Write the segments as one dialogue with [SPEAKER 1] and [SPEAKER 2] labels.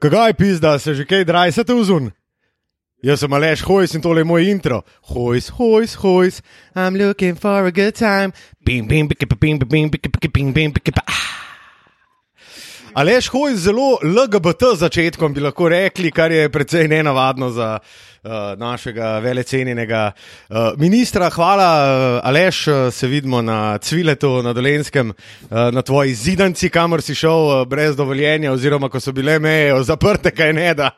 [SPEAKER 1] Kaj pizda, se že kaj drajsate vzun? Jaz sem Aleš Hojs in tole je moj intro. Hojs, hojs, hojs, I'm looking for a good time. Bim, bim, bim, bim, bim, bim, bim, bim, bim, bim. Aleš Hojs zelo LGBT začetkom bi lahko rekli, kar je precej nenavadno za uh, našega velecenjenega uh, ministra. Hvala, uh, Aleš, uh, se vidimo na Cviletu, na Dolenskem, uh, na tvoji zidanci, kamor si šel uh, brez dovoljenja, oziroma ko so bile meje zaprte, kaj ne da.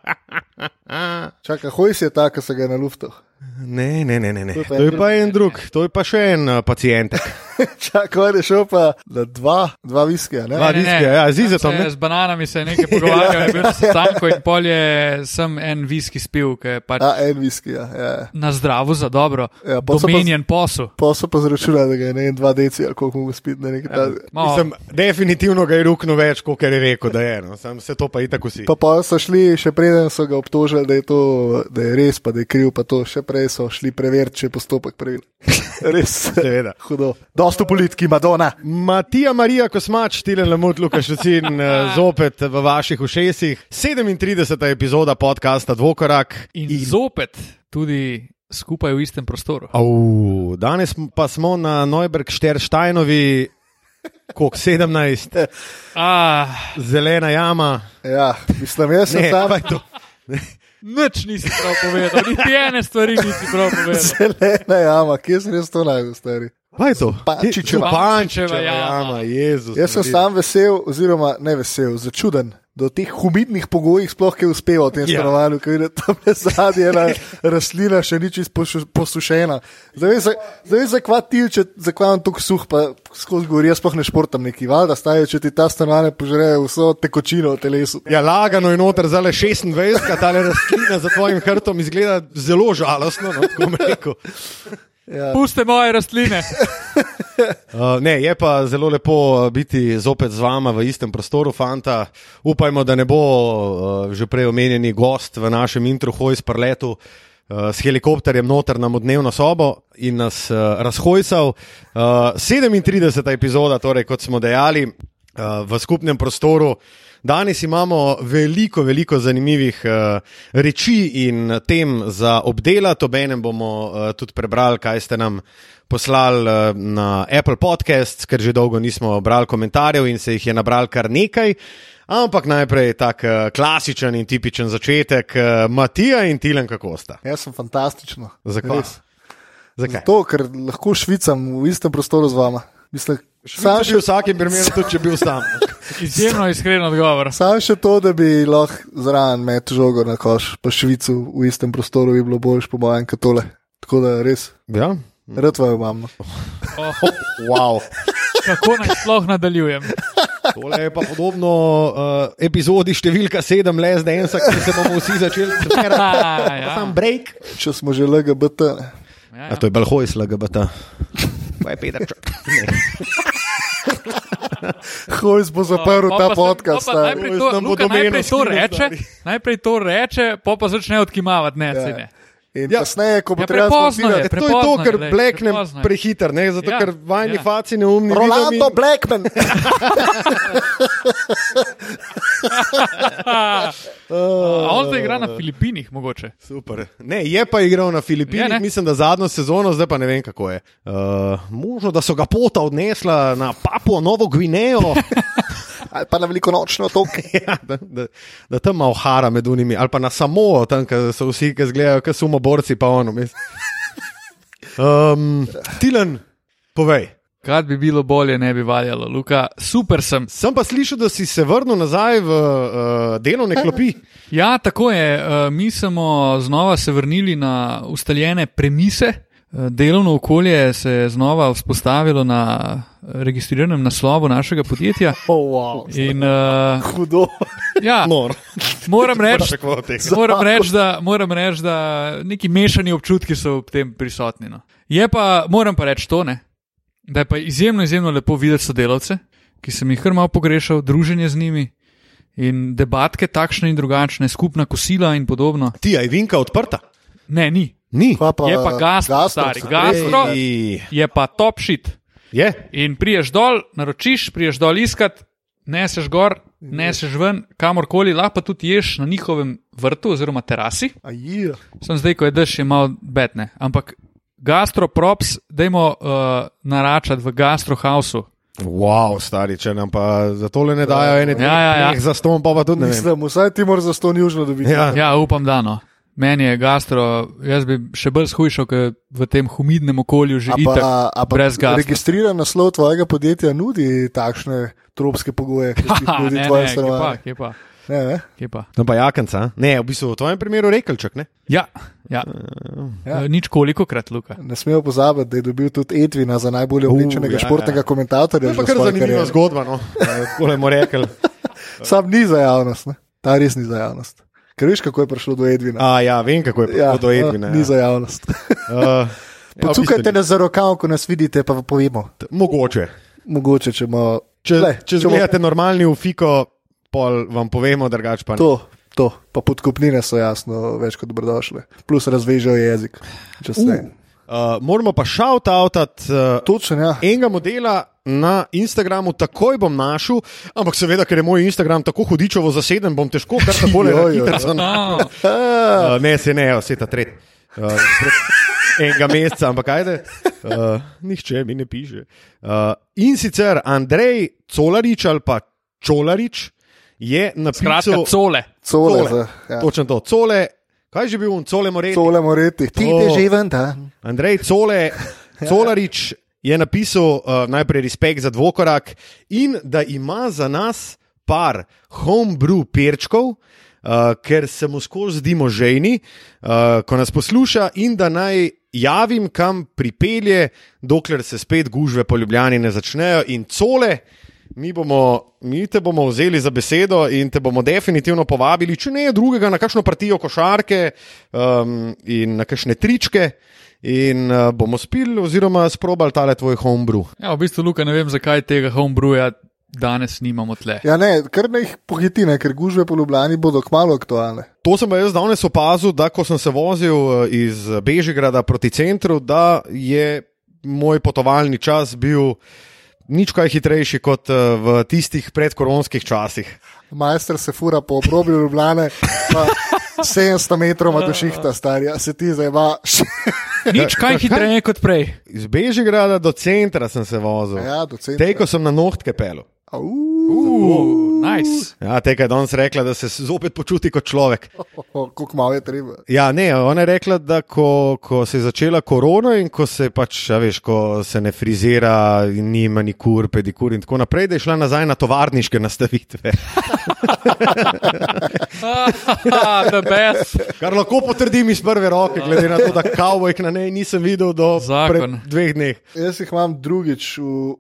[SPEAKER 2] Čaka, hojs je ta, ki se ga je na luftu.
[SPEAKER 1] Ne, ne, ne, ne. ne.
[SPEAKER 2] To je pa
[SPEAKER 1] To je
[SPEAKER 2] en
[SPEAKER 1] pa en drug, to je pa še en uh, pacijent.
[SPEAKER 2] Čaka, on je šel pa na dva, dva viskija. Ne?
[SPEAKER 1] Dva. A,
[SPEAKER 2] Dva.
[SPEAKER 1] viski, ja, z Izetom,
[SPEAKER 3] Tam se
[SPEAKER 1] ne?
[SPEAKER 3] je Z bananami se je nekaj pogovarjal, je bil na sestanku in polje sem en viski spil, ki je pač
[SPEAKER 2] A, en viskija. Ja.
[SPEAKER 3] na zdravo za dobro,
[SPEAKER 2] Ja, pol so pa z-
[SPEAKER 3] domenjen posel.
[SPEAKER 2] Pa so pa zračunali, da ga je ne en dva deci, ali koliko mu spiti na neki dan.
[SPEAKER 3] Malo-
[SPEAKER 1] Mislim, definitivno ga je ruknil več, kot je rekel, da je. No. Sam se to pa itak vsi.
[SPEAKER 2] Pa pa so šli, še preden so ga obtožili, da je to da je res, pa da je kriv, pa to še prej so šli preveriti, če je postopek pravilen. Res,
[SPEAKER 1] Seveda.
[SPEAKER 2] hudo. Dosto politiki, Madonna.
[SPEAKER 1] Matija Marija Kosmač, Tilen Lamut, Lukaš Lucin, eh, zopet v vaših ušesih. 37. epizoda podcasta Dvokorak.
[SPEAKER 3] In zopet tudi skupaj v istem prostoru.
[SPEAKER 1] Au, danes pa smo na Neuberg Šterštajnovi, kok 17,
[SPEAKER 3] Ah,
[SPEAKER 1] zelena jama.
[SPEAKER 2] Ja, mislim, jaz sem
[SPEAKER 1] Ne,
[SPEAKER 2] tam.
[SPEAKER 1] kaj je to?
[SPEAKER 3] nič nisi prav povedal, niti ene stvari nisi prav povedal.
[SPEAKER 2] Zelena jama, kje sem jaz to najbolj stari?
[SPEAKER 1] Kaj je to?
[SPEAKER 2] Pančičeva.
[SPEAKER 1] Je- Pančičeva
[SPEAKER 3] Pančičeva jama.
[SPEAKER 1] jama, Jezus.
[SPEAKER 2] Jaz sem
[SPEAKER 1] Marija.
[SPEAKER 2] sam vesel, oziroma ne vesel, začuden, da v teh humidnih pogojih sploh kaj uspeva v tem
[SPEAKER 1] Ja.
[SPEAKER 2] stanovanju, ker je tam zadnji ena rastlina še ni čisto pošu- posušena. Zdaj veš, za- zdaj veš, zakva ti, če zakvam tok suh, pa skozi gori, jaz sploh ne športam neki, valjda staje, če ti ta stanovanje požreje vso tekočino v telesu.
[SPEAKER 1] Ja, lagano je noter, zdaj le 26, kaj ta rastlina za tvojim hrbtom izgleda zelo žalostno. No, tako bom rekel.
[SPEAKER 3] Puste moje rastline.
[SPEAKER 1] Uh, ne, je pa zelo lepo uh, biti zopet z vama v istem prostoru, fanta. Upajmo, da ne bo uh, že prej omenjeni gost v našem introhoju s preletu. uh, S helikopterjem noter nam v dnevno sobo in nas uh, razhojsal. Uh, 37. epizoda, torej, kot smo dejali, uh, v skupnem prostoru. Danes imamo veliko, veliko zanimivih uh, reči in tem za obdelati. Obenem bomo uh, tudi prebrali, kaj ste nam poslali uh, na Apple Podcasts, ker že dolgo nismo brali komentarjev in se jih je nabral kar nekaj. Ampak najprej tak uh, klasičen in tipičen začetek, uh, Matija in Tilen, kako sta.
[SPEAKER 2] Jaz sem fantastično.
[SPEAKER 1] Zakaj?
[SPEAKER 2] Res.
[SPEAKER 1] Zakaj?
[SPEAKER 2] To, ker lahko švicam v istem prostoru z vama. Mislim, sam
[SPEAKER 1] Sam
[SPEAKER 2] še
[SPEAKER 1] še v vsakem primeru, tudi če bil sam.
[SPEAKER 3] Izjemno iskren odgovor.
[SPEAKER 2] Sam še to, da bi lahko zraven met žogo na koš, pa švicu v istem prostoru bi bilo boljš, po mojem, kot tole. Tako da res,
[SPEAKER 1] Ja?
[SPEAKER 2] rad vaju imam. no.
[SPEAKER 3] Oh,
[SPEAKER 1] Wow.
[SPEAKER 3] kako naj sploh nadaljujem?
[SPEAKER 1] Tole je pa podobno uh, epizodi številka 7, le zdaj en, ki se bomo vsi začeli zmerati.
[SPEAKER 3] Ah, ja.
[SPEAKER 1] Sam break.
[SPEAKER 2] Če smo že LGBT, ne.
[SPEAKER 3] Ja,
[SPEAKER 1] A to je Balhoj LGBT. Pa je Peter.
[SPEAKER 2] Hojs bo zaprl
[SPEAKER 3] Pa-
[SPEAKER 2] ta
[SPEAKER 3] pa se-
[SPEAKER 2] podcast.
[SPEAKER 3] pa pa
[SPEAKER 2] stari.
[SPEAKER 3] Najprej
[SPEAKER 1] Oj,
[SPEAKER 3] to,
[SPEAKER 1] nam bo
[SPEAKER 3] Luka,
[SPEAKER 1] domeno
[SPEAKER 3] najprej to
[SPEAKER 1] skino,
[SPEAKER 3] reče,
[SPEAKER 1] stari.
[SPEAKER 3] najprej to reče, pa pa začne odkimavati, ne, ja. ne.
[SPEAKER 2] In
[SPEAKER 1] Ja.
[SPEAKER 2] kasneje, ko bo
[SPEAKER 3] Ja,
[SPEAKER 2] treba
[SPEAKER 3] prepozno je.
[SPEAKER 2] zmontirati.
[SPEAKER 1] To je to,
[SPEAKER 3] Prepozno je,
[SPEAKER 1] ker
[SPEAKER 3] glej,
[SPEAKER 1] bleknem
[SPEAKER 3] prepozno je.
[SPEAKER 1] prehiter, ne? zato
[SPEAKER 3] Ja,
[SPEAKER 1] ker vajni
[SPEAKER 3] ja.
[SPEAKER 1] faci neumni.
[SPEAKER 2] Rolando Blackman,
[SPEAKER 3] A on zdaj igra na Filipinih, mogoče.
[SPEAKER 1] Super. Ne, je pa igral na Filipinih,
[SPEAKER 3] Je,
[SPEAKER 1] ja,
[SPEAKER 3] ne?
[SPEAKER 1] mislim, da zadnjo sezono, zdaj pa ne vem, kako je. Uh, možno, da so ga pota odnesla na Papuo Novo Gvinejo,
[SPEAKER 2] ali pa na veliko nočno to.
[SPEAKER 1] ja, da, da, da tam malo hara med unimi, ali pa na samo, tam ko so vsi, ki zgledajo, kot sumo borci, pa ono. mislim. Um, Tilen, povej.
[SPEAKER 3] Kad bi bilo bolje, ne bi valjalo, Luka. Super sem.
[SPEAKER 1] Sem pa slišal, da si se vrnil nazaj v uh, delovne klopi.
[SPEAKER 3] Ja, tako je. Eh, Mi smo znova se vrnili na ustaljene premise. Eh, Delovno okolje se je znova vzpostavilo na eh, registriranem naslovu našega podjetja.
[SPEAKER 2] Oh, wow.
[SPEAKER 3] In, uh,
[SPEAKER 2] Hudo.
[SPEAKER 3] ja,
[SPEAKER 1] Nor,
[SPEAKER 3] moram reči,
[SPEAKER 1] tako tega.
[SPEAKER 3] Moram reči, da, moram reči, da neki mešani občutki so ob tem prisotni. No. Je pa, moram pa reči to, ne, da je pa izjemno, izjemno lepo videti sodelavce, ki sem jih kar malo pogrešal, druženje z njimi in debatke takšne in drugačne, skupna kosila in podobno.
[SPEAKER 1] Ti, aj vinka odprta?
[SPEAKER 3] Ne, ni.
[SPEAKER 1] Ni.
[SPEAKER 2] Pa pa,
[SPEAKER 3] Je pa gastro, stari,
[SPEAKER 2] so
[SPEAKER 3] gastro.
[SPEAKER 2] res-
[SPEAKER 1] Ej,
[SPEAKER 3] Je pa top shit.
[SPEAKER 1] Je.
[SPEAKER 3] In priješ dol, naročiš, priješ dol iskat, neseš gor, neseš ven, kamorkoli, lahko pa tudi ješ na njihovem vrtu oziroma terasi.
[SPEAKER 2] Ajir.
[SPEAKER 3] Sem zdaj, ko je dež, je malo betne. Ampak gastroprops, dajmo uh, naračati v gastrohausu.
[SPEAKER 1] Wow, stari, če nam pa za tole ne dajo ene
[SPEAKER 3] Ja, ja, ja.
[SPEAKER 1] dni za ston, pa, pa tudi ne. Vem.
[SPEAKER 2] Mislim, vsaj ti moraš za ston južno dobiti.
[SPEAKER 1] Ja.
[SPEAKER 3] Ja, upam, da no. Meni je gastro, jaz bi še bolj shujšal, ker v tem humidnem okolju
[SPEAKER 2] A
[SPEAKER 3] že
[SPEAKER 2] pa-
[SPEAKER 3] itak.
[SPEAKER 2] a pa
[SPEAKER 3] brez gasta.
[SPEAKER 2] Registriran naslov tvojega podjetja nudi takšne tropske pogoje, ki jih
[SPEAKER 3] Ha,
[SPEAKER 2] nudi
[SPEAKER 3] ne,
[SPEAKER 2] tvoje
[SPEAKER 3] ne, kje pa,
[SPEAKER 2] stanovanje.
[SPEAKER 3] kje pa,
[SPEAKER 2] Ne, ne?
[SPEAKER 3] kje pa.
[SPEAKER 1] No, pa jakanca. Ne, v bistvu v tvojem primeru rekelček, ne?
[SPEAKER 3] Ja, ja.
[SPEAKER 2] Ja.
[SPEAKER 3] ja. Nič koliko krat, Luka.
[SPEAKER 2] ne smejo pozabiti, da je dobil tudi Edvina za najbolje
[SPEAKER 1] ja,
[SPEAKER 2] oblečenega uh, športnega
[SPEAKER 1] ja.
[SPEAKER 2] ja. komentatorja.
[SPEAKER 1] To je pa
[SPEAKER 2] že v
[SPEAKER 1] kar
[SPEAKER 2] svoji
[SPEAKER 1] zanimiva
[SPEAKER 2] karieri.
[SPEAKER 1] zgodba, no. Kole mu rekel.
[SPEAKER 2] Sam ni za javnost, ne? ta res ni za javnost. Ker veš, kako je prišlo do Edvina.
[SPEAKER 1] A ja, vem, kako je prišlo do Edvina. ja.
[SPEAKER 2] ni za javnost.
[SPEAKER 1] Uh,
[SPEAKER 2] Pocukajte nas za rokav, ko nas vidite, pa povemo.
[SPEAKER 1] Mogoče.
[SPEAKER 2] Mogoče, če imamo.
[SPEAKER 1] Če,
[SPEAKER 2] Glej,
[SPEAKER 1] Le, če
[SPEAKER 2] bomo-
[SPEAKER 1] gledate normalni ufiko, pol vam povemo, drugač pa ne.
[SPEAKER 2] To, to, pa podkupnine so jasno več kot dobrodošle. Plus razvežejo jezik. če se-
[SPEAKER 1] Uh, moramo pa šaut avtat uh,
[SPEAKER 2] Točno, ja.
[SPEAKER 1] enega modela na Instagramu, takoj bom našel, ampak seveda, ker je moj Instagram tako hudičevo zaseden, bom težko kar tako le
[SPEAKER 2] Joj, joj.
[SPEAKER 1] hitro.
[SPEAKER 3] No,
[SPEAKER 1] Uh, ne, se ne, vse ta tret. Uh, pred enega meseca, ampak ajde, uh, nihče mi ne piše. Uh, in sicer Andrej Colarič ali pa Čolarič je
[SPEAKER 3] kratka
[SPEAKER 1] napisal.
[SPEAKER 3] cole.
[SPEAKER 2] Cole,
[SPEAKER 1] Cole.
[SPEAKER 2] cole. Ja.
[SPEAKER 1] Točno to, cole. Kaj je že bil on, cole more?
[SPEAKER 2] cole moreti. Ti
[SPEAKER 1] To.
[SPEAKER 2] te živen dan.
[SPEAKER 1] Andrej Cole, Colarič je napisal uh, najprej respekt za dvokorak in da ima za nas par homebrew perčkov. Uh, ker se mu skozi zdimo žejni, uh, ko nas posluša, in da naj javim, kam pripelje, dokler se spet gužve po Ljubljani ne začnejo. In cole, mi, bomo, mi te bomo vzeli za besedo in te bomo definitivno povabili, če ne drugega, na kakšno partijo košarke um, in na kakšne tričke. In uh, bomo spili, oziroma sprobali tale tvoj homebrew.
[SPEAKER 3] Ja, v bistvu, Luka, ne vem, zakaj tega homebrewa danes nimamo tle.
[SPEAKER 2] Ja, ne, kar ne jih pohiti, ne, ker gužve po Ljubljani bodo kmalo aktualne.
[SPEAKER 1] To sem pa jaz danes opazil, da ko sem se vozil eh, iz Bežigrada proti centru, da je moj potovalni čas bil nič kaj hitrejši kot eh, v tistih predkoronskih časih.
[SPEAKER 2] Majster se fura po obrobju Ljubljane, pa 700 metrov ima do šihta, starja, se ti zdaj va.
[SPEAKER 3] Nič kaj hitreje kot prej.
[SPEAKER 1] Iz Bežigrada do centra sem se vozil.
[SPEAKER 2] Ja, docent.
[SPEAKER 1] Tej, ko sem na nohtke pel.
[SPEAKER 3] Uh, nice.
[SPEAKER 1] Ja, te, kaj je danes rekla, da se zopet počuti kot človek.
[SPEAKER 2] Kako malo je treba.
[SPEAKER 1] Ja, ne, ona je rekla, da ko, ko se je začela korona in ko se pač, a veš, ko se ne frizira, in ni manikur, pedikur in tako naprej, da je šla nazaj na tovarniške nastavitve.
[SPEAKER 3] The best.
[SPEAKER 1] Kar lahko potrdim iz prve roke, glede na to, da kavbojk na nej nisem videl do
[SPEAKER 3] Zakon.
[SPEAKER 1] pred dveh dneh.
[SPEAKER 2] Jaz jih imam drugič v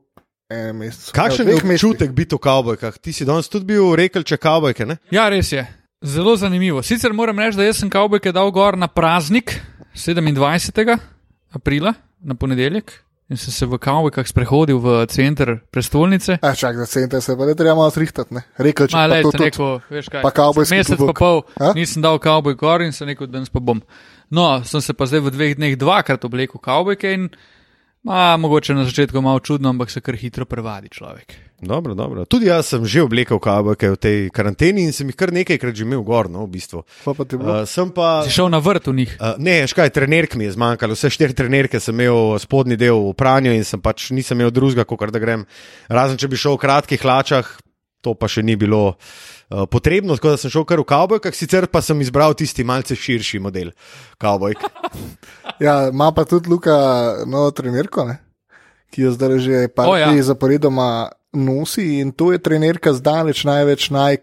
[SPEAKER 2] enem mesecu.
[SPEAKER 1] Kakšen
[SPEAKER 2] Ja, v
[SPEAKER 1] je
[SPEAKER 2] Ja, dveh mesecih.
[SPEAKER 1] občutek biti v kavbojkah? Ti si danes tudi bil rekel, če kavbojke, ne?
[SPEAKER 3] Ja, res je. Zelo zanimivo. Sicer moram reči, da jaz sem kavbojke dal gor na praznik 27. aprila, na ponedeljek, in sem se v kavbojkah sprehodil v center prestolnice.
[SPEAKER 2] A čak, za center se pa ne treba malo zrihtati, ne. Rekel, če
[SPEAKER 3] Ma,
[SPEAKER 2] pa
[SPEAKER 3] lej,
[SPEAKER 2] to
[SPEAKER 3] sem
[SPEAKER 2] tudi.
[SPEAKER 3] rekel, veš kaj,
[SPEAKER 2] Pa kavbojski
[SPEAKER 3] mesec pa
[SPEAKER 2] klobuk.
[SPEAKER 3] pol
[SPEAKER 2] A?
[SPEAKER 3] nisem dal kavboj gor in sem rekel, danes pa bom. No, sem se pa zdaj v dveh dneh dvakrat oblekel kavbojke in ma, mogoče na začetku malo čudno, ampak se kar hitro prevadi človek.
[SPEAKER 1] Dobro, dobro. Tudi jaz sem že oblekel kavbojke v tej karanteni in sem jih kar nekajkrat že imel gor, no, v bistvu.
[SPEAKER 2] Pa pa ti je bilo.
[SPEAKER 1] Uh, sem pa.
[SPEAKER 3] Si šel na vrt v njih.
[SPEAKER 1] Uh, ne, škaj, trenerk mi je zmanjkalo, vse štiri trenerke sem imel spodnji del v pranju in sem pač nisem imel drugega, kot da grem. Razen če bi šel v kratkih hlačah, to pa še ni bilo uh, potrebno, tako da sem šel kar v kavbojkah, sicer pa sem izbral tisti malce širši model kavbojk.
[SPEAKER 2] Ja, ima pa tudi Luka novo trenerko, ne? ki jo zdaj že par
[SPEAKER 3] O, ja.
[SPEAKER 2] dni ja. zaporedoma nosi in to je trenerka zdaleč največ najk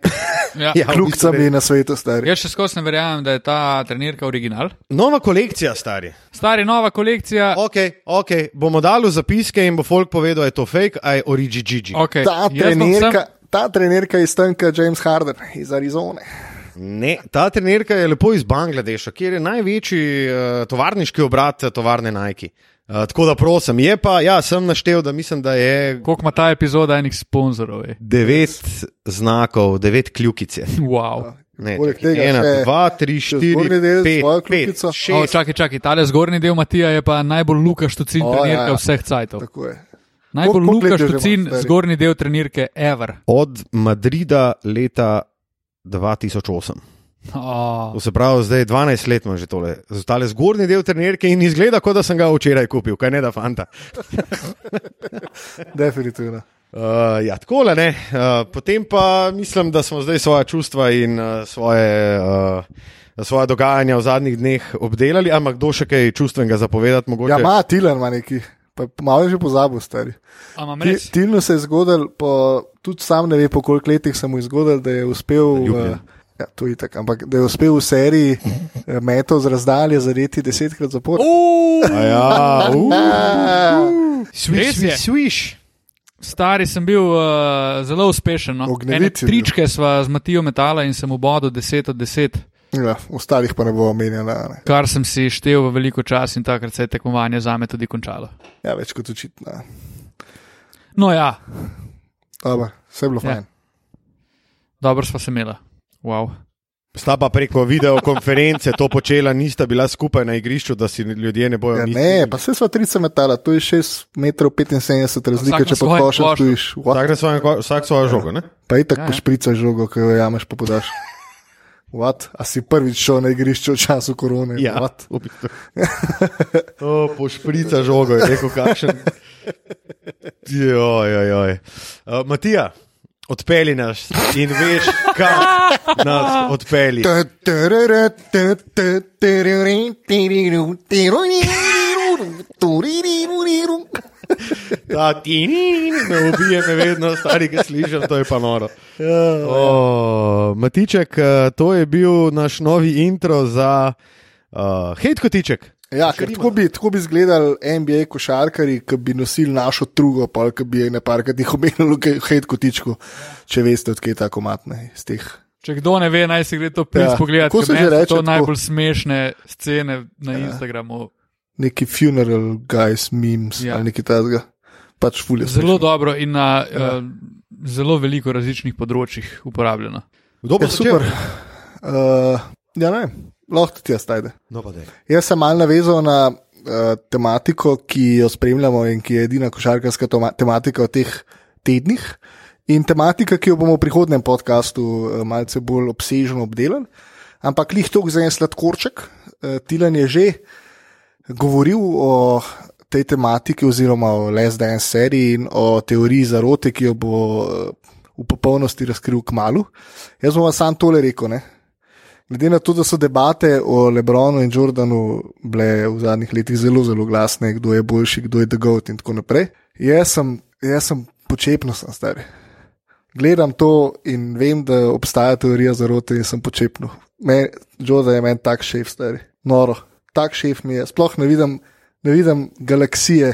[SPEAKER 3] Ja.
[SPEAKER 1] Ja, v bistvu
[SPEAKER 2] kljukcami
[SPEAKER 1] res.
[SPEAKER 2] na svetu, stari.
[SPEAKER 3] Jaz še skozi ne verjamem, da je ta trenirka original.
[SPEAKER 1] Nova kolekcija, stari.
[SPEAKER 3] Stari nova kolekcija.
[SPEAKER 1] Ok, ok, bomo dali v zapiske in bo folk povedal, da je to fake, a je origigi.
[SPEAKER 3] Okay.
[SPEAKER 2] Ta trenerka, ta trenerka je stanka James Harden iz Arizone.
[SPEAKER 1] Ne, ta trenerka je lepo iz Bangladeša, kjer je največji uh, tovarniški obrat eh, tovarne Nike. Uh, tako da prosim, je pa, ja, sem naštel, da mislim, da je
[SPEAKER 3] Koliko ima ta epizoda enih sponzorov? ej?
[SPEAKER 1] devet znakov, devet kljukic. je.
[SPEAKER 3] Wow.
[SPEAKER 2] Ja.
[SPEAKER 1] Ne,
[SPEAKER 2] Poleg
[SPEAKER 1] čakaj,
[SPEAKER 2] tega
[SPEAKER 1] ena,
[SPEAKER 2] še-
[SPEAKER 1] dva, tri,
[SPEAKER 2] še
[SPEAKER 1] štiri,
[SPEAKER 2] zgornji del
[SPEAKER 1] pet,
[SPEAKER 2] svojo
[SPEAKER 1] pet,
[SPEAKER 2] kljukico.
[SPEAKER 1] šest.
[SPEAKER 3] O, čakaj, čakaj, tale zgornji del Matija je pa najbolj Luka Štucin,
[SPEAKER 2] O,
[SPEAKER 3] trenirka
[SPEAKER 2] ja, ja.
[SPEAKER 3] vseh cajtov.
[SPEAKER 2] Tako je.
[SPEAKER 3] Najbolj
[SPEAKER 2] Koliko- koliko let
[SPEAKER 3] lukaš
[SPEAKER 2] jo že imaš,
[SPEAKER 3] tucin,
[SPEAKER 2] stari?
[SPEAKER 3] zgornji del trenirke, ever.
[SPEAKER 1] Od Madrida leta 2008.
[SPEAKER 3] Oh.
[SPEAKER 1] To se pravi, zdaj 12 let imam že tole. Zdaj zgornji del trenerke in izgleda, kot da sem ga včeraj kupil, kaj ne da fanta.
[SPEAKER 2] Definitivno.
[SPEAKER 1] Uh, ja, tako le. Uh, potem pa mislim, da smo zdaj svoje čustva in uh, svoje, uh, svoje dogajanja v zadnjih dneh obdelali. Ampak kdo še kaj čustvenega zapovedati? Mogoče?
[SPEAKER 2] Ja, ima Tilan, ima neki, pa malo je že pozabil, stari.
[SPEAKER 3] Amam
[SPEAKER 2] Ti-
[SPEAKER 3] res.
[SPEAKER 2] Tilnu se je zgodil, po, tudi sam ne ve, po koliko letih se mu je zgodil, da je uspel.
[SPEAKER 1] Zaljubljen.
[SPEAKER 2] eh, Ja, to je tako, ampak da je uspel v seriji eh, metov z razdalje zadeti desetkrat zapor.
[SPEAKER 3] Uh,
[SPEAKER 1] A Ja,
[SPEAKER 2] Eh,
[SPEAKER 3] Res je.
[SPEAKER 1] Sviš.
[SPEAKER 3] Stari sem bil uh, zelo uspešen. No.
[SPEAKER 2] Ognjevit
[SPEAKER 3] Ene
[SPEAKER 2] si bil.
[SPEAKER 3] Tričke sva z Matijo metala in sem obodel 10 od 10,
[SPEAKER 2] Ja, ostalih pa ne bo omenjala. Ne.
[SPEAKER 3] kar sem si štev v veliko časa in takrat se je tekmovanje za me tudi končalo.
[SPEAKER 2] Ja, več kot očitno.
[SPEAKER 3] No ja,
[SPEAKER 2] Dobro, Vse je bilo
[SPEAKER 3] Ja.
[SPEAKER 2] fajn.
[SPEAKER 3] dobro sva se imela. Wow.
[SPEAKER 1] Sta pa preko videokonference to počela, nista bila skupaj na igrišču, da si ljudje ne bojo
[SPEAKER 2] Ja,
[SPEAKER 1] mislili.
[SPEAKER 2] ne, pa se sva trice metala, to je 6,75 m razlike,
[SPEAKER 3] Vsak na
[SPEAKER 2] če pod
[SPEAKER 3] svojem
[SPEAKER 2] košem
[SPEAKER 3] plošču.
[SPEAKER 2] stojiš. What?
[SPEAKER 1] Vsak, na svojem ko- vsak svojo žogo, ne?
[SPEAKER 2] Pa je tako ja,
[SPEAKER 3] Ja, ja.
[SPEAKER 2] pošpricaš žogo, ki jo jamaš, pa podaš. What? A si prvič šel na igrišče v času korone?
[SPEAKER 1] Ja,
[SPEAKER 2] What?
[SPEAKER 1] v bistvu. O, pošprica žogo, je rekel kakšen. Joj, joj, joj. Uh, Matija, odpeli nas in veš, kam nas odpeli.
[SPEAKER 2] Ja,
[SPEAKER 1] Ta ti ni, me ubije, me vedno stari, ki slišim, to je pa noro. O, Matiček, eh, to je bil naš novi intro za uh, hate kotiček.
[SPEAKER 2] Ja, ker tako bi, tako bi izgledali NBA košarkari, ki bi nosili našo drugo, pa ki bi je na parkrat jih omenili, kaj hej, kotičko, če veste, odkje je ta komatne iz teh.
[SPEAKER 3] Če kdo ne ve, naj si gre to
[SPEAKER 2] Ja,
[SPEAKER 3] prins ja, pogledati,
[SPEAKER 2] kako
[SPEAKER 3] ker
[SPEAKER 2] se
[SPEAKER 3] meni
[SPEAKER 2] že
[SPEAKER 3] so
[SPEAKER 2] reče
[SPEAKER 3] to
[SPEAKER 2] tako?
[SPEAKER 3] najbolj smešne scene na ja. Instagramu.
[SPEAKER 2] Neki funeral guys, memes
[SPEAKER 3] Ja.
[SPEAKER 2] ja. ali nekaj takega. Pač fulje.
[SPEAKER 3] Zelo dobro in na ja. uh, zelo veliko različnih področjih uporabljeno.
[SPEAKER 1] Kdo bo
[SPEAKER 2] Ja, super. Uh, ja, ne, vem, lahko ti jaz najde.
[SPEAKER 1] No, pa daj.
[SPEAKER 2] Jaz sem mal navezal na uh, tematiko, ki jo spremljamo in ki je edina košarkarska toma- tematika v teh tednih. In tematika, ki jo bomo v prihodnem podkastu uh, malce bolj obsežno obdelali. Ampak lih tok za en sladkorček, uh, Tilan je že govoril o tej tematiki, oziroma o Les Dance seriji in o teoriji zarote, ki jo bo eh, v popolnosti razkril k malu. Jaz bom vam sam tole rekel. Ne? Glede na to, da so debate o Lebronu in Jordanu bile v zadnjih letih zelo, zelo glasne, kdo je boljši, kdo je dogovor in tako naprej, jaz sem, jaz sem počepno sem star. Gledam to in vem, da obstaja teorija zarote in sem počepno. Me- Jordan je meni tak šef, stari. Noro, tak šef mi je. Sploh ne vidim, ne vidim galaksije,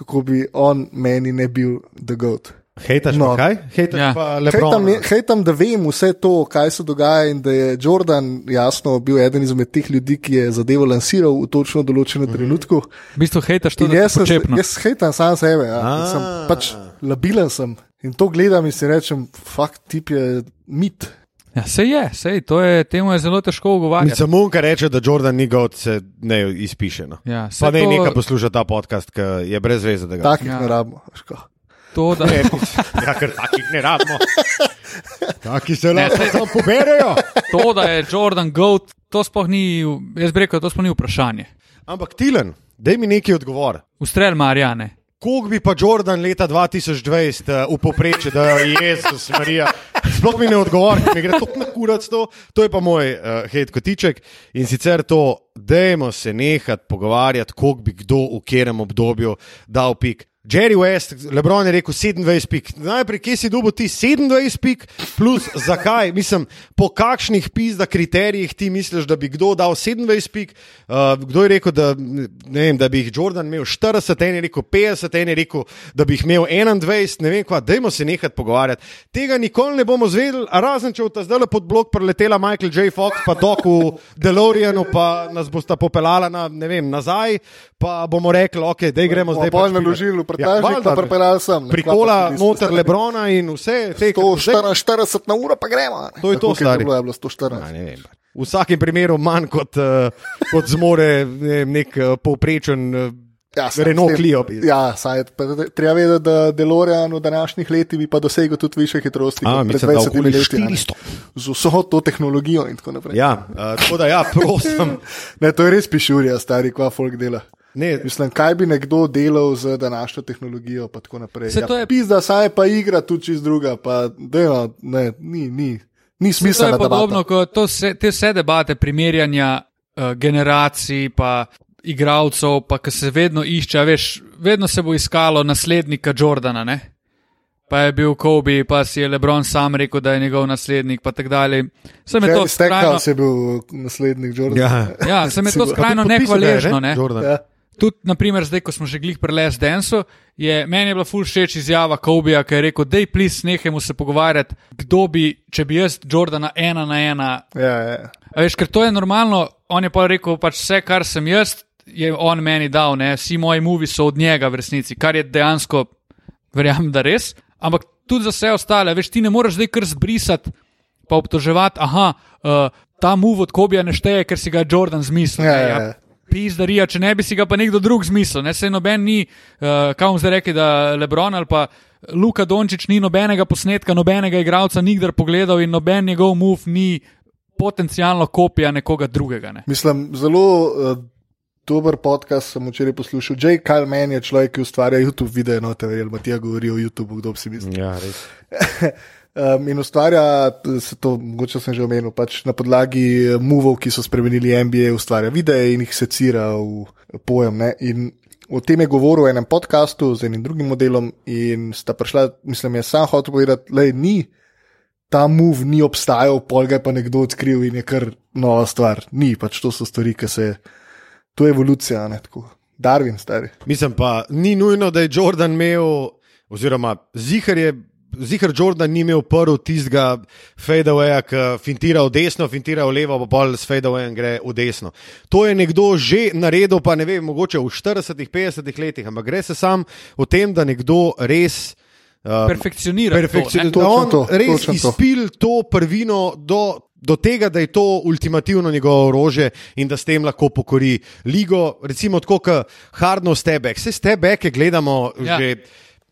[SPEAKER 2] kako bi on meni ne bil dogovor.
[SPEAKER 1] Hejtaš no.
[SPEAKER 2] No.
[SPEAKER 1] pa kaj? Hejtaš
[SPEAKER 3] Ja.
[SPEAKER 1] ja. pa lepo.
[SPEAKER 2] Hejtam, je- hejtam, da vem vse to, kaj se dogaja, in da je Jordan jasno bil eden izmed teh ljudi, ki je zadevo lansiral v točno
[SPEAKER 1] Mhm.
[SPEAKER 2] določenem trenutku.
[SPEAKER 3] V bistvu hejtaš to,
[SPEAKER 2] In
[SPEAKER 3] da
[SPEAKER 2] jaz,
[SPEAKER 3] si
[SPEAKER 2] sem-
[SPEAKER 3] počepno.
[SPEAKER 2] jaz hejtam sam sebe, ja. In sem
[SPEAKER 1] Ah.
[SPEAKER 2] pač labilen sem. In to gledam in si rečem, fakt tip je mit.
[SPEAKER 3] Ja, se je, se je, to je, temu je zelo težko ugovarjati.
[SPEAKER 1] Samo on, ki reče, da Jordan ni god, se ne izpiše. No.
[SPEAKER 3] Ja, saj
[SPEAKER 1] Pa ne,
[SPEAKER 3] to-
[SPEAKER 1] nekaj posluša ta podcast, ki je brez veze. Da ga-
[SPEAKER 2] Takih
[SPEAKER 3] Ja.
[SPEAKER 2] ja. ne rabimo. veš ko.
[SPEAKER 3] To, da,
[SPEAKER 1] Ne, ja, ker takih ne rabimo. Taki se
[SPEAKER 3] Ne,
[SPEAKER 1] lahko
[SPEAKER 3] saj-
[SPEAKER 1] samo poberejo.
[SPEAKER 3] to, da je Jordan Goat, to sploh ni, jaz bi rekel, to sploh ni vprašanje.
[SPEAKER 1] Ampak Tilen, daj mi neki odgovor.
[SPEAKER 3] Ustrel Marijane.
[SPEAKER 1] Kolik bi pa Jordan leta 2020 eh, v poprečju, da je Jezus, Marija. Sploh mi ne odgovori, mi gre tako na kurac to. To je pa moj uh, hate kotiček in sicer to, dajmo se nehati pogovarjati, koliko bi kdo v katerem obdobju dal pik. Jerry West, Lebron je rekel 27 pik. Najprej, kje si dobil ti 27 pik, plus zakaj? Mislim, po kakšnih pizda kriterijih ti misliš, da bi kdo dal 27 pik? Uh, kdo je rekel, da, ne vem, da bi jih Jordan imel 40, en je rekel 50, en je rekel, da bi jih imel 21, ne vem kva, dajmo se nehati pogovarjati. Tega nikoli ne bomo zvedeli, razen če bo ta zdaj pod blok preletela Michael J. Fox, pa Doc v DeLoreanu, pa nas bosta popeljala na, ne vem, nazaj, pa bomo rekli, ok, dej gremo zdaj.
[SPEAKER 2] Pol
[SPEAKER 1] pač
[SPEAKER 2] naložili v
[SPEAKER 1] pirat.
[SPEAKER 2] prtljažnik,
[SPEAKER 1] valjda.
[SPEAKER 2] pa pripeljali sem. Ne, kva pa
[SPEAKER 1] Prikola,
[SPEAKER 2] tudi
[SPEAKER 1] noter
[SPEAKER 2] tisto.
[SPEAKER 1] Lebrona in vse te
[SPEAKER 2] 144 na uro, pa gremo. ne.
[SPEAKER 1] To je to,
[SPEAKER 2] Koliko
[SPEAKER 1] stari.
[SPEAKER 2] bilo je bilo
[SPEAKER 1] Ja,
[SPEAKER 2] 114.
[SPEAKER 1] ne vem. V vsakem primeru manj kot, eh, kot zmore ne vem, nek eh, povprečen eh,
[SPEAKER 2] Ja, sam
[SPEAKER 1] Renault
[SPEAKER 2] s tem-
[SPEAKER 1] Clio bi-
[SPEAKER 2] Ja, saj, pa da- treba vedeti, da DeLorean v današnjih letih bi pa dosegel tudi više hitrosti
[SPEAKER 1] A,
[SPEAKER 2] kot pred
[SPEAKER 1] mislim, da
[SPEAKER 2] 20
[SPEAKER 1] okoli
[SPEAKER 2] leti. a ne.
[SPEAKER 1] 400.
[SPEAKER 2] Z vso to tehnologijo in tako naprej.
[SPEAKER 1] Ja, uh, tako da ja, prosim.
[SPEAKER 2] Ne, to je res pišurja, stari, kva folk dela.
[SPEAKER 1] Ne,
[SPEAKER 2] Mislim, kaj bi nekdo delal z današnjo tehnologijo, pa tako naprej.
[SPEAKER 3] Saj
[SPEAKER 2] Ja,
[SPEAKER 3] to je-
[SPEAKER 2] Pizda, saj je pa igra tudi čez druga, pa delo, ne, ni, ni, ni
[SPEAKER 3] To je
[SPEAKER 2] smiselno.
[SPEAKER 3] podobno kot to vse, te vse debate primerjanja uh, generacij, pa igralcev, pa ki se vedno išče. a Veš, vedno se bo iskalo naslednika Jordana, ne? pa je bil Kobe, pa si je Lebron sam rekel, da je njegov naslednik, pa tako dalje. Sem je to skrajno,
[SPEAKER 2] Stekal se je bil naslednik Jordan.
[SPEAKER 1] Ja.
[SPEAKER 3] ja, sem je to
[SPEAKER 2] Sigurno.
[SPEAKER 3] skrajno nehvaležno. Ne?
[SPEAKER 1] Jordan.
[SPEAKER 2] Ja.
[SPEAKER 3] Tudi, naprimer, zdaj, ko smo že glih pri Les Densu, je meni je bila ful všeč izjava Kobija, ki je rekel: Dej, plis, nehajmo se pogovarjati, kdo bi, če bi jaz Jordana ena na ena
[SPEAKER 2] Ja, ja.
[SPEAKER 3] A veš, ker to je normalno, on je pa rekel, pač vse, kar sem jaz, je on meni dal, ne? vsi moji muvi so od njega v resnici, kar je dejansko, verjamem, da res. Ampak tudi za vse ostale, veš, ti ne moreš zdaj kar zbrisati, pa obtoževati, aha, uh, ta muv od Kobija ne šteje, ker si ga je Jordan zmislil.
[SPEAKER 2] Ja,
[SPEAKER 3] ne,
[SPEAKER 2] ja, ja.
[SPEAKER 3] Pizdarija, če ne bi si ga pa nekdo drug zmislil, ne se noben ni, uh, kaj bom zdaj rekel, da Lebron ali pa Luka Dončić ni nobenega posnetka, nobenega igralca nikdar pogledal in noben njegov muf ni potencijalno kopija nekoga drugega. Ne?
[SPEAKER 2] Mislim, zelo uh, dober podcast sem včeraj poslušal. J. Kyle Mann je človek, ki ustvarja YouTube videe, no te verjel, Matija govori o YouTubu, kdo bi si mislil.
[SPEAKER 1] Ja, res.
[SPEAKER 2] Um, in ustvarja, t- se to mogoče sem že omenil, pač na podlagi eh, movov, ki so spremenili NBA, ustvarja videe in jih secira v eh, pojem. Ne? In o tem je govoril v enem podkastu z enim drugim modelom in sta prišla, mislim, jaz sam hotel povedati, da ni. Ta mov ni obstajal, pol ga je pa nekdo odkril in je kar nova stvar. Ni, pač to so stvari, ki se. To je evolucija, a ne tako. Darwin, stari.
[SPEAKER 1] Mislim pa, ni nujno, da je Jordan imel, oziroma zihar je. Zihar Jordan ni imel prvi tistega fadeawaya, ki fintira v desno, fintira v levo, pa pol s fadeawayem gre v desno. To je nekdo že naredil, pa ne vem, mogoče v 40-ih, 50-ih letih, ampak gre se sam o tem, da nekdo res. Uh,
[SPEAKER 3] Perfekcionirati.
[SPEAKER 1] Perfekcioniral.
[SPEAKER 3] Perfekcion...
[SPEAKER 2] to, ne?
[SPEAKER 1] Da on
[SPEAKER 2] Točno to,
[SPEAKER 1] res
[SPEAKER 2] točno to.
[SPEAKER 1] izpil to prvino do, do tega, da je to ultimativno njegovo orože in da s tem lahko pokori ligo. Recimo tako, kot Hardno stebek. Vse stebeke gledamo ja.
[SPEAKER 3] Ja.
[SPEAKER 1] že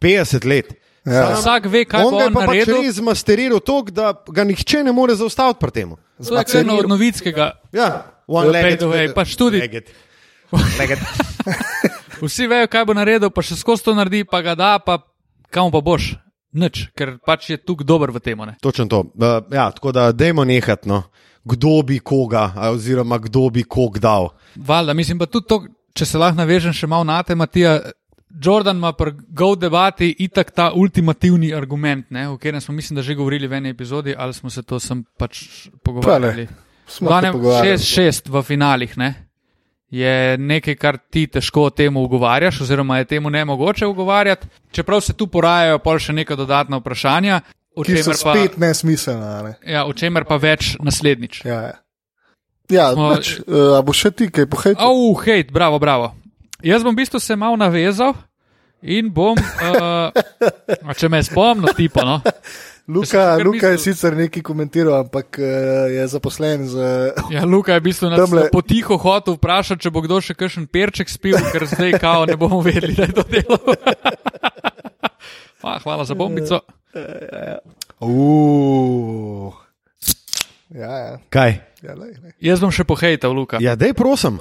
[SPEAKER 1] 50 let.
[SPEAKER 2] Ja.
[SPEAKER 1] Samo
[SPEAKER 3] Vsak ve, kaj
[SPEAKER 1] on
[SPEAKER 3] bo
[SPEAKER 1] ga je
[SPEAKER 3] on
[SPEAKER 1] pa pač
[SPEAKER 3] naredil.
[SPEAKER 1] res masteriral tako, da ga nihče ne more zaustaviti pri tem.
[SPEAKER 3] To je kar od novinskega.
[SPEAKER 1] Ja,
[SPEAKER 3] Fade away, pač tudi-
[SPEAKER 1] Legged.
[SPEAKER 3] Vsi vejo, kaj bo naredil, pa še skozi to naredi, pa ga da, pa kam pa boš. Nič, ker pač je tu dober v tem. ne.
[SPEAKER 1] Točno to. Uh, ja, tako da dajmo nehati, no. kdo bi koga, a oziroma kdo bi kog dal.
[SPEAKER 3] Valjda, mislim pa tudi to, če se lahko navežem še malo na te, Matija. Jordan ima pri Go debati itak ta ultimativni argument, ne, o katerem smo, mislim, da že govorili v eni epizodi, ali smo se to sem pač pogovarjali.
[SPEAKER 2] Pa Smo se
[SPEAKER 3] Danes
[SPEAKER 2] pogovarjali.
[SPEAKER 3] 6-6 v finalih ne? je nekaj, kar ti težko temu ugovarjaš, oziroma je temu ne mogoče ugovarjati. Čeprav se tu porajajo pol še neka dodatna vprašanja, o
[SPEAKER 2] Ki so
[SPEAKER 3] čemer pa,
[SPEAKER 2] spet nesmiselna. a Ne?
[SPEAKER 3] ja, o čemer pa več naslednjič.
[SPEAKER 2] Ja, ja. ja
[SPEAKER 3] Smo-
[SPEAKER 2] pač, uh, a bo še ti kaj pohajal?
[SPEAKER 3] Au, oh, hej, bravo, bravo. Jaz bom v bistvu se mal navezal in bom, uh, če me spomnim, tipo. No.
[SPEAKER 2] Luka,
[SPEAKER 3] sem kar
[SPEAKER 2] Luka je
[SPEAKER 3] mislil.
[SPEAKER 2] sicer nekaj komentiral, ampak uh, je zaposlen z.
[SPEAKER 3] Ja, Luka je v bistvu nas
[SPEAKER 2] Tamle.
[SPEAKER 3] potiho hotel vprašati, če bo kdo še kakšen perček spil, ker zdaj kao ne bomo vedeli, da je to delo. Pa, hvala za bombico.
[SPEAKER 2] Uh. Ja, ja,
[SPEAKER 1] Kaj?
[SPEAKER 2] ja, lej, lej.
[SPEAKER 3] Jaz bom še pohejtal, Luka.
[SPEAKER 1] Ja, dej prosim.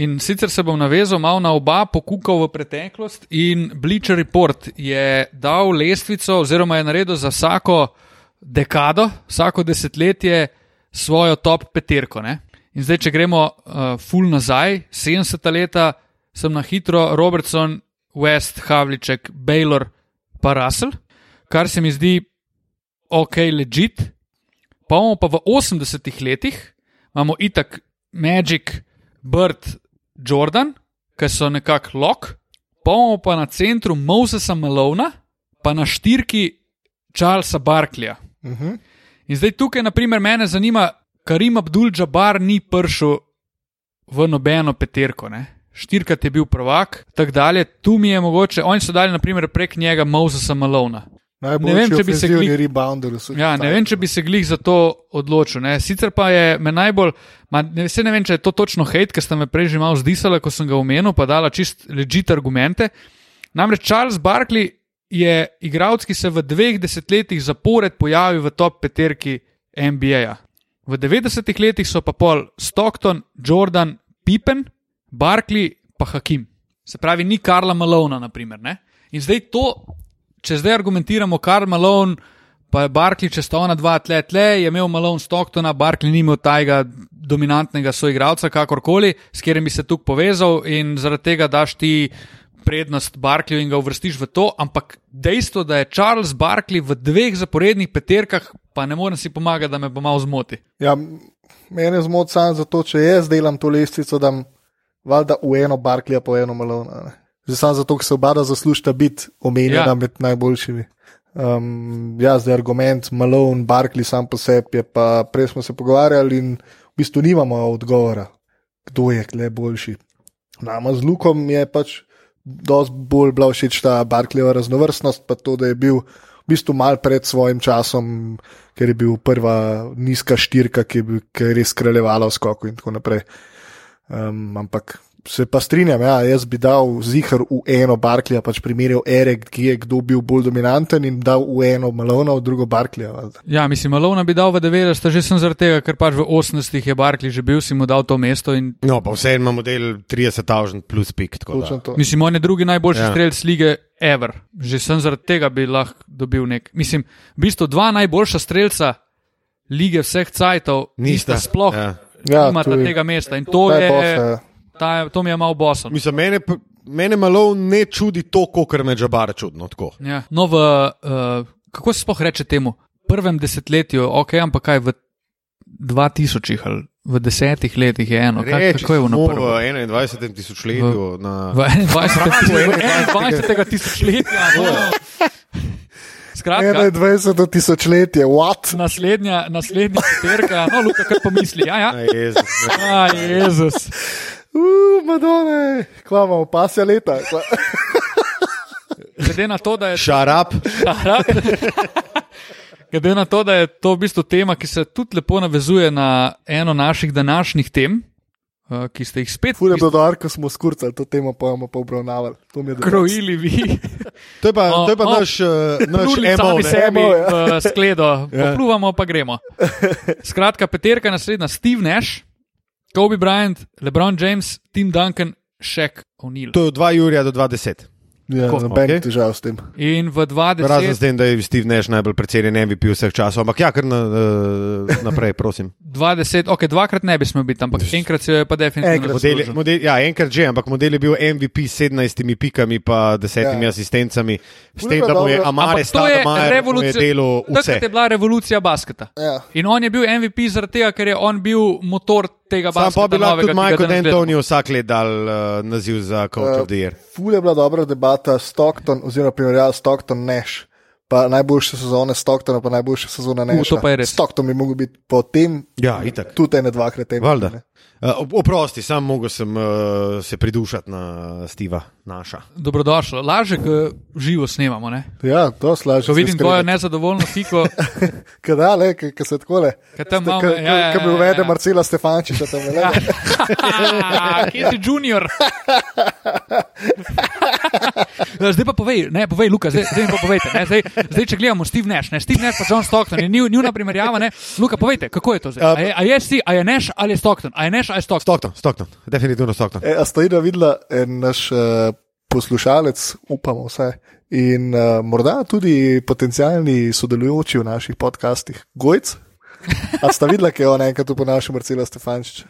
[SPEAKER 3] In sicer se bom navezal malo na oba, pokukal v preteklost in Bleacher Report je dal lestvico, oziroma je naredil za vsako dekado, vsako desetletje svojo top peterko. Ne? In zdaj, če gremo uh, full nazaj, 70 leta, sem na hitro Robertson, West, Havliček, Baylor, pa Russell, kar se mi zdi ok, legit. Pa imamo pa v 80-ih letih, imamo itak Magic, Bird, Jordan, ki so nekako lok, pa imamo pa na centru Mosesa Malona, pa na štirki Charlesa Barklija.
[SPEAKER 2] Uh -huh.
[SPEAKER 3] In zdaj tukaj, naprimer, mene zanima, Karim Abdul-Jabbar ni prišel v nobeno peterko. Ne? Štirikrat je bil prvak, tako dalje. Tu mi je mogoče, oni so dali naprimer, prek njega Mosesa Malona.
[SPEAKER 2] Najbolj
[SPEAKER 3] vem, če bi se
[SPEAKER 2] ofenzivni
[SPEAKER 3] klik-
[SPEAKER 2] rebounder. vseh
[SPEAKER 3] Ja, ne
[SPEAKER 2] časov.
[SPEAKER 3] vem, če bi se glih za to odločil. Ne. Sicer pa je me najbolj, ma, ne, se ne vem, če je to točno hate, ker sta me prej že malo zdisala, ko sem ga omenil, pa dala čist ležite argumente. Namreč Charles Barkley je igralec, ki se v dveh desetletjih zapored pojavil v top peterki NBA-ja. V 90-ih letih so pa pol Stockton, Jordan, Pippen, Barkley pa Hakim. Se pravi, ni Karla Malona, naprimer. Ne? In zdaj to, če zdaj argumentiramo, Karl Malone pa je Barkley, če sta ona dva tle, tle, je imel Malone Stocktona, Barkley ni imel tajega dominantnega soigralca, kakorkoli, s katerim bi se tukaj povezal in zaradi tega daš ti prednost Barkleyju in ga uvrstiš v to, ampak dejstvo, da je Charles Barkley v dveh zaporednih peterkah, pa ne morem si pomagati, da me bo malo zmoti.
[SPEAKER 2] Ja, mene zmot sam zato, če jaz delam to lestvico, da valjda v eno Barklija po eno Malona. ne. Že sam zato, ker se oba dva zaslužita biti omenjena
[SPEAKER 3] Ja.
[SPEAKER 2] ja. med najboljšimi. Um, ja, zdaj argument Malone, Barkley sam po sebi je pa, prej smo se pogovarjali in v bistvu nimamo odgovora, kdo je kle boljši. Nama No, z Lukom je pač dosti bolj bila všeč ta Barkleyjeva raznovrstnost, pa to, da je bil v bistvu mal pred svojim časom, ker je bil prva nizka štirka, ki je, bil, ki je res kraljevala v skoku in tako naprej. Um, ampak se pa strinjam, ja, jaz bi dal zihar v eno Barkleyja, pač primerjal Erek, ki je kdo bil bolj dominanten in dal v eno Malona, v drugo Barkleyja. valjda.
[SPEAKER 3] Ja, mislim, Malone bi dal v 90, že sem zaradi tega, ker pač v 80-ih je Barkley že bil, si mu dal to mesto in
[SPEAKER 1] No, pa vseeno ima model 30.000 plus pik. tako da.
[SPEAKER 2] Točno to.
[SPEAKER 3] Mislim, on je drugi najboljši
[SPEAKER 1] Ja.
[SPEAKER 3] ja. strelec lige Ever. Že sem zaradi tega bi lahko dobil nek. Mislim, v bistvu dva najboljša strelca lige vseh cajtov
[SPEAKER 1] Nista.
[SPEAKER 3] nista sploh.
[SPEAKER 1] Ja.
[SPEAKER 3] Ja.
[SPEAKER 2] Ja,
[SPEAKER 3] Imate
[SPEAKER 2] to je-
[SPEAKER 3] tega mesta in to,
[SPEAKER 2] ta je
[SPEAKER 3] je,
[SPEAKER 2] boss, ja.
[SPEAKER 3] ta, to mi je malo bosom.
[SPEAKER 1] Mislim, mene, p- mene malo ne čudi to, kar me žabar čudno. Tako.
[SPEAKER 3] Ja. No, v, uh, kako se sploh reče temu? Prvem desetletju, ok, ampak kaj v 2000-ih ali v desetih letih je eno. Kaj,
[SPEAKER 1] Reči,
[SPEAKER 3] kako je
[SPEAKER 1] smo
[SPEAKER 3] v naprvo?
[SPEAKER 1] v 21. tisočletju. Na...
[SPEAKER 3] V 21. tisočletju. Skratka,
[SPEAKER 2] 21. tisočletje, what?
[SPEAKER 3] Naslednja, naslednja peterka, no, Luka, kar pomisli. Ja, ja.
[SPEAKER 1] Na Jezus, ne.
[SPEAKER 3] A, Jezus.
[SPEAKER 2] Uf, Madone, kvamo, pasja leta. Kva.
[SPEAKER 3] Glede na to, da je
[SPEAKER 1] Šarap,
[SPEAKER 3] Arab. Glede na to, da je to v bistvu tema, ki se tudi lepo navezuje na eno naših današnjih tem, eh, ki ste jih spet
[SPEAKER 2] Fure dodar, ko smo skurcali to temo, pa bomo pa obravnavali. To mi je dobro.
[SPEAKER 3] krojili vi,
[SPEAKER 1] to je pa,
[SPEAKER 3] O,
[SPEAKER 1] to je pa
[SPEAKER 3] o,
[SPEAKER 1] naš, eh, naš
[SPEAKER 3] pluli
[SPEAKER 1] emo.
[SPEAKER 3] sami
[SPEAKER 1] ne.
[SPEAKER 3] sebi
[SPEAKER 2] Emov, ja.
[SPEAKER 3] v skledo,
[SPEAKER 1] Ja.
[SPEAKER 3] popluvamo pa gremo. Skratka, peterka naslednja, Steve Nash, Kobe Bryant, LeBron James, Tim Duncan, Shaq O'Neal.
[SPEAKER 1] To je od 2. julija do 20.
[SPEAKER 2] Ja,
[SPEAKER 3] Tako.
[SPEAKER 2] noben
[SPEAKER 1] Okej.
[SPEAKER 2] okay. težav s tem.
[SPEAKER 3] In v
[SPEAKER 1] Razen s
[SPEAKER 3] 2010,
[SPEAKER 1] tem, da je Steve Nash najbolj precenjen MVP vseh časov, ampak ja, kar na, eh, naprej, prosim.
[SPEAKER 3] 20, ok, dvakrat ne bi smel biti, ampak enkrat se jo je pa definitivno
[SPEAKER 2] Enkrat.
[SPEAKER 1] Model,
[SPEAKER 3] zaslužil.
[SPEAKER 1] model, ja, enkrat že, ampak model je bil MVP s 17 pikami in desetimi ja.
[SPEAKER 2] Ja.
[SPEAKER 1] asistencami, s
[SPEAKER 2] Ful
[SPEAKER 1] tem,
[SPEAKER 2] je
[SPEAKER 1] da
[SPEAKER 2] bilo
[SPEAKER 1] mu je
[SPEAKER 2] dobro.
[SPEAKER 1] Amare
[SPEAKER 3] Ampak to je
[SPEAKER 1] Stadmajer delo
[SPEAKER 3] revolucija.
[SPEAKER 1] vse.
[SPEAKER 3] Takrat je bila revolucija basketa.
[SPEAKER 2] Ja.
[SPEAKER 3] In on je bil MVP zaradi tega, ker je on bil motor tega
[SPEAKER 1] Sam
[SPEAKER 3] basketa.
[SPEAKER 1] pa bi lahko
[SPEAKER 3] novega,
[SPEAKER 1] tudi
[SPEAKER 3] ki ga
[SPEAKER 1] Michael
[SPEAKER 3] danes gledamo.
[SPEAKER 1] D'Antoni vsak let dal uh, naziv za Coach uh, of the Year.
[SPEAKER 2] Fule Eh, je bila dobra debata Stockton, oziroma primerjava Stockton Nash. Pa najboljše sezone Stocktona, pa najboljše sezone Nash.
[SPEAKER 3] to pa je res.
[SPEAKER 2] Stockton bi mogel biti po tem,
[SPEAKER 1] Ja, itak.
[SPEAKER 2] tudi ene dvakrat ene.
[SPEAKER 1] Valjda. Uh, oprosti, sam mogel sem uh, se pridušati na Steva, naša.
[SPEAKER 3] Dobrodošlo. Laže, ko živo snemamo. Ne?
[SPEAKER 2] Ja, to slažem.
[SPEAKER 3] Ko vidim tvojo nezadovoljno fiko,
[SPEAKER 2] Kada, le, kaj se takole.
[SPEAKER 3] Ke tam malo- ja, ja,
[SPEAKER 2] Kaj bi
[SPEAKER 3] ja,
[SPEAKER 2] uvede
[SPEAKER 3] ja.
[SPEAKER 2] Marcela Stefančiča tam le.
[SPEAKER 3] kje si junior? Ja, zdaj pa povej, ne, povej, Luka, zdaj, zdaj mi pa povejte. Ne, zdaj, zdaj, če gledamo Steve Nash, ne, Steve Nash pa John Stockton, je njun- njuna primerjava, ne, Luka, povejte, kako je to zdaj? A je, a je, si, a je Nash ali je Stockton? A je Nash ali je Stockton?
[SPEAKER 1] Stockton, Stockton, definitivno Stockton.
[SPEAKER 2] E, a stojina videla en naš uh, poslušalec, upamo vse, in uh, morda tudi potencijalni sodelujoči v naših podcastih, Gojc. A sta videla, kaj je on enkrat uponašal Marcela Stefančiča?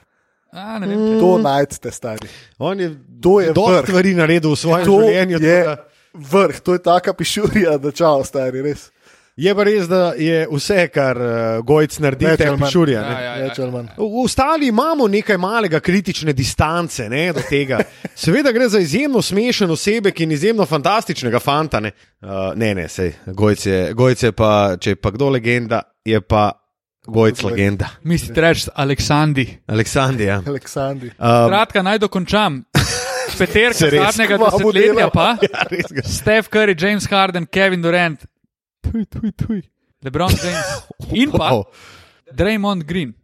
[SPEAKER 3] A, ne vem.
[SPEAKER 2] To najdete, stari.
[SPEAKER 1] On je
[SPEAKER 2] To je
[SPEAKER 1] dosti
[SPEAKER 2] vrh.
[SPEAKER 1] stvari naredil v svojem
[SPEAKER 2] To
[SPEAKER 1] življenju. tako
[SPEAKER 2] je
[SPEAKER 1] da-
[SPEAKER 2] vrh, to je taka pišurija, da čao, stari, res.
[SPEAKER 1] Je pa res, da je vse, kar uh, Gojc naredi,
[SPEAKER 2] Več ali
[SPEAKER 1] tebi
[SPEAKER 2] manj.
[SPEAKER 1] šurja.
[SPEAKER 3] Ja, ja, ja.
[SPEAKER 2] Več ali manj.
[SPEAKER 1] Ostali imamo nekaj malega kritične distance ne, do tega. Seveda gre za izjemno smešen osebek in izjemno fantastičnega fanta. Ne, uh, ne, ne sej, Gojc je, Gojc je pa, če je pa kdo legenda, je pa Gojc legenda.
[SPEAKER 3] Mislite reči Aleksandri.
[SPEAKER 1] Aleksandrija.
[SPEAKER 2] Aleksandri.
[SPEAKER 1] Um,
[SPEAKER 3] Kratka, naj dokončam. Peterka
[SPEAKER 1] Se res.
[SPEAKER 3] zadnjega
[SPEAKER 2] Kva bo
[SPEAKER 3] desetletja
[SPEAKER 2] delal?
[SPEAKER 3] pa.
[SPEAKER 1] ja, res ga-
[SPEAKER 3] Steph Curry, James Harden, Kevin Durant, tuj, tuj, tuj. Lebron James in pa
[SPEAKER 1] Wow.
[SPEAKER 3] Draymond Green.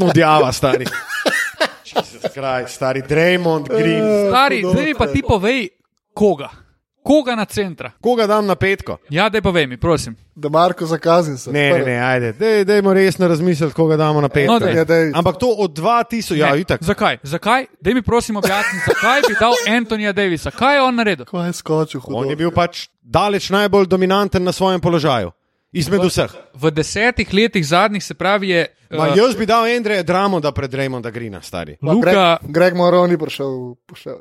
[SPEAKER 1] Odjava, stari. Jezus Kraj, stari Draymond Green.
[SPEAKER 3] E, Stari, zdaj mi pa ti povej, koga. Koga na centra?
[SPEAKER 1] Koga dam na petko?
[SPEAKER 3] Ja, daj povej mi, prosim.
[SPEAKER 2] Da Marko zakazim se.
[SPEAKER 1] Ne, ne, ne ajde. Dej, dejmo resno razmisliti, koga damo na petko.
[SPEAKER 3] No, daj.
[SPEAKER 2] Ja, daj.
[SPEAKER 1] Ampak to od 2000, ja,
[SPEAKER 3] Ne,
[SPEAKER 1] itak.
[SPEAKER 3] Zakaj? Zakaj? Daj mi prosim objasni, zakaj bi dal Antonija Davisa? Kaj je on naredil?
[SPEAKER 2] Kaj je skočil? Hudo.
[SPEAKER 1] On je bil pač daleč najbolj dominanten na svojem položaju. Izmed vseh.
[SPEAKER 3] V desetih letih zadnjih se pravi je
[SPEAKER 1] Ma,
[SPEAKER 3] uh,
[SPEAKER 1] jaz bi dal Andreja Dramonda pred Raymonda Greena, stari.
[SPEAKER 2] Pa Greg,
[SPEAKER 3] Luka,
[SPEAKER 2] Greg Moroni prišel. ja. prišel.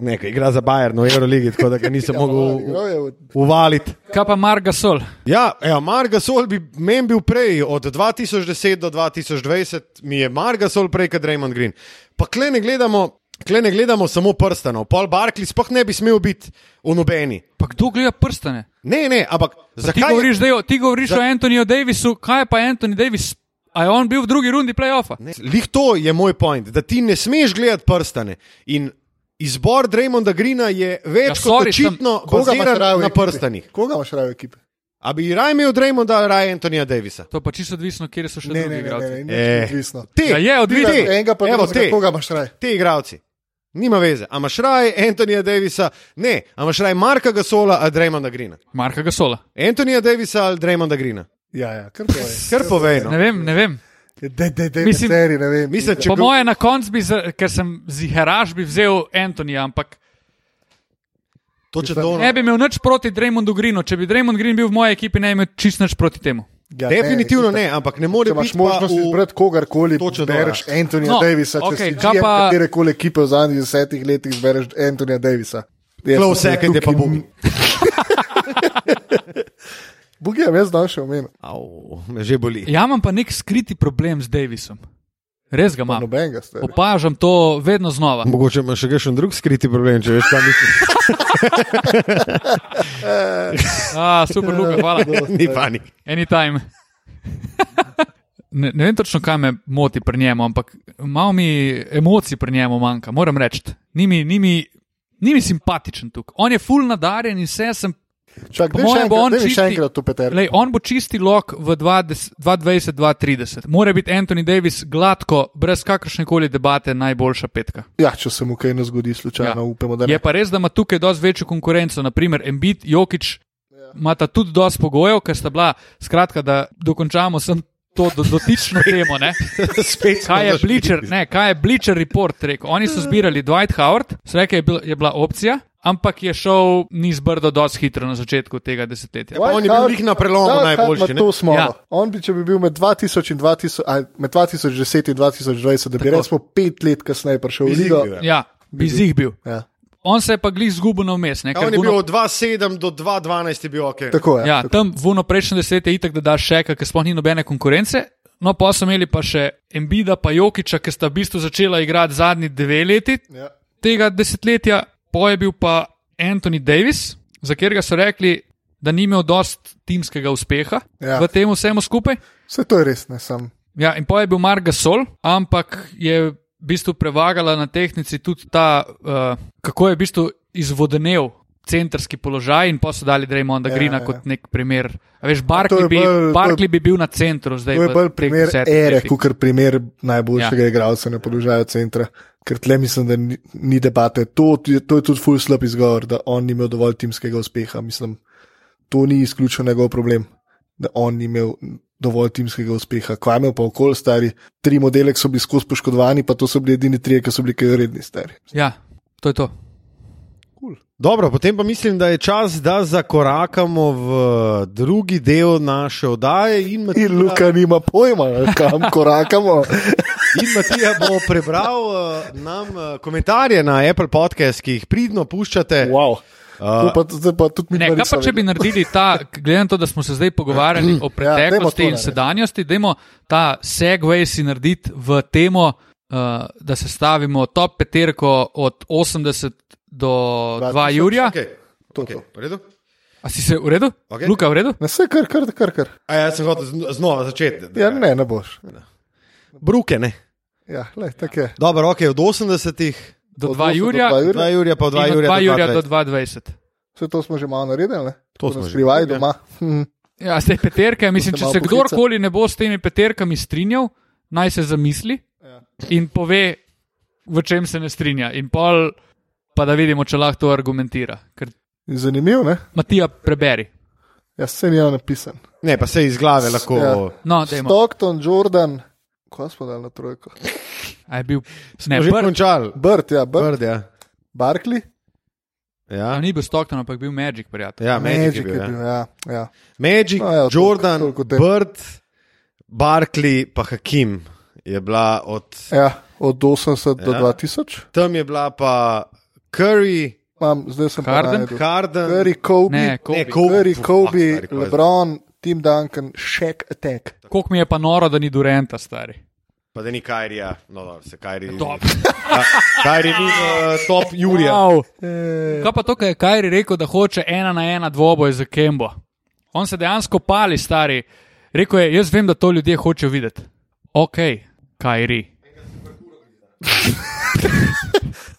[SPEAKER 1] Nekaj igra za Bayern v Euroligi, tako da ga nisem
[SPEAKER 2] Ja,
[SPEAKER 1] mogel u-
[SPEAKER 2] igral je v-
[SPEAKER 1] uvaliti.
[SPEAKER 3] kaj pa Marga Sol?
[SPEAKER 1] Ja, ja Margasol bi meni bil prej, od 2010 do 2020 mi je Margasol prej kot Raymond Green. Pa kle ne gledamo, kle ne gledamo samo prstanov, Paul Barkley sploh ne bi smel biti v nobeni.
[SPEAKER 3] Pa kdo gleda prstane?
[SPEAKER 1] Ne, ne, ampak
[SPEAKER 3] Ti
[SPEAKER 1] zakaj?
[SPEAKER 3] govoriš, da je, ti govoriš
[SPEAKER 1] Za-
[SPEAKER 3] o Antoniju Davisu, kaj pa Anthony Davis? A je on bil v drugi rundi playoffa?
[SPEAKER 1] Ne, Lih to je moj point, da ti ne smeš gledati prstane. In izbor Draymonda Greena je več
[SPEAKER 3] Ja,
[SPEAKER 1] ja,
[SPEAKER 3] sorry,
[SPEAKER 1] kot očitno
[SPEAKER 2] Koga imaš raje v
[SPEAKER 1] baziran na
[SPEAKER 2] ekipi?
[SPEAKER 1] prstanih.
[SPEAKER 2] Koga imaš raje v ekipi?
[SPEAKER 1] A bi raje imel Draymonda, raje Antonija Davisa.
[SPEAKER 3] To pa čisto odvisno, kje so še
[SPEAKER 2] Ne, ne, ne,
[SPEAKER 3] drugi
[SPEAKER 2] ne,
[SPEAKER 3] igralci.
[SPEAKER 2] ne,
[SPEAKER 1] Eh,
[SPEAKER 2] ne, odvisno.
[SPEAKER 1] Te,
[SPEAKER 3] Ja, je odvisno.
[SPEAKER 1] te,
[SPEAKER 2] Enega pa
[SPEAKER 1] evo,
[SPEAKER 2] ne,
[SPEAKER 1] te.
[SPEAKER 2] koga imaš raje?
[SPEAKER 1] te igravci. Nima veze, a imaš raje Antonija Davisa, ne, a imaš raje Marka Gasola ali Draymonda Greena.
[SPEAKER 3] Marka Gasola.
[SPEAKER 1] Antonija Davisa ali Draymonda Greena.
[SPEAKER 2] Ja, ja, kar povej.
[SPEAKER 1] Kar povej, no.
[SPEAKER 3] Ne vem, ne vem.
[SPEAKER 2] Dej, dej, dej,
[SPEAKER 3] Mislim-
[SPEAKER 2] Mislim, materi, ne vem.
[SPEAKER 1] Mislim, če
[SPEAKER 3] Po
[SPEAKER 1] kdo-
[SPEAKER 3] moje na koncu bi, z- ker sem ziheraš, bi vzel Antonija, ampak
[SPEAKER 1] to če dolno.
[SPEAKER 3] ne bi imel nič proti Dreymondu Greenu. Če bi Dreymond Green bil v moji ekipi, ne bi imel čist nič proti temu.
[SPEAKER 2] Ja,
[SPEAKER 1] Definitivno
[SPEAKER 2] itak.
[SPEAKER 1] ne, ampak ne more
[SPEAKER 2] Če
[SPEAKER 1] biti
[SPEAKER 2] imaš
[SPEAKER 1] pa
[SPEAKER 2] možnost
[SPEAKER 1] v-
[SPEAKER 2] izbrati kogarkoli,
[SPEAKER 1] Točno to,
[SPEAKER 2] bereš
[SPEAKER 1] ja.
[SPEAKER 2] Antonija
[SPEAKER 3] No,
[SPEAKER 2] no, Davisa, če
[SPEAKER 3] okej,
[SPEAKER 2] okay, si
[SPEAKER 3] kaj
[SPEAKER 2] GM
[SPEAKER 3] pa-
[SPEAKER 2] katere koli ekipe v zadnjih desetih letih zbereš Antonija Davisa. Jaz
[SPEAKER 1] Close
[SPEAKER 2] mislim, da
[SPEAKER 1] second je pa
[SPEAKER 2] tukaj-
[SPEAKER 1] Bugi.
[SPEAKER 2] Bugi je jaz dal še omenil.
[SPEAKER 1] Au, me že boli.
[SPEAKER 3] Ja, imam pa nek skriti problem z Davisom. Res ga imam.
[SPEAKER 2] Nobenega ste.
[SPEAKER 3] Opažam to vedno znova.
[SPEAKER 1] Mogoče imaš še kakšen drug skriti problem, če veš, kaj misliš.
[SPEAKER 3] A, super, Luka, hvala.
[SPEAKER 1] Ni panik.
[SPEAKER 3] Anytime. ne, ne vem točno, kaj me moti pri njemu, ampak malo mi emocij pri njemu manjka, moram reči. Ni mi, ni mi, ni mi simpatičen tukaj. On je full nadarjen in vse sem.
[SPEAKER 2] Čak,
[SPEAKER 3] Po
[SPEAKER 2] daj še
[SPEAKER 3] mojem bo
[SPEAKER 2] enkrat,
[SPEAKER 3] on
[SPEAKER 2] daj mi še
[SPEAKER 3] čisti-
[SPEAKER 2] enkrat to peter.
[SPEAKER 3] Lej, on bo čisti lok v 2020-2030. Mora biti Anthony Davis gladko, brez kakršne koli debate, najboljša petka.
[SPEAKER 2] Ja, če se mu kaj ne zgodi, slučajno
[SPEAKER 3] Ja.
[SPEAKER 2] upamo, da
[SPEAKER 3] Je
[SPEAKER 2] ne.
[SPEAKER 3] pa res, da ima tukaj dosti večjo konkurenco, naprimer Embit, Jokič,
[SPEAKER 2] Ja.
[SPEAKER 3] imata tudi dosti pogojev, ker sta bila, skratka, da dokončamo sem to do, dotično temo. Ne?
[SPEAKER 1] Spet smo
[SPEAKER 3] Kaj je
[SPEAKER 1] zašli.
[SPEAKER 3] Bleacher, ne, kaj je Bleacher Report rekel? Oni so zbirali Dwight Howard, sreke je, bil, je bila opcija, ampak je šel niz brdo dosti hitro na začetku tega
[SPEAKER 2] Ja.
[SPEAKER 3] desetletja.
[SPEAKER 1] on je bil glih na prelomu najboljši, ne?
[SPEAKER 2] To smo.
[SPEAKER 3] Ja.
[SPEAKER 2] Ja. On bi, če bi bil med 2000 in 2000, ali med 2010 in 2020, da bi
[SPEAKER 3] Tako.
[SPEAKER 2] recimo pet let kasneje prišel v
[SPEAKER 1] Izid
[SPEAKER 2] ligo.
[SPEAKER 1] bil je.
[SPEAKER 3] Ja, bi zih bil.
[SPEAKER 2] Ja.
[SPEAKER 3] On se je pa glih zgubil na vmes. ne,
[SPEAKER 1] Ja,
[SPEAKER 3] ker
[SPEAKER 1] On je
[SPEAKER 3] Vuno-
[SPEAKER 1] bil od 2-7 do 2-12 je bil ok.
[SPEAKER 2] Tako je.
[SPEAKER 3] Ja, tam vuno prejšnje desetletje je itak, da daš še, ker sploh ni nobene konkurence. No, pa so imeli pa še Embida, pa Jokiča, ki sta v bistvu začela igrati zadnji dve leti
[SPEAKER 2] Ja.
[SPEAKER 3] tega desetletja, po je bil pa Anthony Davis, za katerega so rekli, da ni imel dost timskega uspeha ja.
[SPEAKER 2] Ja.
[SPEAKER 3] v tem vsemu skupaj.
[SPEAKER 2] Vse to je res, ne sam.
[SPEAKER 3] Ja, in pa je bil Marga Sol, ampak je v bistvu prevagala na tehnici tudi ta, uh, kako je v bistvu izvodenev centrski položaj in pa so dali Dreymonda
[SPEAKER 2] Ja,
[SPEAKER 3] Greena
[SPEAKER 2] ja.
[SPEAKER 3] kot nek primer. A veš,
[SPEAKER 2] To
[SPEAKER 3] Barkley
[SPEAKER 2] je
[SPEAKER 3] bi,
[SPEAKER 2] bolj- to je-
[SPEAKER 3] Barkley bi bil na centru zdaj.
[SPEAKER 2] To je
[SPEAKER 3] v
[SPEAKER 2] bolj
[SPEAKER 3] teh
[SPEAKER 2] primer
[SPEAKER 3] desetih
[SPEAKER 2] ere,
[SPEAKER 3] letih.
[SPEAKER 2] kot primer najboljšega ja. igralca na položaju centra. Ker tle mislim, da ni, ni debate. To, je- to je tudi full slab izgovor, da on ni imel dovolj timskega uspeha. Mislim, to ni izključno njegov problem, da on ni imel dovolj timskega uspeha. Kaj je imel pa okolj stari? Tri modele ki so bili skozi poškodovani, pa to so bili edini trije, ki so bili kaj redni stari.
[SPEAKER 3] Ja, to je to.
[SPEAKER 1] Dobro, potem pa mislim, da je čas, da zakorakamo v eh, drugi del naše oddaje. In Matija,
[SPEAKER 3] Ja.
[SPEAKER 2] In Luka nima pojma, kam korakamo.
[SPEAKER 1] in Matija bo prebral eh, nam eh, komentarje na Apple podcast, ki jih pridno puščate. Eh,
[SPEAKER 2] Wow. To pa, zdaj pa tudi mi
[SPEAKER 3] Ne,
[SPEAKER 2] dva
[SPEAKER 3] kaj pa
[SPEAKER 2] nisva
[SPEAKER 3] če bi naredili ta, glede na to, da smo se zdaj pogovarjali o
[SPEAKER 2] dajmo
[SPEAKER 3] preteklosti
[SPEAKER 2] to
[SPEAKER 3] in
[SPEAKER 2] narediti.
[SPEAKER 3] sedanjosti, dajmo ta segway si narediti v temo, uh, da sestavimo top peterko od 80 do 2 Jurija.
[SPEAKER 1] Okay.
[SPEAKER 2] To,
[SPEAKER 1] Okay.
[SPEAKER 2] to.
[SPEAKER 1] v redu?
[SPEAKER 3] A si se v redu?
[SPEAKER 1] Okej.
[SPEAKER 3] Luka, v redu?
[SPEAKER 2] Ne, vse kar, kar, kar, kar.
[SPEAKER 1] A jaz sem hotel zn- znova začeti.
[SPEAKER 2] Ja, ne, ne boš.
[SPEAKER 1] Bruke, ne.
[SPEAKER 2] Ja, le, tako je.
[SPEAKER 1] Dobro, ok, od 80-ih
[SPEAKER 3] do
[SPEAKER 2] Od
[SPEAKER 3] 2
[SPEAKER 2] 8 do
[SPEAKER 3] jurja,
[SPEAKER 2] 2
[SPEAKER 1] Dva jurja, pa dva
[SPEAKER 3] in od
[SPEAKER 1] jurja,
[SPEAKER 3] 2
[SPEAKER 1] dva
[SPEAKER 3] jurja do
[SPEAKER 1] dvajset.
[SPEAKER 3] 2.20.
[SPEAKER 2] Vse to smo že malo naredili, ne?
[SPEAKER 1] To
[SPEAKER 2] Tako
[SPEAKER 1] smo
[SPEAKER 2] da
[SPEAKER 1] že.
[SPEAKER 2] skrivaj
[SPEAKER 3] Ja.
[SPEAKER 2] doma. Hm.
[SPEAKER 3] Ja, ste peterke, mislim,
[SPEAKER 2] se
[SPEAKER 3] če
[SPEAKER 2] malo
[SPEAKER 3] se
[SPEAKER 2] poklica.
[SPEAKER 3] kdorkoli ne bo s temi peterkami strinjal, naj se zamisli
[SPEAKER 2] Ja.
[SPEAKER 3] in pove, v čem se ne strinja. In pol, pa da vidimo, če lahko to argumentira. Ker
[SPEAKER 2] Zanimivo, ne?
[SPEAKER 3] Matija, preberi.
[SPEAKER 2] Jaz se nimam napisan.
[SPEAKER 1] Ne, pa se iz glave lahko.
[SPEAKER 2] Ja.
[SPEAKER 3] No, dajmo.
[SPEAKER 2] Stockton, Jordan, ko smo dali na trojko.
[SPEAKER 3] A je bil
[SPEAKER 1] Ne,
[SPEAKER 3] ne,
[SPEAKER 1] že
[SPEAKER 3] prvi?
[SPEAKER 1] končal.
[SPEAKER 2] Brt, ja, Brt,
[SPEAKER 1] Brd, ja.
[SPEAKER 2] Barkley.
[SPEAKER 1] Ja,
[SPEAKER 3] Ni bil Stockton, ampak bil Magic, prijatelj.
[SPEAKER 1] ja Magic, Magic,
[SPEAKER 2] je bil,
[SPEAKER 1] ja.
[SPEAKER 2] ja. ja.
[SPEAKER 1] Magic
[SPEAKER 2] No, evo, toliko-
[SPEAKER 1] Jordan,
[SPEAKER 2] toliko tem.
[SPEAKER 1] Bird, Barkley, pa Hakim je bila od.
[SPEAKER 2] ja od 80 ja. do
[SPEAKER 1] Ja.
[SPEAKER 2] 2000.
[SPEAKER 1] Tam je bila pa Curry,
[SPEAKER 2] Imam, zdaj sem
[SPEAKER 3] Harden?
[SPEAKER 2] pa
[SPEAKER 1] Harden,
[SPEAKER 2] Curry, Kobe,
[SPEAKER 3] Ne,
[SPEAKER 1] ne,
[SPEAKER 3] Kobe.
[SPEAKER 1] Kobe,
[SPEAKER 2] Curry,
[SPEAKER 1] fuck,
[SPEAKER 2] Kobe
[SPEAKER 1] stari, ko je-
[SPEAKER 2] LeBron, Tim Duncan, Shaq Attack.
[SPEAKER 3] Koliko mi je pa noro, da ni Durenta, stari.
[SPEAKER 1] Pa da ni Kajrija, no, dobro, se Kajri.
[SPEAKER 3] Top.
[SPEAKER 1] Kajri ni uh, top Jurija.
[SPEAKER 3] Wow.
[SPEAKER 2] Eh,
[SPEAKER 3] Kaj pa to, kar je Kajri rekel, da hoče ena na ena dvoboj za Kembo? On se dejansko pali, stari. Rekel je, jaz vem, da to ljudje hočejo videti. Ok, Kajri.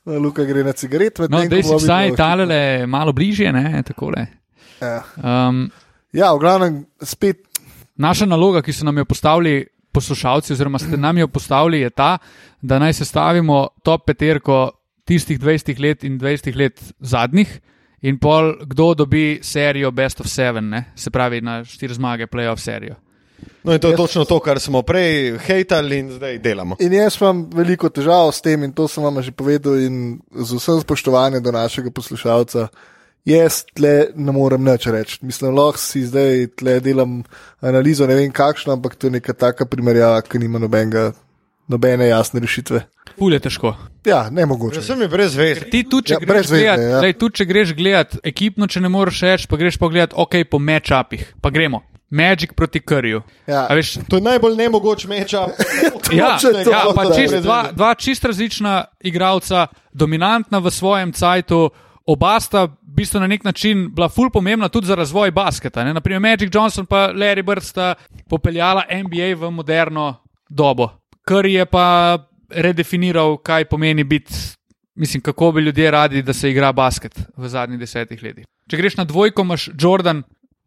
[SPEAKER 2] no, Luka gre na cigaret, med
[SPEAKER 3] No,
[SPEAKER 2] tem,
[SPEAKER 3] zdaj si
[SPEAKER 2] ko
[SPEAKER 3] vsaj
[SPEAKER 2] vabim v-
[SPEAKER 3] talele malo bližje, ne takole.
[SPEAKER 2] Ja.
[SPEAKER 3] Um,
[SPEAKER 2] Ja, v glavnem spet
[SPEAKER 3] naša naloga, ki so nam jo postavili poslušalci, oziroma ste nam jo postavili, je ta, da naj sestavimo top peterko tistih 20 let in 20 let zadnjih. In pol, kdo dobi serijo Best of Seven, ne? se pravi na štiri zmage, playoff serijo.
[SPEAKER 1] No, in to je točno to, kar smo prej hejtali in zdaj delamo.
[SPEAKER 2] In jaz imam veliko težav s tem, in to sem vam že povedal, in z vsem spoštovanjem do našega poslušalca. Jaz tle ne morem nič reči. Mislim, lahko si zdaj tle delam analizo, ne vem kakšno, ampak to je neka taka primerjava, ki nima nobenega, nobene jasne rešitve.
[SPEAKER 3] Pulje težko.
[SPEAKER 2] Ja, ne mogoče.
[SPEAKER 1] Vsem je brez veze.
[SPEAKER 3] Ti tudi, če,
[SPEAKER 2] Ja,
[SPEAKER 3] ja, greš
[SPEAKER 2] brezvezne,
[SPEAKER 3] gledat,
[SPEAKER 2] ja.
[SPEAKER 3] lej, tudi če greš gledat ekipno, če ne moreš reči, pa greš pogledat, ok, po matchupih, pa gremo. Magic proti Curryju.
[SPEAKER 2] Ja.
[SPEAKER 3] A Veš,
[SPEAKER 1] To je najbolj nemogoč meča.
[SPEAKER 3] ja,
[SPEAKER 2] Točno to,
[SPEAKER 3] ja,
[SPEAKER 2] da.
[SPEAKER 3] pa čist dva, dva čist različna igralca, dominantna v svojem cajtu, oba sta v bistvu na nek način bila ful pomembna tudi za razvoj basketa. Ne? Naprimer, Magic Johnson pa Larry Bird sta popeljala NBA v moderno dobo. Curry je pa redefiniral, kaj pomeni biti, mislim, kako bi ljudje radi, da se igra basket v zadnjih desetih letih. Če greš na dvojko, imaš Jordan,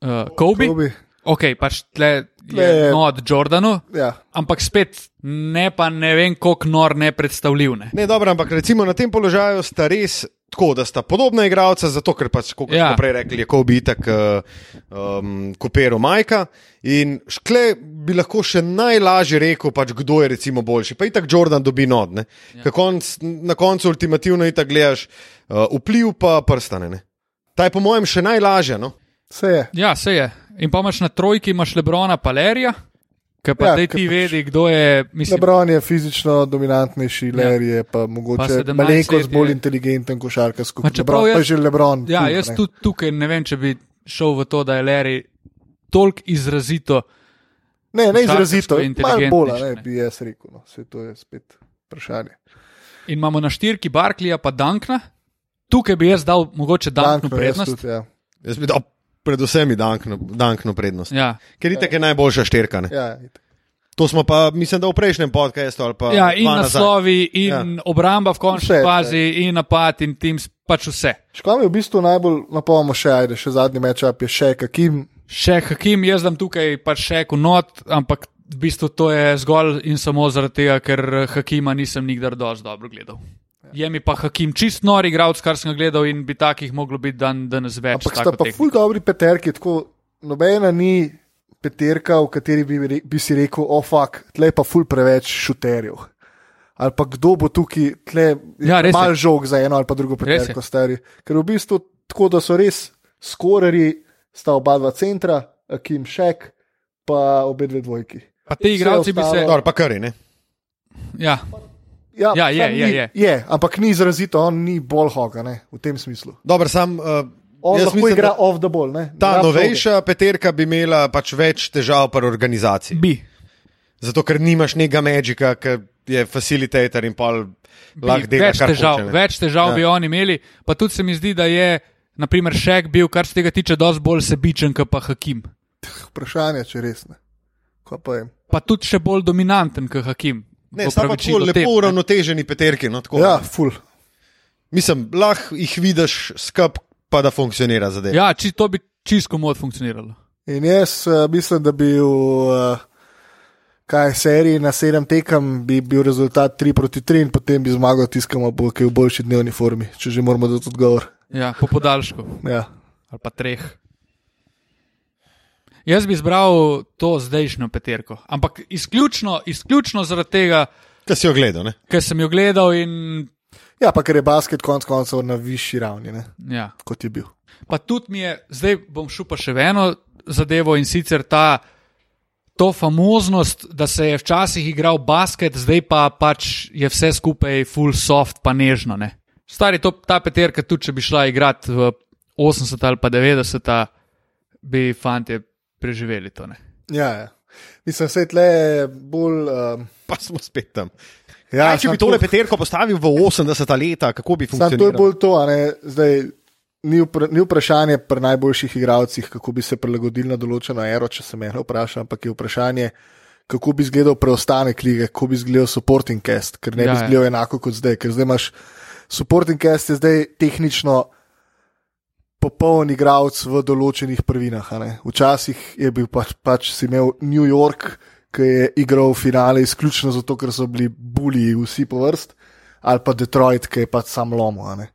[SPEAKER 3] uh, Kobe. Kobe.
[SPEAKER 2] Kobe,
[SPEAKER 3] Ok, pač tle
[SPEAKER 2] Tle
[SPEAKER 3] je
[SPEAKER 2] je-
[SPEAKER 3] no od Jordanu,
[SPEAKER 2] ja.
[SPEAKER 3] ampak spet ne pa ne vem, kako nor ne predstavljiv. Ne.
[SPEAKER 1] Ne, dobro, ampak recimo na tem položaju sta res tako, da sta podobna igralca, zato ker pač, kot ja.
[SPEAKER 3] Ja.
[SPEAKER 1] smo prej rekli, je Kobe itak uh, um, kopiral Majka in škle bi lahko še najlažje rekel, pač, kdo je recimo boljši. Pa itak Jordan dobi not, ne. Ja. Konc, na koncu ultimativno itak gledaš uh, vpliv pa prstane, ne. Ta je po mojem še najlažje, no.
[SPEAKER 2] Se je.
[SPEAKER 3] Ja, se je. In pa imaš na trojki, imaš Lebrona Palerija, ki
[SPEAKER 2] Ja,
[SPEAKER 3] pa ja, zdaj
[SPEAKER 2] ke
[SPEAKER 3] ti
[SPEAKER 2] pač-
[SPEAKER 3] vedi, kdo je. Mislim,
[SPEAKER 2] Lebron je fizično dominantnejši, Larry je pa mogoče
[SPEAKER 3] 17
[SPEAKER 2] malenkost
[SPEAKER 3] let je-
[SPEAKER 2] bolj inteligenten košarkar
[SPEAKER 3] Ma
[SPEAKER 2] skupaj.
[SPEAKER 3] čeprav
[SPEAKER 2] Lebron pa je
[SPEAKER 3] jaz-
[SPEAKER 2] že Lebron.
[SPEAKER 3] ja,
[SPEAKER 2] tudi,
[SPEAKER 3] jaz
[SPEAKER 2] ne.
[SPEAKER 3] tudi tukaj ne vem, če bi šel v to, da je Larry toliko izrazito.
[SPEAKER 2] Ne, ne izrazito,
[SPEAKER 3] Košarkarsko
[SPEAKER 2] malo bolj, a ne
[SPEAKER 3] inteligentnejši, ne.
[SPEAKER 2] bi jaz rekel. No. Vse to je spet vprašanje.
[SPEAKER 3] In imamo na štirki Barklija, pa Dankna. Tukaj bi jaz dal mogoče
[SPEAKER 2] Dankno,
[SPEAKER 3] Danknu
[SPEAKER 2] jaz
[SPEAKER 3] prednost.
[SPEAKER 2] Tudi, ja.
[SPEAKER 1] Jaz bi dal predvsem ji dankno, dankno prednost. Ja.
[SPEAKER 3] Ja.
[SPEAKER 1] Ker itak je najboljša šterka, ne. Ja.
[SPEAKER 2] Ja, itak.
[SPEAKER 1] To smo pa, mislim, da v prejšnjem podkastu ali pa.
[SPEAKER 3] ja, in
[SPEAKER 1] dva nazaj.
[SPEAKER 3] naslovi, in ja. obramba v končni
[SPEAKER 2] Vse, ja.
[SPEAKER 3] fazi, in napad, in tim, pač vse.
[SPEAKER 2] Škoda mi je v bistvu najbolj napomno še, ajde, še zadnji mečap je še kakim.
[SPEAKER 3] Še Hakim, jaz dam tukaj pač še konot, ampak v bistvu to je zgolj in samo zaradi tega, ker Hakima nisem nikdar dovolj dobro gledal.
[SPEAKER 1] Ja.
[SPEAKER 3] Je mi pa Hakim čist nor igralec, kar sem ga gledal in bi takih moglo biti dan danes več.
[SPEAKER 2] Ampak
[SPEAKER 3] s
[SPEAKER 2] sta
[SPEAKER 3] tako
[SPEAKER 2] pa
[SPEAKER 3] tehniko.
[SPEAKER 2] ful dobri peterki, tako nobena ni peterka, v kateri bi, re, bi si rekel, o oh, fuck, tle je pa ful preveč šuterjev. Ali pa kdo bo tukaj, tle
[SPEAKER 3] Ja, res je.
[SPEAKER 2] mal žog za eno ali pa drugo
[SPEAKER 3] Res je.
[SPEAKER 2] peterko stari. Ker v bistvu tako, da so res skoreri, sta oba dva centra, Kim Šek, pa obe dve dvojki.
[SPEAKER 3] Pa ti igralci bi se.
[SPEAKER 2] ostalo-
[SPEAKER 1] Dobro, pa kar je, ne.
[SPEAKER 3] Ja,
[SPEAKER 2] Ja,
[SPEAKER 3] Ja, je,
[SPEAKER 2] sam
[SPEAKER 3] je,
[SPEAKER 2] ni,
[SPEAKER 3] je.
[SPEAKER 2] je, ampak ni izrazito, on ni bolj hoga ne, v tem smislu.
[SPEAKER 1] Dobro, sam. Uh,
[SPEAKER 2] On
[SPEAKER 1] jaz
[SPEAKER 2] lahko
[SPEAKER 1] mislim,
[SPEAKER 2] mislim, igra
[SPEAKER 1] da-
[SPEAKER 2] off the ball. Ne,
[SPEAKER 1] Ta
[SPEAKER 2] igra
[SPEAKER 1] novejša peterka bi imela pač več težav pri organizaciji.
[SPEAKER 3] bi.
[SPEAKER 1] Zato, ker nimaš nekega magika, ki je facilitator in pol
[SPEAKER 3] bi
[SPEAKER 1] lahko dela.
[SPEAKER 3] več
[SPEAKER 1] kar
[SPEAKER 3] težav,
[SPEAKER 1] hoče, ne.
[SPEAKER 3] več težav ja. bi oni imeli, pa tudi se mi zdi, da je. Naprimer, Šek bil, kar se tega tiče, dosti bolj sebičen, kot pa Hakim.
[SPEAKER 2] floge. Vprašanje, če res ne. Kaj pa je?
[SPEAKER 3] Pa tudi še bolj dominanten, kot Hakim.
[SPEAKER 1] Ne,
[SPEAKER 3] v
[SPEAKER 1] sta pa tako
[SPEAKER 3] opravičilu
[SPEAKER 1] lepo
[SPEAKER 3] tem, ne.
[SPEAKER 1] uravnoteženi peterki. No, tako,
[SPEAKER 2] Ja, ful.
[SPEAKER 1] Mislim, lahko jih vidiš skup, pa da funkcionira zadeva.
[SPEAKER 3] Ja, či, to bi čisto mod funkcioniralo.
[SPEAKER 2] In jaz uh, mislim, da bi v uh, kaj seriji na sedem tekem bi bil rezultat 3 proti 3 in potem bi zmagal tiskamo, ki je v boljši dnevni formi, če že moramo dati odgovor.
[SPEAKER 3] Ja, po podaljšku
[SPEAKER 2] Ja.
[SPEAKER 3] ali pa treh. Jaz bi izbral to zdajšnjo peterko, ampak izključno, izključno zaradi tega,
[SPEAKER 1] Kaj si ogledal? Ne?
[SPEAKER 3] ker sem jo gledal in.
[SPEAKER 2] ja, pa ker je basket konec koncev na višji ravni, ne,
[SPEAKER 3] Ja.
[SPEAKER 2] kot je bil.
[SPEAKER 3] Pa tudi mi je, zdaj bom šel pa še v eno zadevo in sicer ta. To famoznost, da se je včasih igral basket, zdaj pa pač je vse skupaj full soft, pa nežno. Ne? Stari to, ta peterka, tudi če bi šla igrati v 80 ali pa 90, bi fanti preživeli to. Ne?
[SPEAKER 2] Ja, ja. Mislim, vse tle je bolj. Um,
[SPEAKER 1] Pa smo spet tam.
[SPEAKER 2] ja,
[SPEAKER 1] Kaj, če bi
[SPEAKER 2] samo
[SPEAKER 1] tole
[SPEAKER 2] to-
[SPEAKER 1] peterko postavil v 80-ta leta, kako bi
[SPEAKER 2] Sam to je
[SPEAKER 1] funkcioniral?
[SPEAKER 2] bolj to, a ne, zdaj. Ni, vpra ni vprašanje pri najboljših igralcih, kako bi se prilagodili na določeno ero, če se mene vpraša, ampak je vprašanje, kako bi izgledal preostanek lige, kako bi izgledal supporting cast, ker ne
[SPEAKER 3] Ja,
[SPEAKER 2] ja,
[SPEAKER 3] ja.
[SPEAKER 2] bi izgledal enako kot zdaj, ker zdaj imaš supporting cast, je zdaj tehnično popoln igralec v določenih prvinah. a ne. Včasih je bil pač, pač si imel New York, ki je igral finale izključno zato, ker so bili bulji vsi po vrst, ali pa Detroit, ki je pač sam lomo. a ne.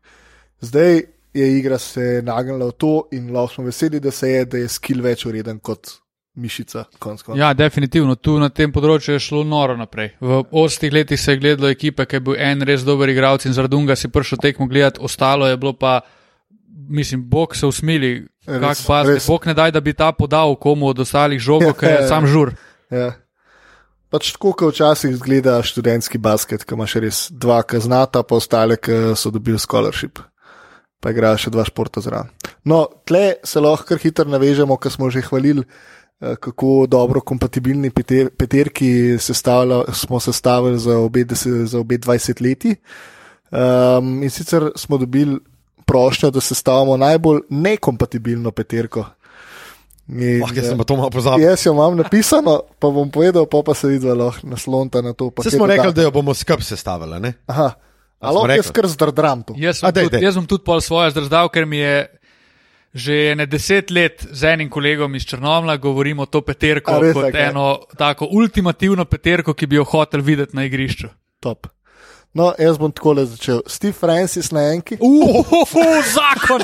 [SPEAKER 2] Zdaj je igra se nagnila v to in lahko smo veseli, da se je, da je skill več ureden kot mišica. Konc koncev.
[SPEAKER 3] Ja, definitivno. Tu na tem področju je šlo noro naprej. V 80-ih letih se je gledalo ekipe, ki je bil en res dober igralec in zaradi unga si prišel tekmo gledati, ostalo je bilo pa, mislim, bog se usmili, kak
[SPEAKER 2] Res,
[SPEAKER 3] pa se,
[SPEAKER 2] res.
[SPEAKER 3] bog ne daj, da bi ta podal komu od ostalih žogo, ker je sam žur.
[SPEAKER 2] Ja. Pač tako, kot včasih zgleda študentski basket, ki imaš res dva kaznata, pa ostale, ki so dobili scholarship. Pa igrajo še dva športa zraven. No, tle se lahko kar hitro navežemo, ker smo že hvalili, eh, kako dobro kompatibilni pete- peterki sestavlja- smo sestavili za obe, dese- za obe 20 leti. Um, in sicer smo dobili prošnjo, da sestavimo najbolj nekompatibilno peterko. In,
[SPEAKER 1] Ah, jaz
[SPEAKER 2] eh,
[SPEAKER 1] sem pa to malo pozabil.
[SPEAKER 2] Jaz jo imam napisano, pa bom povedal, pa, pa se vidi, lahko naslonta na to. pa
[SPEAKER 1] Vse
[SPEAKER 2] kje
[SPEAKER 1] smo
[SPEAKER 2] doda-
[SPEAKER 1] rekli, da jo bomo skup sestavili. ne?
[SPEAKER 2] Aha,
[SPEAKER 1] smo
[SPEAKER 2] ali lahko jaz
[SPEAKER 1] rekli? Ja.
[SPEAKER 2] kar zdrdram to.
[SPEAKER 3] Jaz
[SPEAKER 1] A,
[SPEAKER 3] sem,
[SPEAKER 1] daj,
[SPEAKER 3] tudi,
[SPEAKER 1] daj.
[SPEAKER 3] jaz sem tudi pol svoje zdrzdal, ker mi je že ne deset let z enim kolegom iz Črnomla govorimo to peterko
[SPEAKER 2] A res,
[SPEAKER 3] kot
[SPEAKER 2] a kaj?
[SPEAKER 3] eno tako ultimativno peterko, ki bi jo hotel videti na igrišču.
[SPEAKER 2] Top. No, jaz bom takole začel. Steve Francis na enki.
[SPEAKER 3] Uhoho, zakon,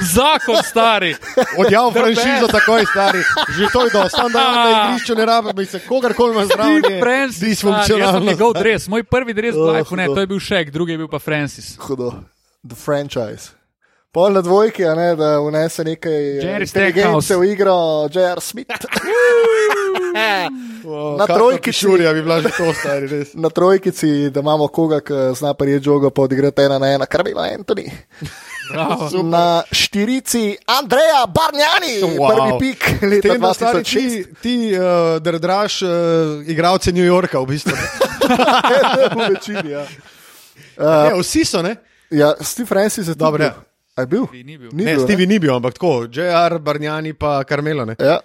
[SPEAKER 3] zakon stari.
[SPEAKER 1] Odjav franšizo takoj stari, že to je dosto, tam da na igrišču ne rabim, se kogarkoli ima zraven.
[SPEAKER 3] Steve Francis, jaz sem
[SPEAKER 1] disfunkcionalno.
[SPEAKER 3] njegov dres, moj prvi dres v
[SPEAKER 2] Oh,
[SPEAKER 3] Lifeu, ne,
[SPEAKER 2] hudo.
[SPEAKER 3] to je bil Šek, drugi je bil pa Francis.
[SPEAKER 2] Hudo, the franchise. Pol na dvojki, a ne, da vnese nekaj eh,
[SPEAKER 3] Jerry
[SPEAKER 2] inteligence
[SPEAKER 3] Stackhouse.
[SPEAKER 2] v igro, J.R. Smith.
[SPEAKER 1] O,
[SPEAKER 2] Na
[SPEAKER 1] kakšna
[SPEAKER 2] trojki si-
[SPEAKER 1] pišurja bi bila že to stari, res.
[SPEAKER 2] na trojkici, da imamo koga, ki zna prijeti žogo, pa odigrati ena na ena, kar bi imel Anthony.
[SPEAKER 3] Bravo.
[SPEAKER 2] Na štirici Andreja Barnjani, wow. prvi pik leta
[SPEAKER 1] Tem, da stari
[SPEAKER 2] 2006.
[SPEAKER 1] ti, ti uh, drdraš uh, igralce New Yorka v bistvu.
[SPEAKER 2] v večini. Ja. Eh.
[SPEAKER 1] ne, vsi so, ne?
[SPEAKER 2] Ja, Steve Francis je
[SPEAKER 1] Dobro,
[SPEAKER 2] dobro.
[SPEAKER 1] ja.
[SPEAKER 2] Je bil?
[SPEAKER 3] Ni bil.
[SPEAKER 1] Ne, Stevie ni bil, ampak tako, J.R. Barnjani pa Karmela, ne?
[SPEAKER 2] Ja.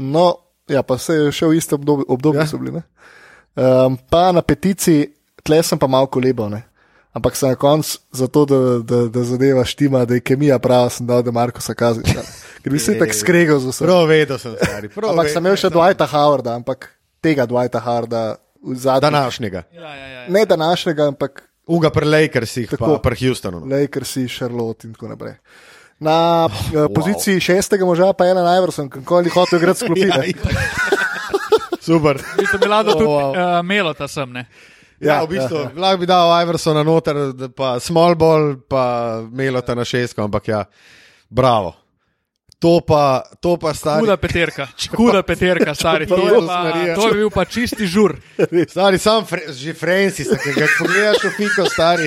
[SPEAKER 2] No, ja, pa se je še v istem obdobju, obdobju ja. so bili. ne. Um, pa na petici, tle sem pa malo kolebal. Ne? Ampak sem na koncu, zato da, da, da zadeva štima, da je kemija prava, sem dal, da Marko Sakazi. Ker bi se tako skregal za vse.
[SPEAKER 1] Prav vedel sem, stari. Prav
[SPEAKER 2] Ampak
[SPEAKER 1] ve-
[SPEAKER 2] sem imel še Dwighta Howarda, ampak tega Dwighta Howarda v zadnjem.
[SPEAKER 1] današnjega.
[SPEAKER 3] Ja, ja, ja.
[SPEAKER 2] Ne današnjega, ampak
[SPEAKER 1] Unga pri Lakersih,
[SPEAKER 2] Tako.
[SPEAKER 1] pa pri Houstonu. no.
[SPEAKER 2] Lakersi, Charlotte in tako naprej. Na oh, poziciji wow. šestega moža pa je na najvrsen, kako je hotel igrati skupine.
[SPEAKER 1] Ja, itak. Super.
[SPEAKER 3] Mislim, bila da tudi
[SPEAKER 1] Oh, wow.
[SPEAKER 3] uh, Melota sem, ne.
[SPEAKER 1] Ja, v bistvu ja, ja. lahko bi dal Iversona noter, da pa small ball, pa Melota na šestko, ampak ja, bravo. To pa, to pa stari.
[SPEAKER 3] Huda peterka, huda peterka, stari. To je,
[SPEAKER 1] Jezus
[SPEAKER 3] pa,
[SPEAKER 1] Marija.
[SPEAKER 3] to je bil pa čisti žur.
[SPEAKER 1] Stari, sam Fre že Francis, ki ga pogledaš v fiko, stari.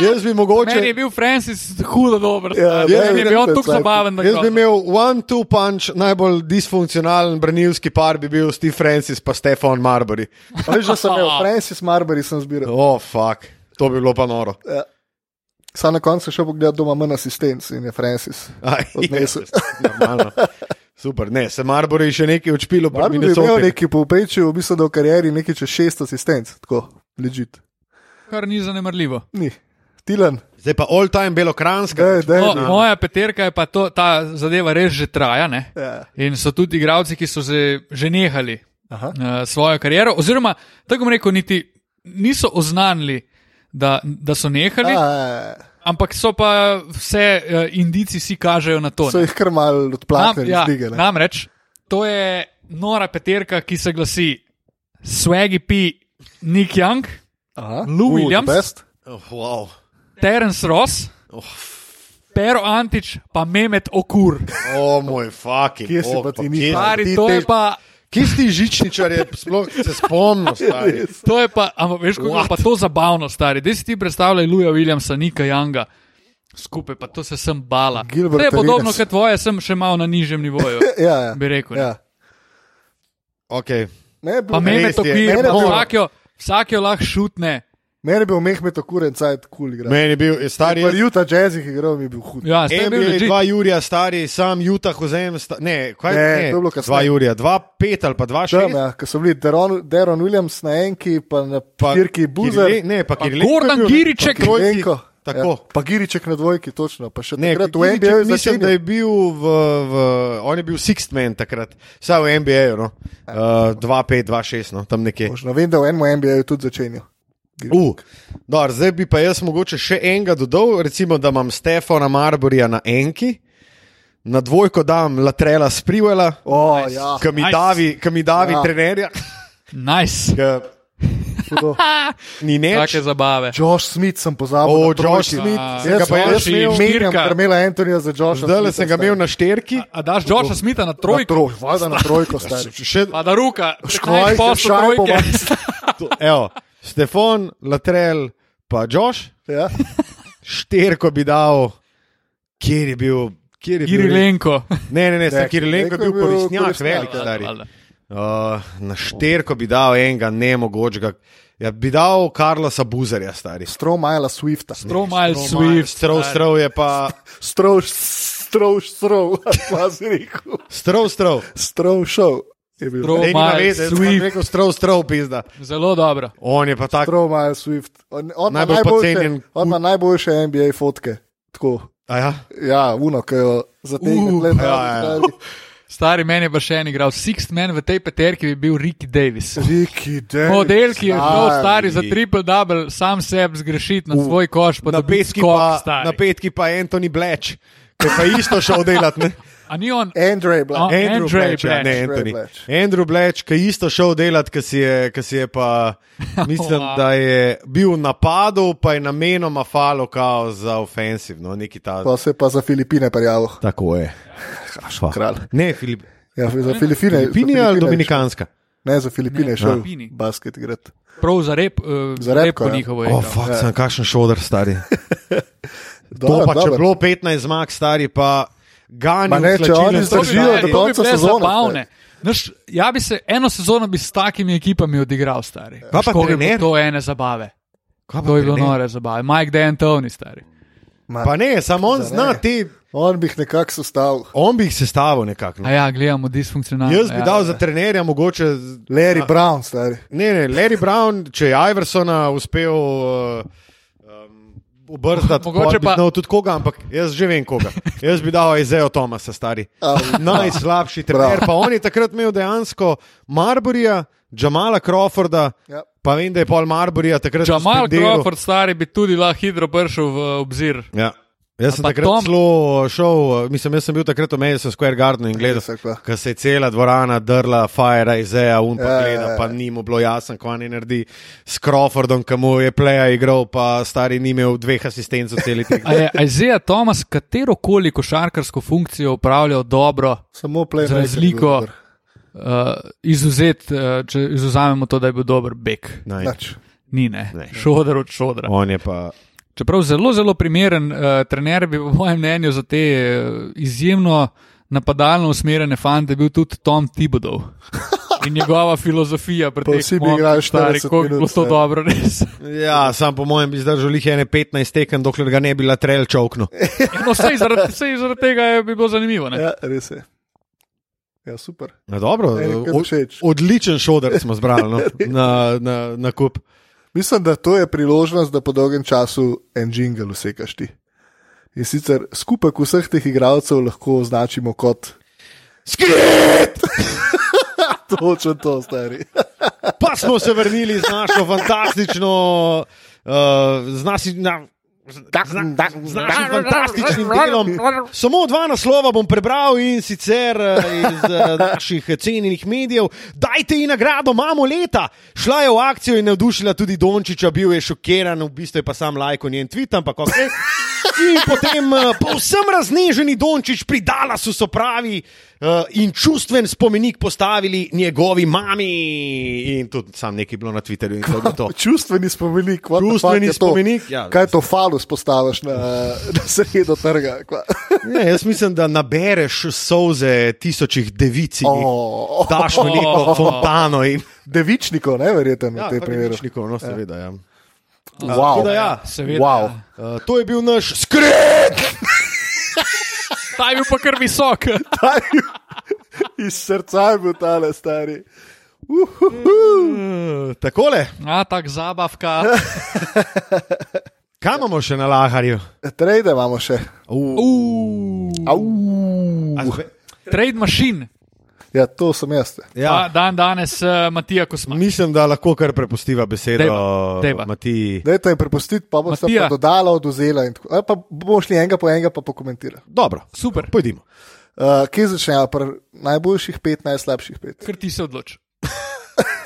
[SPEAKER 1] Jaz bi mogoče.
[SPEAKER 3] Meni je bil Francis hudo dober.
[SPEAKER 2] Ja,
[SPEAKER 3] stari. Meni je
[SPEAKER 2] meni
[SPEAKER 3] bil on
[SPEAKER 2] tudi,
[SPEAKER 3] tako
[SPEAKER 2] stari.
[SPEAKER 3] zabaven, da
[SPEAKER 1] Jaz bi
[SPEAKER 3] grozen.
[SPEAKER 1] imel one-two punch, najbolj disfunkcionalen branilski par bi bil Steve Francis pa Stefan Marbury.
[SPEAKER 2] A ja. Veš, da sem imel Francis Marbury, sem zbiral.
[SPEAKER 1] O, oh, fuck, to bi bilo pa noro.
[SPEAKER 2] Sam na koncu še pogledal doma manj asistenc in je Francis.
[SPEAKER 1] Aj,
[SPEAKER 2] Odnesel.
[SPEAKER 1] normalno. Super, ne, se Marbury še nekaj odšpilo, pa
[SPEAKER 2] Marbury je imel neki povprečju, v bistvu da v karieri nekaj čez šest asistenc, tako, ležit.
[SPEAKER 3] kar ni zanemrljivo.
[SPEAKER 2] Ni. Tilan,
[SPEAKER 1] Zdaj pa all time belokranska.
[SPEAKER 2] Daj, daj,
[SPEAKER 3] No,
[SPEAKER 2] daj.
[SPEAKER 3] moja peterka je pa to, ta zadeva res že traja. Ne?
[SPEAKER 2] Ja.
[SPEAKER 3] In so tudi igralci, ki so že, že nehali
[SPEAKER 2] Aha.
[SPEAKER 3] uh, svojo kariero, oziroma tako bom rekel, niti niso oznanili, da, da so nehali, A.
[SPEAKER 2] A, ja.
[SPEAKER 3] ampak so pa vse uh, indici, si kažejo na to.
[SPEAKER 2] So
[SPEAKER 3] ne.
[SPEAKER 2] jih kar mal
[SPEAKER 3] Nam,
[SPEAKER 2] odplaknili iz
[SPEAKER 3] ja,
[SPEAKER 2] lige. ne.
[SPEAKER 3] namreč to je nora peterka, ki se glasi Swaggy P. Nick Young,
[SPEAKER 2] Aha.
[SPEAKER 3] Lou
[SPEAKER 2] Uh,
[SPEAKER 3] Williams.
[SPEAKER 2] the best.
[SPEAKER 1] Oh, wow.
[SPEAKER 3] Terence Ross,
[SPEAKER 1] Oh,
[SPEAKER 3] Pero Antič, pa Mehmet Okur.
[SPEAKER 1] o moj fucking.
[SPEAKER 2] Kje si
[SPEAKER 1] oh,
[SPEAKER 2] pa ti nisi?
[SPEAKER 1] kje-
[SPEAKER 3] Stari,
[SPEAKER 2] ti
[SPEAKER 3] to je
[SPEAKER 2] te-
[SPEAKER 3] pa.
[SPEAKER 1] Kje si ti žičničar, je sploh se spomnil, stari.
[SPEAKER 3] To je pa, ampak veš, kako je pa to zabavno, stari. Dej si ti predstavljaj Luja Williamsa, Nika Janga, skupaj pa to se sem bala.
[SPEAKER 2] Gilbert
[SPEAKER 3] to je podobno
[SPEAKER 2] Arenas.
[SPEAKER 3] kot tvoje, sem še malo na nižjem nivoju.
[SPEAKER 2] Ja, ja.
[SPEAKER 3] Bi rekel, ne.
[SPEAKER 2] Ja.
[SPEAKER 1] Okay.
[SPEAKER 2] Ne, bil,
[SPEAKER 3] Pa
[SPEAKER 1] me-
[SPEAKER 3] meme
[SPEAKER 1] res
[SPEAKER 3] to
[SPEAKER 1] je,
[SPEAKER 3] pije,
[SPEAKER 2] mene
[SPEAKER 3] pa
[SPEAKER 2] to-
[SPEAKER 3] vsak jo, vsak jo lahko šutne.
[SPEAKER 2] meni je bil mehmet okuren, cajt kul cool igra.
[SPEAKER 1] Meni je bil star
[SPEAKER 2] Pri Juta jazzih igral mi je bil hud.
[SPEAKER 3] Ja, zdaj je bil
[SPEAKER 1] NBA
[SPEAKER 3] legit.
[SPEAKER 1] 2 Jurija stari, sam Juta Hozejem, sta, ne, kaj
[SPEAKER 2] Ne,
[SPEAKER 1] ne,
[SPEAKER 2] to je
[SPEAKER 1] 2
[SPEAKER 2] bilo kasneje.
[SPEAKER 1] Jurija, 2 5 ali pa 2
[SPEAKER 2] Tam,
[SPEAKER 1] 6.
[SPEAKER 2] ja, ko so bili Deron, Deron Williams na enki, pa na pirki Buzer,
[SPEAKER 1] Ne, pa
[SPEAKER 3] Pa
[SPEAKER 1] Kirilenko je
[SPEAKER 3] Gordon
[SPEAKER 1] bil, ne,
[SPEAKER 3] Giriček.
[SPEAKER 1] pa trojki,
[SPEAKER 2] Enko.
[SPEAKER 1] Tako.
[SPEAKER 2] Ja. Pa Giriček na dvojki, točno. Pa še
[SPEAKER 1] Ne,
[SPEAKER 2] takrat v
[SPEAKER 1] Giriček
[SPEAKER 2] NBA
[SPEAKER 1] mislim, da
[SPEAKER 2] začenjal.
[SPEAKER 1] je bil v, v, on je bil sixth man takrat, vsaj v NBA, no.
[SPEAKER 2] Ja.
[SPEAKER 1] uh, 2-5, 2-6, no, tam nekje.
[SPEAKER 2] Možno vem, da v enem NBA je tudi začenjal.
[SPEAKER 1] Uh, dobro, zdaj bi pa jaz mogoče še enega dodal, recimo, da imam Stefana Marborja na enki, na dvojko dam Latrela Sprivela,
[SPEAKER 2] O, ja,
[SPEAKER 1] ki mi
[SPEAKER 3] Nice.
[SPEAKER 1] davi, ki mi davi
[SPEAKER 2] Ja.
[SPEAKER 1] trenerja,
[SPEAKER 3] Nice.
[SPEAKER 1] ki
[SPEAKER 2] hudo.
[SPEAKER 1] ni neč.
[SPEAKER 3] Take zabave.
[SPEAKER 2] Josh Smith sem pozabil.
[SPEAKER 1] O,
[SPEAKER 2] na trojki.
[SPEAKER 1] Josh Smith, sem ga
[SPEAKER 2] Jaz
[SPEAKER 1] pa
[SPEAKER 2] sem
[SPEAKER 1] jaz
[SPEAKER 2] jaz
[SPEAKER 3] imel-
[SPEAKER 2] imel Mirjam
[SPEAKER 3] štirka.
[SPEAKER 2] Carmela Antonija za Josha.
[SPEAKER 1] Zdaj sem ga imel na šterki,
[SPEAKER 3] A daš Joša Smita na trojko?
[SPEAKER 2] trojko. Vada na trojko, stari.
[SPEAKER 1] še
[SPEAKER 3] Pa da ruka,
[SPEAKER 2] Škvaj,
[SPEAKER 3] škoj, posel
[SPEAKER 2] šajbo,
[SPEAKER 3] trojke.
[SPEAKER 1] evo, Stefan, Latrel, pa Josh,
[SPEAKER 2] Ja.
[SPEAKER 1] šterko bi dal, kjer je bil. Kjer je bil
[SPEAKER 3] Irilenko.
[SPEAKER 1] Ne, ne, ne,
[SPEAKER 2] Ne,
[SPEAKER 1] ne Kirilenko je bil
[SPEAKER 2] Kirilenko je bil
[SPEAKER 1] koristnjak,
[SPEAKER 2] koristnjak,
[SPEAKER 1] velik
[SPEAKER 3] ja.
[SPEAKER 1] stari. Uh, na šterko bi dal enega, ne mogočega. Ja, bi dal Karlosa Buzerja, stari.
[SPEAKER 2] Stromajla Swifta.
[SPEAKER 3] Prav malo
[SPEAKER 1] Strov,
[SPEAKER 3] Swift.
[SPEAKER 1] strov, strov je pa.
[SPEAKER 2] Strov, strov, strov, vas rekel.
[SPEAKER 1] Strov, strov.
[SPEAKER 2] Strov šov. je bil.
[SPEAKER 3] Strov-
[SPEAKER 1] Ne, ima veze, jaz sem
[SPEAKER 3] Swift.
[SPEAKER 1] rekel strov, strov, pizda.
[SPEAKER 3] Zelo dobro.
[SPEAKER 1] On je pa tak.
[SPEAKER 2] Stromajla Swift. On, on, ima
[SPEAKER 1] Najbolj
[SPEAKER 2] najboljše-
[SPEAKER 1] pocenjen
[SPEAKER 2] on ima najboljše NBA fotke. Tako.
[SPEAKER 1] A Ja.
[SPEAKER 2] Ja, uno, ki jo zategne.
[SPEAKER 3] Uh,
[SPEAKER 2] Uh,
[SPEAKER 1] ja, ja.
[SPEAKER 3] Stari meni je pa še en igral, Sixth Man v tej peterki bi bil Ricky Davis.
[SPEAKER 2] Riki, da.
[SPEAKER 3] Model, ki je šel
[SPEAKER 2] Stari.
[SPEAKER 3] stari za triple double, sam sebi zgrešiti na svoj koš, pa da
[SPEAKER 1] Na
[SPEAKER 3] bi
[SPEAKER 1] petki,
[SPEAKER 3] skok
[SPEAKER 1] pa, na
[SPEAKER 3] star.
[SPEAKER 1] petki pa Anthony Bleč, ki je pa isto šel delat. Ne?
[SPEAKER 3] A ni on,
[SPEAKER 2] Andrej, bla.
[SPEAKER 3] A,
[SPEAKER 1] Andrew
[SPEAKER 3] Andrej
[SPEAKER 1] Bleč, ja, ne
[SPEAKER 3] Bledge.
[SPEAKER 1] Anthony.
[SPEAKER 2] Andrej Bledge.
[SPEAKER 1] Andrew Bleč, ki je isto šel delat, ki si je, ki si je pa, mislim,
[SPEAKER 3] Wow.
[SPEAKER 1] da je bil v napadu, pa je namenoma falo kao za ofensivno, neki ta.
[SPEAKER 2] Pa se je pa za Filipine prijavil.
[SPEAKER 1] Tako je.
[SPEAKER 2] Kralj.
[SPEAKER 1] Ne, Filip.
[SPEAKER 2] Ja, za Filipine. za
[SPEAKER 1] Filipini ali
[SPEAKER 2] je
[SPEAKER 1] Dominikanska?
[SPEAKER 2] šel. Ne, za Filipine je šel
[SPEAKER 3] Filipini.
[SPEAKER 2] basket igrati.
[SPEAKER 3] prav za rep, uh,
[SPEAKER 2] Za repko, ja.
[SPEAKER 3] njihovo.
[SPEAKER 1] O,
[SPEAKER 3] je
[SPEAKER 1] oh,
[SPEAKER 3] igral.
[SPEAKER 1] fakt, sem kakšen šodr stari. To pa če bilo 15 zmag stari, pa
[SPEAKER 2] Ma
[SPEAKER 1] gani
[SPEAKER 2] ne, če oni
[SPEAKER 3] To bi
[SPEAKER 2] zdržijo
[SPEAKER 3] bile-
[SPEAKER 2] do
[SPEAKER 3] to bi
[SPEAKER 2] konca
[SPEAKER 3] bile
[SPEAKER 2] sezone,
[SPEAKER 3] zabavne. Naš, ja bi se, eno sezono bi s takimi ekipami odigral, stari.
[SPEAKER 1] pa
[SPEAKER 3] Škoda, da
[SPEAKER 1] trener?
[SPEAKER 3] To je ene zabave.
[SPEAKER 1] Kaj pa
[SPEAKER 3] To je bilo
[SPEAKER 1] trener?
[SPEAKER 3] nore zabave. Mike D'Antoni, stari.
[SPEAKER 1] Pa ne, samo on
[SPEAKER 2] Za
[SPEAKER 1] zna
[SPEAKER 2] ne.
[SPEAKER 1] te,
[SPEAKER 2] On bi jih nekako sestavil.
[SPEAKER 1] on bi jih sestavil nekako.
[SPEAKER 3] A
[SPEAKER 1] No.
[SPEAKER 3] ja, gledamo disfunkcionalno.
[SPEAKER 1] Jaz bi
[SPEAKER 3] ja,
[SPEAKER 1] dal
[SPEAKER 3] ja.
[SPEAKER 1] za trenerja mogoče. z-
[SPEAKER 2] Larry Brown, stari.
[SPEAKER 1] Ne, ne, Larry Brown, če je Iversona uspel uh, um, obrzdati,
[SPEAKER 3] Mogoče
[SPEAKER 1] mogoče
[SPEAKER 3] pa-
[SPEAKER 1] pa ne tudi koga, ampak jaz že vem koga. Jaz bi dal Ezeo Tomasa, stari. Najslabši trener.
[SPEAKER 2] Bravo.
[SPEAKER 1] Pa on je takrat imel dejansko Marborija, Džamala Crawforda,
[SPEAKER 2] Ja.
[SPEAKER 1] pa vem, da je Paul Marborija takrat
[SPEAKER 3] Jamal
[SPEAKER 1] suspendiral.
[SPEAKER 3] Crawford, stari, bi tudi lahko hitro prišel v obzir.
[SPEAKER 1] Ja. Jaz sem
[SPEAKER 3] pa
[SPEAKER 1] takrat Tom...
[SPEAKER 3] Tom-
[SPEAKER 1] zelo šel, mislim, jaz sem bil takrat v Madison Square Gardenu in gledal,
[SPEAKER 2] Res je, kva.
[SPEAKER 1] ko se je cela dvorana drla, Fire Izea, un pa
[SPEAKER 2] Ja, ja,
[SPEAKER 1] gleda,
[SPEAKER 2] ja.
[SPEAKER 1] pa ni mu bilo jasno, kva ne naredi s Crawfordom, ki mu je pleja igral, pa stari ni imel dveh asistentov celi tek.
[SPEAKER 3] A je Isaiah Thomas katero koli košarkarsko funkcijo upravljal dobro,
[SPEAKER 2] Samo play.
[SPEAKER 3] z razliko, uh, izuzet, uh, če izuzamemo to, da je bil dober bek.
[SPEAKER 1] Naj.
[SPEAKER 2] Nač.
[SPEAKER 3] Ni, ne.
[SPEAKER 1] Ne.
[SPEAKER 3] Šodor od šodra.
[SPEAKER 1] On je pa.
[SPEAKER 3] Čeprav zelo, zelo primeren uh, trener, bi po mojem mnenju za te uh, izjemno napadalno usmerjene fante bil tudi Tom Tibodov. In njegova filozofija,
[SPEAKER 2] Pa vsi
[SPEAKER 3] predvsem,
[SPEAKER 2] bi igrali 40
[SPEAKER 3] kako je bilo
[SPEAKER 2] minut,
[SPEAKER 3] to
[SPEAKER 2] ne.
[SPEAKER 3] dobro, res.
[SPEAKER 1] Ja, sam po mojem bi zdržal jih ene 15 tekem, dokler ga ne bi latrel čovkno.
[SPEAKER 3] No, vse zaradi, saj zaradi tega je bi bilo zanimivo. Ne?
[SPEAKER 2] Ja, res je. Ja, super.
[SPEAKER 1] No, dobro,
[SPEAKER 2] Meni kar
[SPEAKER 1] od,
[SPEAKER 2] všeč.
[SPEAKER 1] odličen šoder smo zbrali no, na, na, na kup.
[SPEAKER 2] Mislim, da to je priložnost, da po dolgem času en jingle vsekaš ti. In sicer skupek vseh teh igralcev lahko označimo kot
[SPEAKER 1] Skrit!
[SPEAKER 2] točno to, stari.
[SPEAKER 1] Pa smo se vrnili z našo fantastično, uh, z, nasi, na, zna, z našim fantastičnim delom. Samo dva naslova bom prebral in sicer eh, iz eh, naših cenjenih medijev. Dajte ji nagrado, imamo leta. Šla je v akcijo in navdušila tudi Dončiča, bil je šokiran, v bistvu je pa sam lajko njen tweet, ampak ok. In potem eh, povsem razneženi Dončič pri Dallasu so pravi eh, in čustven spomenik postavili njegovi mami. In tudi sam nekaj je bilo na Twitterju in tako je to.
[SPEAKER 2] Čustveni spomenik, what the fuck
[SPEAKER 1] Čustveni
[SPEAKER 2] je to?
[SPEAKER 1] spomenik, ja.
[SPEAKER 2] Kaj je to falus postaviš na, na sredo trga? kva?
[SPEAKER 1] Ne, jaz mislim, da nabereš solze tisočih devic in jih
[SPEAKER 2] O,
[SPEAKER 1] daš v neko fontano. In,
[SPEAKER 2] Devičnikov, ne verjeten v
[SPEAKER 1] ja,
[SPEAKER 2] tem primeru.
[SPEAKER 1] priročnikov, no, seveda. Ja.
[SPEAKER 2] Wow.
[SPEAKER 1] Tako da ja,
[SPEAKER 3] Seveda.
[SPEAKER 2] Wow.
[SPEAKER 1] Uh, to je bil naš skrit!
[SPEAKER 3] Ta je bil pa kar visok.
[SPEAKER 2] Iz srca je bil tale stari.
[SPEAKER 1] Uh, takole,
[SPEAKER 3] A, tak zabavka.
[SPEAKER 1] kaj imamo še na laharju?
[SPEAKER 2] Trejde imamo še.
[SPEAKER 1] Uh,
[SPEAKER 2] Au.
[SPEAKER 3] Trade machine.
[SPEAKER 2] Ja, to sem jaz.
[SPEAKER 1] ja,
[SPEAKER 3] Pa Dan danes uh, Matija Kosman.
[SPEAKER 1] mislim, da lahko kar prepustiva besedo
[SPEAKER 3] Dejva, dejva.
[SPEAKER 1] Matiji.
[SPEAKER 2] Dajte jim prepustiti, pa boš
[SPEAKER 3] Matija.
[SPEAKER 2] pa dodala, oduzela. in tako. Ali Pa bomo šli enega po enega, pa pokomentirali.
[SPEAKER 1] Dobro,
[SPEAKER 3] Super.
[SPEAKER 1] pojdimo.
[SPEAKER 2] Uh, kje začnejo? Pri najboljših pet, najslabših pet.
[SPEAKER 3] Ker ti se odloči.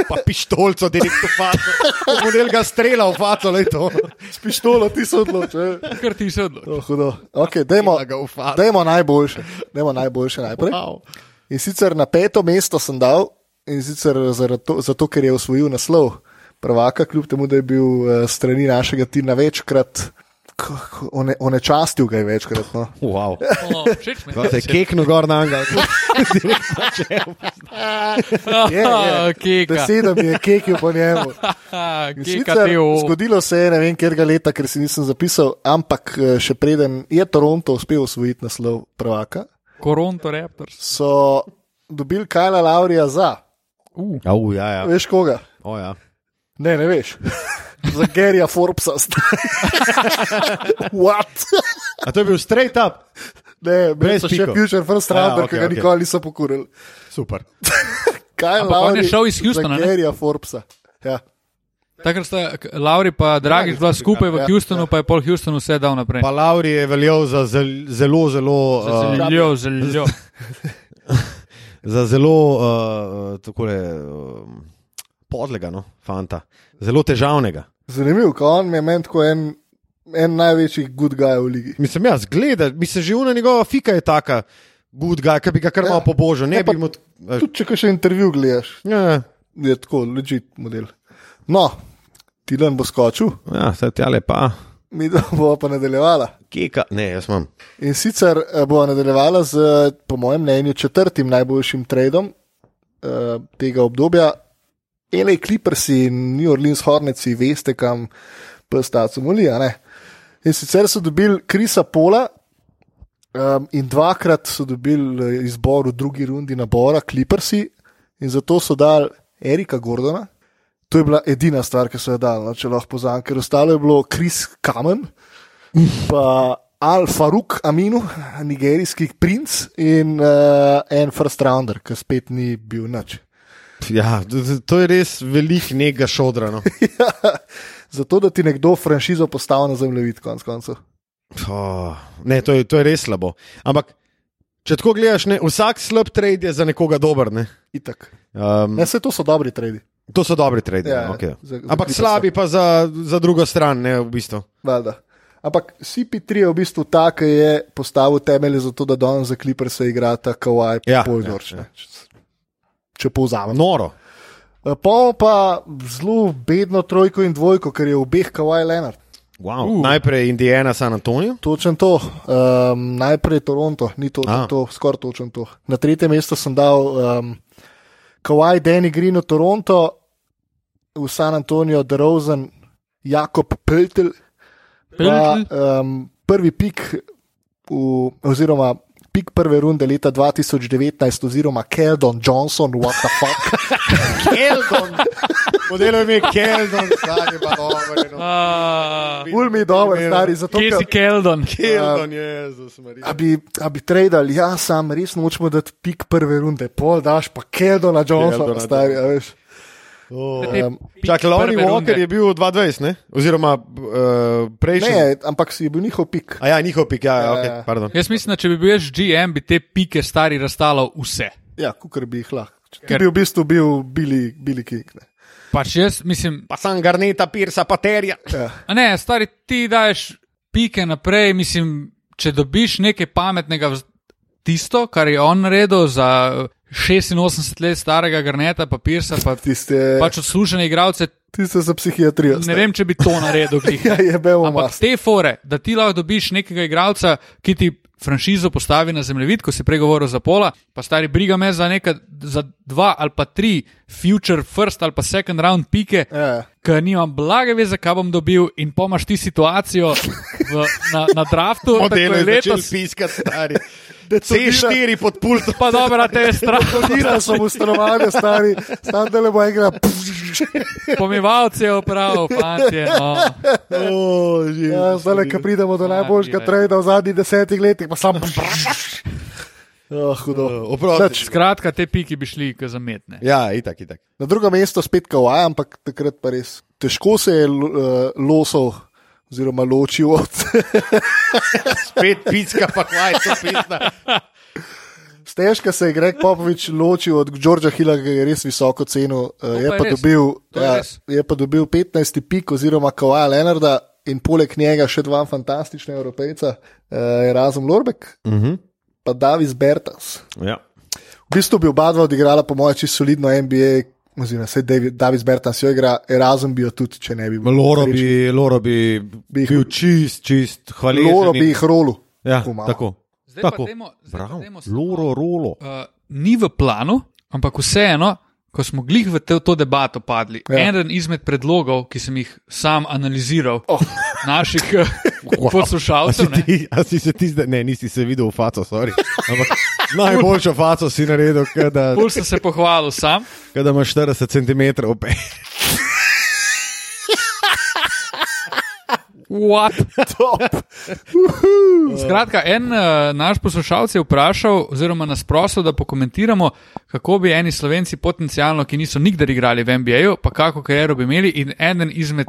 [SPEAKER 1] Pa pištolco, direktno faco. Model ga strela v faco, le to.
[SPEAKER 2] S pištolo ti se eh. odločil.
[SPEAKER 3] Ker ti se odloči.
[SPEAKER 2] To je No, hudo. Okay, dajmo,
[SPEAKER 1] Ga v faco.
[SPEAKER 2] dajmo najboljše. Dajmo najboljše najprej.
[SPEAKER 1] Au.
[SPEAKER 2] In sicer na peto mesto sem dal, in sicer zato, zato ker je osvojil naslov prvaka, kljub temu, da je bil uh, strani našega tina večkrat, k- k- one, onečastil ga je večkrat. No.
[SPEAKER 1] Wow.
[SPEAKER 3] O, Všeč mi
[SPEAKER 1] Pa se je keknil gor na angel.
[SPEAKER 2] Je, je.
[SPEAKER 3] Ah, Keka.
[SPEAKER 2] Deset mi je kekil po njemu.
[SPEAKER 3] Ah,
[SPEAKER 2] In
[SPEAKER 3] Keka
[SPEAKER 2] sicer
[SPEAKER 3] te v.
[SPEAKER 2] Zgodilo se je, ne vem, kjer ga leta, ker si nisem zapisal, ampak eh, še preden je Toronto uspel osvojiti naslov prvaka,
[SPEAKER 3] Koronto Raptors.
[SPEAKER 2] so dobili Kajla Laurija za,
[SPEAKER 3] Uh.
[SPEAKER 1] Au, ja, ja.
[SPEAKER 2] veš koga.
[SPEAKER 1] O, ja.
[SPEAKER 2] Ne, ne veš. Za Gerija Forbesa. What?
[SPEAKER 1] A to je bil straight up,
[SPEAKER 2] Ne,
[SPEAKER 1] Brez
[SPEAKER 2] brez tega. Še
[SPEAKER 1] pikov.
[SPEAKER 2] Future First
[SPEAKER 1] Ja,
[SPEAKER 2] Rounder, ki
[SPEAKER 1] okej,
[SPEAKER 2] ga
[SPEAKER 1] okej.
[SPEAKER 2] nikoli niso pokurili.
[SPEAKER 1] super.
[SPEAKER 2] Kaj
[SPEAKER 3] Ampak on je šel iz Houstona, ne?
[SPEAKER 2] Za Gerija Forbesa. Ja.
[SPEAKER 3] Takrat sta k- Lauri pa Dragič bila skupaj v
[SPEAKER 2] ja,
[SPEAKER 3] Houstonu, pa je pol Houston vse dal naprej.
[SPEAKER 1] Pa Lauri je veljal za zel- zelo, zelo, uh,
[SPEAKER 2] Ja.
[SPEAKER 3] Zelo, zelo.
[SPEAKER 1] za zelo uh, takole, uh, podlega, no, fanta. Zelo težavnega.
[SPEAKER 2] Zanimivo, ko on je meni tako en, en največjih good guy v ligi.
[SPEAKER 1] Mislim, ja, jaz gledam, mislim, že una njegova fika je taka, good guy, ki bi ga kar
[SPEAKER 2] Ja.
[SPEAKER 1] malo pobožal. Ne
[SPEAKER 2] Ja,
[SPEAKER 1] bi
[SPEAKER 2] pa-
[SPEAKER 1] mu. t- veš,
[SPEAKER 2] Tudi če še intervju gledaš,
[SPEAKER 1] Ja,
[SPEAKER 2] je tako legit model. No, Tilan bo skočil,
[SPEAKER 1] ja zdaj ti ale pa,
[SPEAKER 2] mi bomo pa nadaljevala.
[SPEAKER 1] keka. Ne, jaz imam.
[SPEAKER 2] In sicer eh, bo nadaljevala z, eh, po mojem mnenju, četrtim najboljšim tradom uh, tega obdobja. L.A. Clippers in New Orleans Hornets, veste, kam prstacu molijo. In sicer so dobili Krisa Pola um, in dvakrat so dobili eh, izbor v drugi rundi nabora Clippersi in zato so dali Erika Gordona. To je bila edina stvar, ki so jo dali, no, če lahko pozam, ker ostalo je bilo Kris Kamen pa Al-Faruk Aminu, nigerijski princ in uh, en first rounder, ki spet ni bil nič.
[SPEAKER 1] Ja, to- to je res velik nega šodra. No.
[SPEAKER 2] Zato, da ti nekdo franšizo postavi na zemljevid, konc koncev.
[SPEAKER 1] Oh, ne, to je, to je res slabo. Ampak, če tako gledaš, ne, vsak slab trade je za nekoga dober. Ne?
[SPEAKER 2] Itak.
[SPEAKER 1] Um,
[SPEAKER 2] Ne, vse to so dobri tradi.
[SPEAKER 1] to so dobri trade.
[SPEAKER 2] Ja,
[SPEAKER 1] Ja, okay.
[SPEAKER 2] za- za
[SPEAKER 1] Ampak
[SPEAKER 2] Clippersa.
[SPEAKER 1] slabi pa za, za drugo stran, ne v bistvu.
[SPEAKER 2] Valjda. Ampak CP3 je v bistvu ta, ki je postavil temelje za to, da danes za kliper se igra ta Kowaj
[SPEAKER 1] Ja,
[SPEAKER 2] ja, Poldorč. Ja, ja. Če, če povzamem.
[SPEAKER 1] Noro.
[SPEAKER 2] Pa pa zelo bedno trojko in dvojko, ker je obeh Kowaj Leonard.
[SPEAKER 1] Wow. Uh. Najprej Indijana, San Antonijo.
[SPEAKER 2] Točen to, um, najprej Toronto, ni točen
[SPEAKER 1] A.
[SPEAKER 2] to, skoraj točen to. Na tretje mesto sem dal um, Kowaj, Danny Green v Toronto, v San Antonijo, DeRozan, Jakob Peltel, pa,
[SPEAKER 3] Peltl?
[SPEAKER 2] um, prvi pik, v, oziroma pik prve runde leta 2019, oziroma Keldon Johnson, what the fuck.
[SPEAKER 1] Keldon. Modelo ime Keldon, stari pa
[SPEAKER 2] no.
[SPEAKER 1] dobro.
[SPEAKER 3] Uh,
[SPEAKER 2] Ul mi je dobro, stari, zato
[SPEAKER 3] Kje si
[SPEAKER 2] ker-
[SPEAKER 1] Ah.
[SPEAKER 3] Keldon?
[SPEAKER 1] Keldon, Jezus, Marija.
[SPEAKER 2] a bi, a bi tradal, ja, sam res nočemo dati pik prve runde, pol daš pa Keldona Johnsona,
[SPEAKER 1] Keldona
[SPEAKER 2] stari, a veš.
[SPEAKER 1] Oh.
[SPEAKER 3] Um,
[SPEAKER 1] Čakaj, Ah. Lonnie Walker je bil 2-20, ne? Oziroma uh, prejšnji.
[SPEAKER 2] Ne, ampak si je bil njihov pik.
[SPEAKER 1] A ja, njihov pik, ja, ja, okay,
[SPEAKER 2] ja.
[SPEAKER 1] pardon.
[SPEAKER 3] Jaz mislim, da če bi bil jaz GM, bi te pike stari razstalo vse.
[SPEAKER 2] Ja, kukar bi jih lahko. Če
[SPEAKER 3] Ker-
[SPEAKER 2] Ker... bi v bistvu bil Billy, Billy King. Ne.
[SPEAKER 3] Pač jaz mislim,
[SPEAKER 1] Pa sam Garneta, Pirsa, Paterja.
[SPEAKER 2] Ja,
[SPEAKER 3] a ne, stari ti daješ pike naprej, mislim, če dobiš nekaj pametnega, vz- tisto, kar je on naredil za eh, 86 let starega Garneta, pa Pirsa, pa
[SPEAKER 2] Tiste, pač...
[SPEAKER 3] pač odslužene igralce,
[SPEAKER 2] tiste za psihiatrijo.
[SPEAKER 3] ne
[SPEAKER 2] stari.
[SPEAKER 3] vem, če bi to naredil. glih.
[SPEAKER 2] Ja, je bil
[SPEAKER 3] Ampak
[SPEAKER 2] mas.
[SPEAKER 3] te fore, da ti lahko dobiš nekega igralca, ki ti franšizo postavi na zemljevid, ko si pregovoril za pola, pa stari briga me za, neka, za dva ali pa tri future first ali pa second round pike,
[SPEAKER 2] Ja.
[SPEAKER 3] ker nimam blage veze, kaj bom dobil in pomaš ti situacijo v, na, na draftu,
[SPEAKER 1] Modelo je
[SPEAKER 3] tako je
[SPEAKER 1] začel
[SPEAKER 3] letos.
[SPEAKER 1] piskati, stari.
[SPEAKER 2] Detonira-
[SPEAKER 1] C4 pod pultom.
[SPEAKER 3] Pa dobro, a te je strah,
[SPEAKER 2] Tira so mu stanovanje, stari, tam da le bo enkrat.
[SPEAKER 3] pomivalce je opravil, fantje. No.
[SPEAKER 1] Oh,
[SPEAKER 2] Ja, zdaj, le, ko pridemo do najboljšega
[SPEAKER 3] direkt.
[SPEAKER 2] trajda v zadnjih desetih letih, pa sam. Oh, hudo.
[SPEAKER 3] Eh,
[SPEAKER 1] Oprosti.
[SPEAKER 3] Skratka, te piki bi šli, ki zametne.
[SPEAKER 1] Ja, itak, itak.
[SPEAKER 2] Na drugo mesto spet Kowaj, ampak takrat pa res. Težko se je uh, losov, oziroma ločil od
[SPEAKER 1] Spet picka, pa kvaj, to pizna.
[SPEAKER 2] Stežka se je Greg Popovič ločil od Georgea Hilla, ki je res visoko ceno. eh, Je,
[SPEAKER 3] pa je
[SPEAKER 2] pa
[SPEAKER 3] res.
[SPEAKER 2] dobil,
[SPEAKER 3] To je
[SPEAKER 2] ja,
[SPEAKER 3] res.
[SPEAKER 2] je pa dobil 15 pik, oziroma Kawaja Leonarda in poleg njega še dva fantastična evropejca, eh, Erasmus Lorbek in
[SPEAKER 1] Mhm.
[SPEAKER 2] uh -huh. pa Davis Bertans.
[SPEAKER 1] Ja.
[SPEAKER 2] V bistvu bi oba dva odigrala, po mojem, čisto solidno NBA. Oziroma, se Davis Bertans jo igra, Erasmus bi jo tudi, če ne bi bil.
[SPEAKER 1] Loro bi, Loro bi
[SPEAKER 2] jih-
[SPEAKER 1] bil čist, čist hvaležen.
[SPEAKER 2] Loro
[SPEAKER 1] in-
[SPEAKER 2] bi jih rolil.
[SPEAKER 1] Ja,
[SPEAKER 2] Tako malo.
[SPEAKER 1] tako.
[SPEAKER 3] Zdaj pa
[SPEAKER 1] tako.
[SPEAKER 3] dajmo- zdaj pa
[SPEAKER 1] Bravo.
[SPEAKER 3] dajmo samo-
[SPEAKER 1] Loro, rolo.
[SPEAKER 3] uh, ni v planu, ampak vseeno, ko smo glih v te, to debato padli, ja.
[SPEAKER 2] Ja.
[SPEAKER 3] eden izmed predlogov, ki sem jih sam analiziral, oh. naših eh, poslušalcev, ne,
[SPEAKER 1] Ti, a si se ti zdaj, ne, nisi se videl v faco, sorry. Ampak najboljšo faco si naredil, ke da,
[SPEAKER 3] bolj sem se pohvalil sam.
[SPEAKER 1] ke da imaš 40 cm.
[SPEAKER 3] What?
[SPEAKER 2] Top.
[SPEAKER 3] Skratka, en uh, naš poslušalec je vprašal, oziroma nas prosil, da pokomentiramo, kako bi eni slovenci potencialno, ki niso nikdar igrali v NBA-ju, pa kako kariero bi imeli. In eden izmed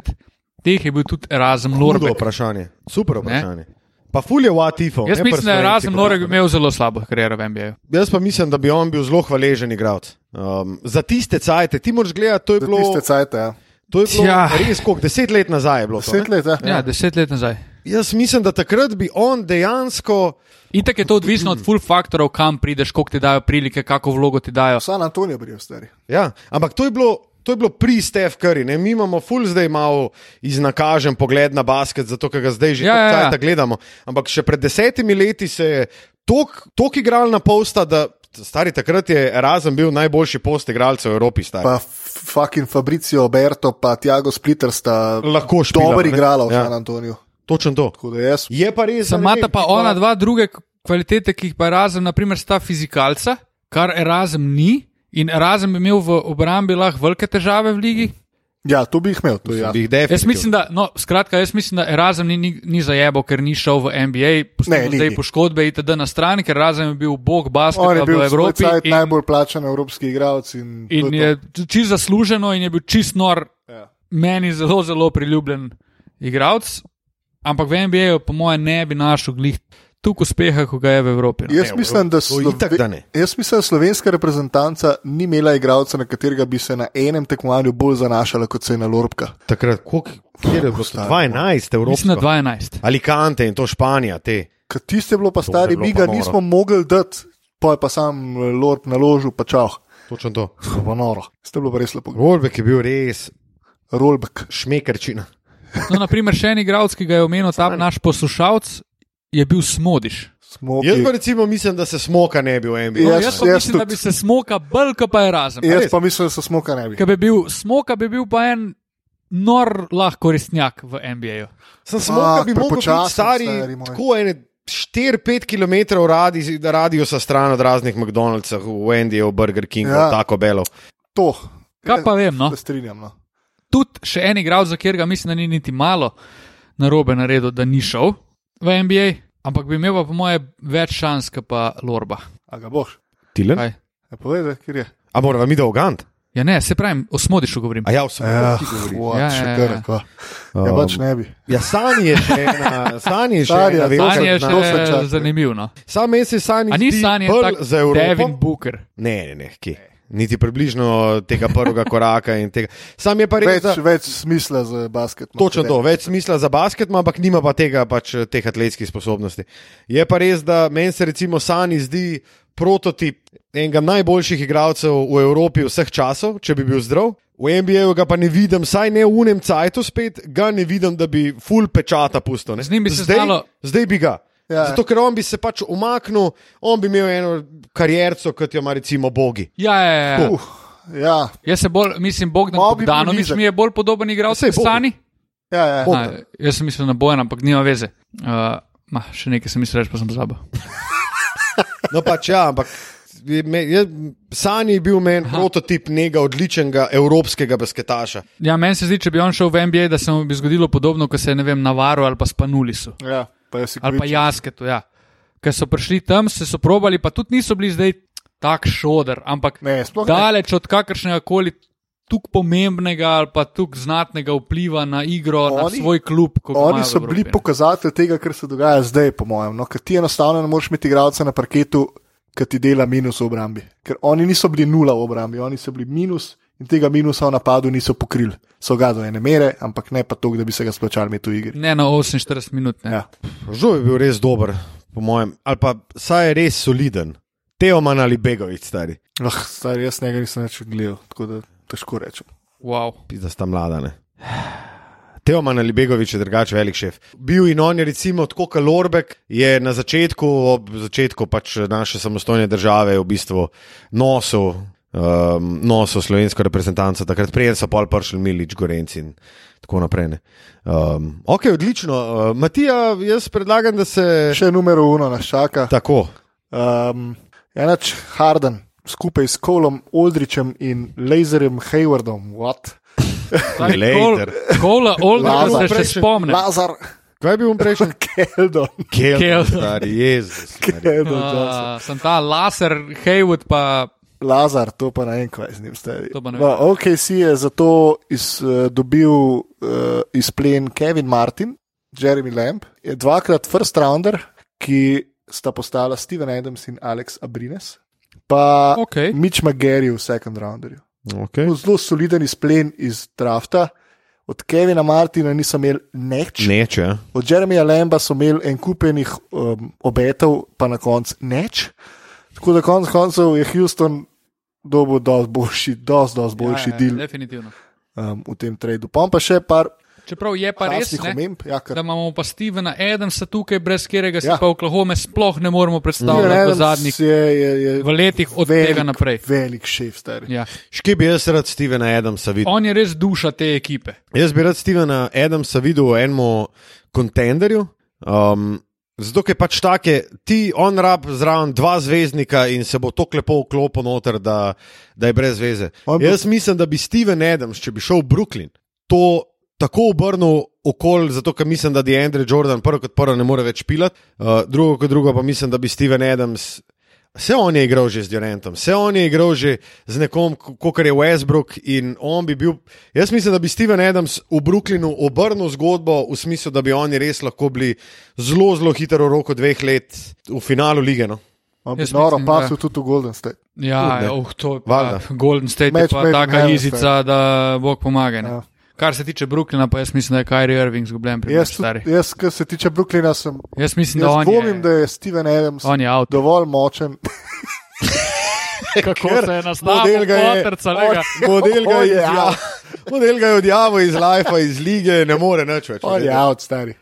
[SPEAKER 3] teh je bil tudi Erasmus
[SPEAKER 1] Mordo
[SPEAKER 3] Lorbek.
[SPEAKER 1] vprašanje, super vprašanje. Ne? Pa fulje v Atifo.
[SPEAKER 3] Jaz mislim, da je Erasmus Lorbek imel zelo slabo kariero v NBA-ju.
[SPEAKER 1] Jaz pa mislim, da bi on bil zelo hvaležen igralec. Um, za tiste cajte, ti moraš gledati, to je bilo,
[SPEAKER 2] Tiste cajte, ja.
[SPEAKER 1] to je bilo
[SPEAKER 3] Ja.
[SPEAKER 1] res koliko, deset let nazaj je bilo. To,
[SPEAKER 2] Deset
[SPEAKER 1] ne?
[SPEAKER 2] let, ja.
[SPEAKER 3] Ja, deset let nazaj.
[SPEAKER 1] Jaz mislim, da takrat bi on dejansko.
[SPEAKER 3] Itek je to odvisno od full faktorov, kam prideš, koliko ti dajo prilike, kako vlogo ti dajo.
[SPEAKER 2] San Antonijo bi bil stari.
[SPEAKER 1] Ja, ampak to je bilo. To je bilo pri Stefu Curry, ne? mi imamo ful zdaj malo iznakažen pogled na basket, zato ker ga zdaj že
[SPEAKER 3] Ja,
[SPEAKER 1] ja,
[SPEAKER 3] ja, ja.
[SPEAKER 1] ja, ja. gledamo. Ampak še pred desetimi leti se je toliko igral na posta, da stari takrat je Razen bil najboljši post igralcev v Evropi. Stari.
[SPEAKER 2] Pa fucking Fabricio Berto, pa Tiago Splitter sta
[SPEAKER 1] Lahko špila,
[SPEAKER 2] dobro
[SPEAKER 1] ne?
[SPEAKER 2] igrala v
[SPEAKER 1] Ja.
[SPEAKER 2] ja. San Antoniju.
[SPEAKER 1] Točno to.
[SPEAKER 2] Tako da jaz.
[SPEAKER 1] Je pa res, da ne
[SPEAKER 3] Samata
[SPEAKER 1] vem,
[SPEAKER 3] pa
[SPEAKER 1] ti
[SPEAKER 3] ona dva druge k- kvalitete, ki jih pa Erasmus, naprimer, sta fizikalca, kar Erasmus ni. In Erasmus je imel v obrambi lahko velike težave v ligi.
[SPEAKER 2] Ja, to bi jih imel, to je
[SPEAKER 1] Bi
[SPEAKER 2] jasno.
[SPEAKER 1] jih definitivno.
[SPEAKER 3] Jaz mislim, da, no, skratka, jaz mislim, da Erasmus ni, ni, ni zajebo, ker ni šel v NBA,
[SPEAKER 2] Ne,
[SPEAKER 3] pustimo
[SPEAKER 2] ni,
[SPEAKER 3] zdaj
[SPEAKER 2] ni.
[SPEAKER 3] poškodbe itd. na strani, ker Erasmus je bil
[SPEAKER 2] On
[SPEAKER 3] bog
[SPEAKER 2] je
[SPEAKER 3] basketa
[SPEAKER 2] bil v
[SPEAKER 3] v
[SPEAKER 2] svoj
[SPEAKER 3] Evropi.
[SPEAKER 2] cajt in...
[SPEAKER 3] in-
[SPEAKER 2] najbolj plačan evropski igralec. In to
[SPEAKER 3] In
[SPEAKER 2] je
[SPEAKER 3] je čist zasluženo, in je bil čist nor,
[SPEAKER 2] Ja.
[SPEAKER 3] meni zelo, zelo priljubljen igralec. Ampak v NBA-ju, po mojem, ne bi našel glih tukaj uspeha, ko ga je v Evropi.
[SPEAKER 2] to.
[SPEAKER 3] no.
[SPEAKER 2] Jaz mislim, da,
[SPEAKER 1] to itak, da ne.
[SPEAKER 2] jaz mislim, da slovenska reprezentanca ni imela igralca, na katerega bi se na enem tekmovanju bolj zanašala, kot se je na Lorbka.
[SPEAKER 1] Takrat, koliko kjer je bilo?
[SPEAKER 2] stari,
[SPEAKER 1] 12,
[SPEAKER 3] Mislim, da
[SPEAKER 1] Evropa.
[SPEAKER 3] 12.
[SPEAKER 1] Alicante in to Španija, te.
[SPEAKER 2] Ker tiste je bilo pa
[SPEAKER 1] je
[SPEAKER 2] stari,
[SPEAKER 1] bilo
[SPEAKER 2] mi
[SPEAKER 1] pa
[SPEAKER 2] ga
[SPEAKER 1] noro.
[SPEAKER 2] nismo mogli dati, pa je pa sam Lorb naložil, pa čau.
[SPEAKER 1] Točno to.
[SPEAKER 2] To je bilo noro. Ste bilo pa res lepo.
[SPEAKER 1] Volbek je bil res
[SPEAKER 2] Rolbek.
[SPEAKER 1] šmekerčina.
[SPEAKER 3] No, naprimer, še en igralec, ki ga je omenil ta naš poslušalec, je bil Smodiš.
[SPEAKER 2] Smo
[SPEAKER 1] Jaz pa recimo mislim, da se smoka ne bi v NBA.
[SPEAKER 2] Ja.
[SPEAKER 3] No,
[SPEAKER 2] Jaz-
[SPEAKER 3] jaz pa
[SPEAKER 2] jaz
[SPEAKER 3] mislim,
[SPEAKER 2] tudi.
[SPEAKER 3] da
[SPEAKER 2] Ja.
[SPEAKER 3] bi se smoka bolj, kot pa je razen.
[SPEAKER 2] Jaz
[SPEAKER 1] res?
[SPEAKER 2] pa mislim, da se smoka ne bi.
[SPEAKER 3] Ker bi bil smoka, bi bil pa en nor lahko resnjak v NBA-ju.
[SPEAKER 1] Sem smoka
[SPEAKER 2] Ah,
[SPEAKER 1] bi mogel biti
[SPEAKER 2] prepočasen,
[SPEAKER 1] stari,
[SPEAKER 2] stari moj.
[SPEAKER 1] tako ene 4-5 km radi, radiusa stran od raznih McDonald'sov, v Wendyju, Burger Kingu,
[SPEAKER 2] Ja.
[SPEAKER 1] ja. tako belo.
[SPEAKER 2] To. Ja.
[SPEAKER 3] Kaj pa vem, no?
[SPEAKER 2] Se strinjam. No.
[SPEAKER 3] Tudi še en igralec, za katerega mislim, da ni niti malo narobe naredil, da ni šel v NBA, ampak bi imel pa po moje več šans, kot pa Lorba.
[SPEAKER 2] A ga boš?
[SPEAKER 1] Tilen?
[SPEAKER 3] Kaj?
[SPEAKER 2] Ja, povej, da, kjer je.
[SPEAKER 1] A moramo mi dolgant?
[SPEAKER 3] Ja, ne, se pravi, o smodišu govorim.
[SPEAKER 1] A ja, vse.
[SPEAKER 2] Ja,
[SPEAKER 3] Ja,
[SPEAKER 2] hvala, še
[SPEAKER 3] ja, ja.
[SPEAKER 2] kar. kva. Ja,
[SPEAKER 1] Um,
[SPEAKER 2] pač ne bi.
[SPEAKER 1] Ja, Sani je še ena, Sani je še
[SPEAKER 2] Sani
[SPEAKER 1] ena
[SPEAKER 2] je to-
[SPEAKER 1] velika.
[SPEAKER 3] San je
[SPEAKER 2] to se
[SPEAKER 3] še
[SPEAKER 2] čaka.
[SPEAKER 3] zanimiv. No.
[SPEAKER 1] Sam meni se Sani
[SPEAKER 3] A ni
[SPEAKER 1] zdi
[SPEAKER 3] San je
[SPEAKER 1] bolj
[SPEAKER 3] tak
[SPEAKER 1] za Evropo.
[SPEAKER 3] Devin Booker.
[SPEAKER 1] Ne, ne, ne, kje. Niti približno tega prvega koraka in tega. Sam je pa res.
[SPEAKER 2] Več,
[SPEAKER 1] da-
[SPEAKER 2] več smisla za basket. ima
[SPEAKER 1] Točno
[SPEAKER 2] kot
[SPEAKER 1] to, več smisla za basket, ima, ampak nima pa tega, pač teh atletskih sposobnosti. Je pa res, da meni se recimo Sani zdi prototip enega najboljših igralcev v Evropi vseh časov, če bi bil zdrav. V NBA-ju ga pa ne vidim, saj ne v unem cajtu spet, ga ne vidim, da bi full pečata pusto. ne.
[SPEAKER 3] Z njim bi se
[SPEAKER 1] zdaj,
[SPEAKER 3] znalo-
[SPEAKER 1] zdaj bi ga.
[SPEAKER 2] Ja.
[SPEAKER 1] Ja. Zato, ker on bi se pač umaknil, on bi imel eno karjerco, kot jo ima recimo bogi.
[SPEAKER 3] Ja, ja, ja, ja.
[SPEAKER 2] Uh, ja,
[SPEAKER 3] Jaz se bolj, mislim, Bogdan
[SPEAKER 2] Malo bi bil
[SPEAKER 3] Bogdanovič
[SPEAKER 2] nizek.
[SPEAKER 3] mi je bolj podoben igralec
[SPEAKER 1] Saj
[SPEAKER 3] kot
[SPEAKER 1] Bog-
[SPEAKER 3] Sani.
[SPEAKER 2] ja, ja.
[SPEAKER 1] Bog-
[SPEAKER 3] A, jaz sem mislil na bojen, ampak nima veze. Uh, ma, še nekaj sem mislil, reči, pa sem pozabil.
[SPEAKER 1] No, pač ja, ampak je me- jaz- Sani je bil meni prototip nekega odličnega evropskega basketaša.
[SPEAKER 3] Ja, meni se zdi, če bi on šel v NBA, da se mu bi zgodilo podobno, kot se je ne vem, Navaru ali pa Spanulisu
[SPEAKER 2] ja. Pa jaz si
[SPEAKER 3] ali pa
[SPEAKER 2] kričim.
[SPEAKER 3] Jasketu. Ja. Ker so prišli tam, se so probali, pa tudi niso bili zdaj tak šoder, ampak
[SPEAKER 2] Ne, sploh ne.
[SPEAKER 3] daleč od kakršnega koli tukaj pomembnega ali pa tukaj znatnega vpliva na igro, oni, na
[SPEAKER 2] Oni-
[SPEAKER 3] svoj klub. ko ga
[SPEAKER 2] Oni
[SPEAKER 3] imajo v
[SPEAKER 2] so
[SPEAKER 3] Evropi, ja.
[SPEAKER 2] bili
[SPEAKER 3] ne.
[SPEAKER 2] pokazatelj tega, kar se dogaja zdaj, po mojem. No, ker ti enostavno ne moreš imeti igralca na parketu, ki ti dela minus v obrambi. Ker oni niso bili nula v obrambi, oni so bili minus in tega minusa v napadu niso pokrili. So ga do ene mere, ampak ne pa to, da bi se ga splačali imeti v igri.
[SPEAKER 3] Ne na 48 minut. Ne.
[SPEAKER 2] Ja.
[SPEAKER 1] Žal je bil res dober, po mojem, ali pa saj je res soliden. Teoman ali Begovič, stari,
[SPEAKER 2] Oh, star, jaz njega nisem več gledal, tako da težko rečem.
[SPEAKER 3] Wow.
[SPEAKER 1] da sta mladane. Teoman ali Begovič je drugače velik šef. Bil in on je recimo tako Kalorbek, je na začetku, ob začetku pač naše samostojne države v bistvu nosil. Um, nosil slovensko reprezentanco, takrat prej so pol pršli Milič, Gorenc in tako naprej. ne. Um, ok, odlično. Uh, Matija, jaz predlagam, da se.
[SPEAKER 2] Še numero uno nas čaka.
[SPEAKER 1] Tako.
[SPEAKER 2] Um, Enač Harden skupaj s Kolom Oldričem in Lazerjem Haywardom. What?
[SPEAKER 1] Later.
[SPEAKER 3] Kola Oldra
[SPEAKER 2] Lazar.
[SPEAKER 3] se še spomne.
[SPEAKER 2] Lazar
[SPEAKER 1] Kaj je bil on prejšnji?
[SPEAKER 2] Keldon.
[SPEAKER 1] Kel,
[SPEAKER 3] Kel.
[SPEAKER 1] stari Jezus. Stari.
[SPEAKER 2] Keldon Johnson.
[SPEAKER 3] Uh, sem ta laser, Haywood pa
[SPEAKER 2] Lazar, to pa ne vem, kaj z njim stari.
[SPEAKER 3] To pa ne
[SPEAKER 2] No, OKC je zato iz, uh, dobil uh, izplen Kevin Martin, Jeremy Lamb, je dvakrat first rounder, ki sta postala Steven Adams in Alex Abrines, pa
[SPEAKER 3] Ok.
[SPEAKER 2] Mitch McGarry v second rounderju.
[SPEAKER 1] Okay.
[SPEAKER 2] Zelo soliden izplen iz drafta. Od Kevina Martina nisem imel nič,
[SPEAKER 1] Neče. ja.
[SPEAKER 2] od Jeremija Lamba so imeli en kupenih um, obetov, pa na koncu neč. Tako da konec koncev je Houston dobil dosti boljši, dosti, dosti boljši ja, del
[SPEAKER 3] Definitivno.
[SPEAKER 2] um, v tem tradu. Pom pa še par
[SPEAKER 3] Čeprav je pa res,
[SPEAKER 2] krasnih
[SPEAKER 3] ne,
[SPEAKER 2] omemb, ja,
[SPEAKER 3] da
[SPEAKER 2] kar
[SPEAKER 3] imamo pa Stevena Adamsa tukaj, brez katerega si
[SPEAKER 2] Ja.
[SPEAKER 3] ja. pa Oklahome sploh ne moremo
[SPEAKER 2] Steven
[SPEAKER 3] predstavljati v
[SPEAKER 2] Adams
[SPEAKER 3] zadnjih
[SPEAKER 2] je, je, je
[SPEAKER 3] v letih od
[SPEAKER 2] velik,
[SPEAKER 3] tega naprej.
[SPEAKER 2] Velik šef, stari.
[SPEAKER 3] Ja.
[SPEAKER 1] Ški bi jaz rad Stevena Adamsa videl.
[SPEAKER 3] On je res duša te ekipe.
[SPEAKER 1] Jaz bi rad Stevena Adamsa videl v enem kontenderju. Um, zato, ker pač take, ti on rab zraven dva zvezdnika in se bo tako lepo vklopil noter, da, da je brez veze.
[SPEAKER 2] On bo-
[SPEAKER 1] jaz mislim, da bi Steven Adams, če bi šel v Brooklyn, to tako obrnil okol, zato ker mislim, da je Andrej Jordan prvo kot prvo ne more več pilati, uh, drugo kot drugo pa mislim, da bi Steven Adams. Vse on je igral že z Durantom, vse on je igral že z nekom, kot je Westbrook. in on bi Bil, jaz mislim, da bi Steven Adams v Brooklynu obrnil zgodbo v smislu, da bi oni res lahko bili zelo, zelo hitro v roku dveh let v finalu lige. No?
[SPEAKER 2] On bi
[SPEAKER 3] Jaz
[SPEAKER 2] noro
[SPEAKER 3] mislim,
[SPEAKER 2] pasel
[SPEAKER 3] da-
[SPEAKER 2] tudi v Golden State.
[SPEAKER 3] Ja,
[SPEAKER 1] Tudi, ne.
[SPEAKER 3] ja, oh, to je
[SPEAKER 1] Valjda.
[SPEAKER 3] pa, Golden State
[SPEAKER 2] Match
[SPEAKER 3] je pa
[SPEAKER 2] made in
[SPEAKER 3] taka
[SPEAKER 2] heaven,
[SPEAKER 3] izica, da bog pomaga.
[SPEAKER 2] Ja.
[SPEAKER 3] Ja. Kar se tiče Brooklyna, pa jaz mislim, da je Kyrie Irving zgubljen pri
[SPEAKER 2] Jaz, tudi,
[SPEAKER 3] Ja, stari.
[SPEAKER 2] jaz, kar se tiče Brooklyna, sem.
[SPEAKER 3] Jaz mislim, da
[SPEAKER 2] Jaz
[SPEAKER 3] on
[SPEAKER 2] dvomim,
[SPEAKER 3] je,
[SPEAKER 2] da je Steven Adams
[SPEAKER 3] on je avto.
[SPEAKER 2] dovolj močen.
[SPEAKER 3] Kako se je
[SPEAKER 1] model
[SPEAKER 3] nastavil,
[SPEAKER 1] ga je-
[SPEAKER 3] potrca, lega.
[SPEAKER 2] Oh,
[SPEAKER 1] Model ga je
[SPEAKER 2] On je
[SPEAKER 1] odjavil, model ga je odjavil iz Life, iz lige, ne more nič več.
[SPEAKER 2] On je out, stari.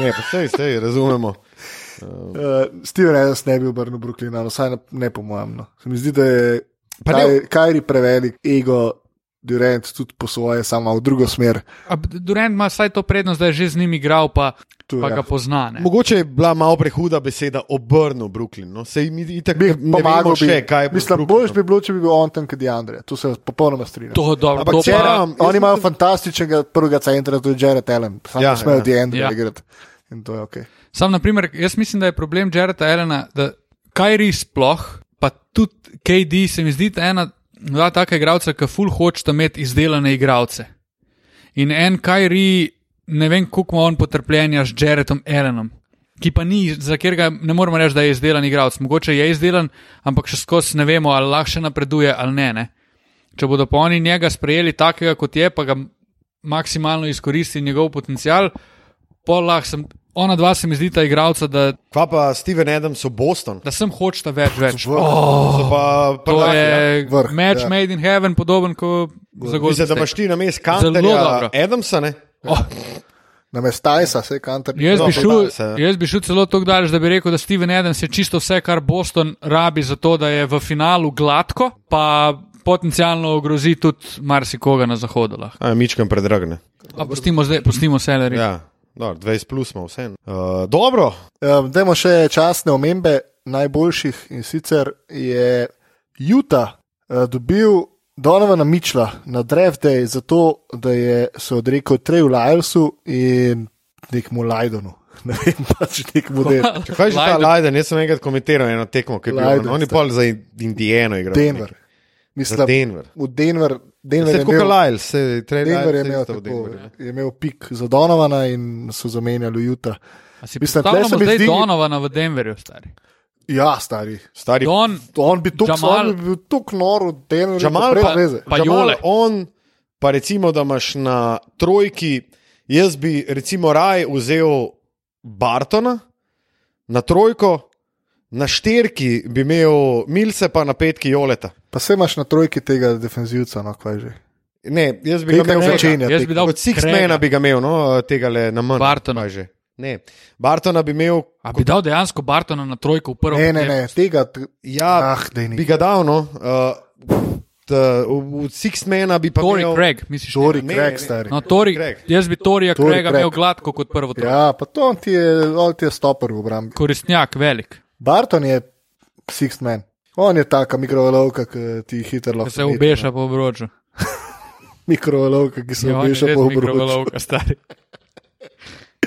[SPEAKER 1] Ne, pa sej, sej, razumemo.
[SPEAKER 2] Uh, Steven Adams ne bi obrnil Brooklyna, no, vsaj ne, ne po mojem. No. Se mi zdi, da je
[SPEAKER 1] Pa ne-
[SPEAKER 2] Kaj- Kyrie prevelik ego Durant tudi po svoje, samo v drugo smer.
[SPEAKER 3] A B- Durant ima vsaj to prednost, da je že z njim igral, pa,
[SPEAKER 2] Tu,
[SPEAKER 3] pa
[SPEAKER 2] ja.
[SPEAKER 3] ga pozna. ne.
[SPEAKER 1] Mogoče je bila malo prehuda beseda obrnil Brooklyn. No? Sej mi itak
[SPEAKER 2] Bi
[SPEAKER 1] ne vemo še, kaj je bilo
[SPEAKER 2] Mislim, boljš bi bilo, če bi bil on tam, kot je Andrej. Tu se popolnoma strinjam.
[SPEAKER 3] To, dobro,
[SPEAKER 1] Ampak
[SPEAKER 3] to
[SPEAKER 1] če
[SPEAKER 3] pa,
[SPEAKER 1] ram- jaz
[SPEAKER 2] Oni imajo
[SPEAKER 1] mislim-
[SPEAKER 2] fantastičnega prvega centra, to je Jared Allen, samo
[SPEAKER 1] Ja,
[SPEAKER 2] ja, smejo
[SPEAKER 1] ja.
[SPEAKER 2] ti Andrej
[SPEAKER 3] Ja.
[SPEAKER 2] ja. igrati. In to je ok.
[SPEAKER 3] sam, naprimer, jaz mislim, da je problem Jareta Elena, da Kajri sploh, pa tudi KD, se mi zdi, da ena, dva taka igralca, ki full hočeta imeti izdelane igralce. In en Kajri, ne vem, koliko ima on potrpljenja z Jaretom Elenom. Ki pa ni, za katerega ne moremo reči, da je izdelan igralec. Mogoče je izdelan, ampak še skozi ne vemo, ali lahko še napreduje ali ne. ne. Če bodo pa oni njega sprejeli takega, kot je, pa ga maksimalno izkoristi njegov potencial, pol lahko sem. Ona dva se mi zdi ta igralca, da,
[SPEAKER 1] Kva pa Steven Adams v Boston?
[SPEAKER 3] da sem hočeta več, več.
[SPEAKER 1] Oh, pa, pa
[SPEAKER 3] To je
[SPEAKER 2] vrh,
[SPEAKER 3] match
[SPEAKER 2] ja.
[SPEAKER 3] made in heaven, podoben kot za
[SPEAKER 1] Mislim, da imaš
[SPEAKER 3] Golden.
[SPEAKER 1] ti na mestu
[SPEAKER 3] Zelo dobro.
[SPEAKER 1] Kanterja Adamsa, ne?
[SPEAKER 2] Na mestajsa se kantar.
[SPEAKER 3] Jaz bi,
[SPEAKER 1] No,
[SPEAKER 3] šel,
[SPEAKER 1] se, ja.
[SPEAKER 3] jaz bi šel celo tako daleč, da bi rekel, da Steven Adams je čisto vse, kar Boston rabi za to, da je v finalu gladko, pa potencialno ogrozi tudi marsikoga na zahodu. lahko.
[SPEAKER 1] A, ja, mičkam predragne.
[SPEAKER 3] A Pustimo, zdaj- pustimo Seleri.
[SPEAKER 1] Ja, dobro, 20 plus smo vse. Uh, dobro,
[SPEAKER 2] Um, Dajmo še časne omembe najboljših in sicer je Utah uh, dobil Donovana Mičla na draft day zato, da je se odrekel Treju Lylesu in nekmu Lajdonu. Ne vem, pač nek model.
[SPEAKER 1] čakaj že ta
[SPEAKER 3] Lajden.
[SPEAKER 1] Lajden, jaz sem enkrat komentiral eno tekmo, ki je bila.
[SPEAKER 2] Lajden,
[SPEAKER 1] Oni
[SPEAKER 2] sta.
[SPEAKER 1] pol za Indijano igrajo.
[SPEAKER 2] Denver.
[SPEAKER 1] Za
[SPEAKER 2] Mislim,
[SPEAKER 1] Denver.
[SPEAKER 2] v Denver, Denver
[SPEAKER 1] Se
[SPEAKER 2] je
[SPEAKER 1] tako kot
[SPEAKER 2] imel,
[SPEAKER 1] Lajl, se Trey
[SPEAKER 2] Denver je
[SPEAKER 1] Lyles
[SPEAKER 2] imel,
[SPEAKER 1] isto v
[SPEAKER 2] tako, ja.
[SPEAKER 1] Denverju.
[SPEAKER 2] je imel pik za Donovana in so zamenjali Juta.
[SPEAKER 3] A Si
[SPEAKER 2] Mislim,
[SPEAKER 3] predstavljamo
[SPEAKER 2] tule se mi
[SPEAKER 3] zdaj
[SPEAKER 2] zdi-
[SPEAKER 3] Donovana v Denverju, stari.
[SPEAKER 2] Ja, stari.
[SPEAKER 1] Stari
[SPEAKER 3] Don,
[SPEAKER 2] To On bi tako
[SPEAKER 3] Jamal-
[SPEAKER 2] on bi bil tako nor v Denverju.
[SPEAKER 1] Jamal
[SPEAKER 2] brez
[SPEAKER 1] pa-
[SPEAKER 2] veze.
[SPEAKER 3] pa
[SPEAKER 1] Jamal,
[SPEAKER 3] Jole.
[SPEAKER 1] On, pa recimo, da imaš na trojki, jaz bi recimo raje vzel Bartona na trojko, na šterki bi imel Milce, pa na petki Joleta.
[SPEAKER 2] Pa se imaš na trojki tega defenzivca, no kaj že.
[SPEAKER 1] Ne, jaz bi
[SPEAKER 2] Kaj
[SPEAKER 1] ga
[SPEAKER 2] ga
[SPEAKER 1] imel
[SPEAKER 2] začenja?
[SPEAKER 1] začeti.
[SPEAKER 3] jaz bi dal
[SPEAKER 1] Kot
[SPEAKER 3] Krega.
[SPEAKER 1] Sixmana bi ga imel, no, tega le na manj.
[SPEAKER 3] Bartona.
[SPEAKER 1] kaj že. Ne, Bartona bi imel,
[SPEAKER 3] A bi dal dejansko Bartona na trojko v prvo?
[SPEAKER 2] Ne, ne, ne, tega. t-
[SPEAKER 1] ja,
[SPEAKER 2] ah, daj ni.
[SPEAKER 1] bi ga dal, no. Uh, t, v v Sixmana bi pa
[SPEAKER 3] Tori
[SPEAKER 1] imel.
[SPEAKER 3] Torej Craig, misliš?
[SPEAKER 2] Tori,
[SPEAKER 1] ne,
[SPEAKER 2] Craig,
[SPEAKER 1] ne.
[SPEAKER 2] stari.
[SPEAKER 3] No, Tori,
[SPEAKER 1] Craig.
[SPEAKER 3] jaz bi Torija
[SPEAKER 2] Torij
[SPEAKER 3] Craiga
[SPEAKER 2] Craig.
[SPEAKER 3] imel gladko kot prvo trojko.
[SPEAKER 2] Ja, pa to on ti je, on ti je stopor v obrambi.
[SPEAKER 3] Koristnjak, velik.
[SPEAKER 2] Barton je sixth man. On je taka mikrovalovka, ki ti hitro
[SPEAKER 3] Ko
[SPEAKER 2] lahko.
[SPEAKER 3] se obeša po obroču.
[SPEAKER 2] Mikrovalovka, ki ja. se
[SPEAKER 3] Ja, on je
[SPEAKER 2] obeša
[SPEAKER 3] res
[SPEAKER 2] po obroču.
[SPEAKER 3] mikrovalovka, stari.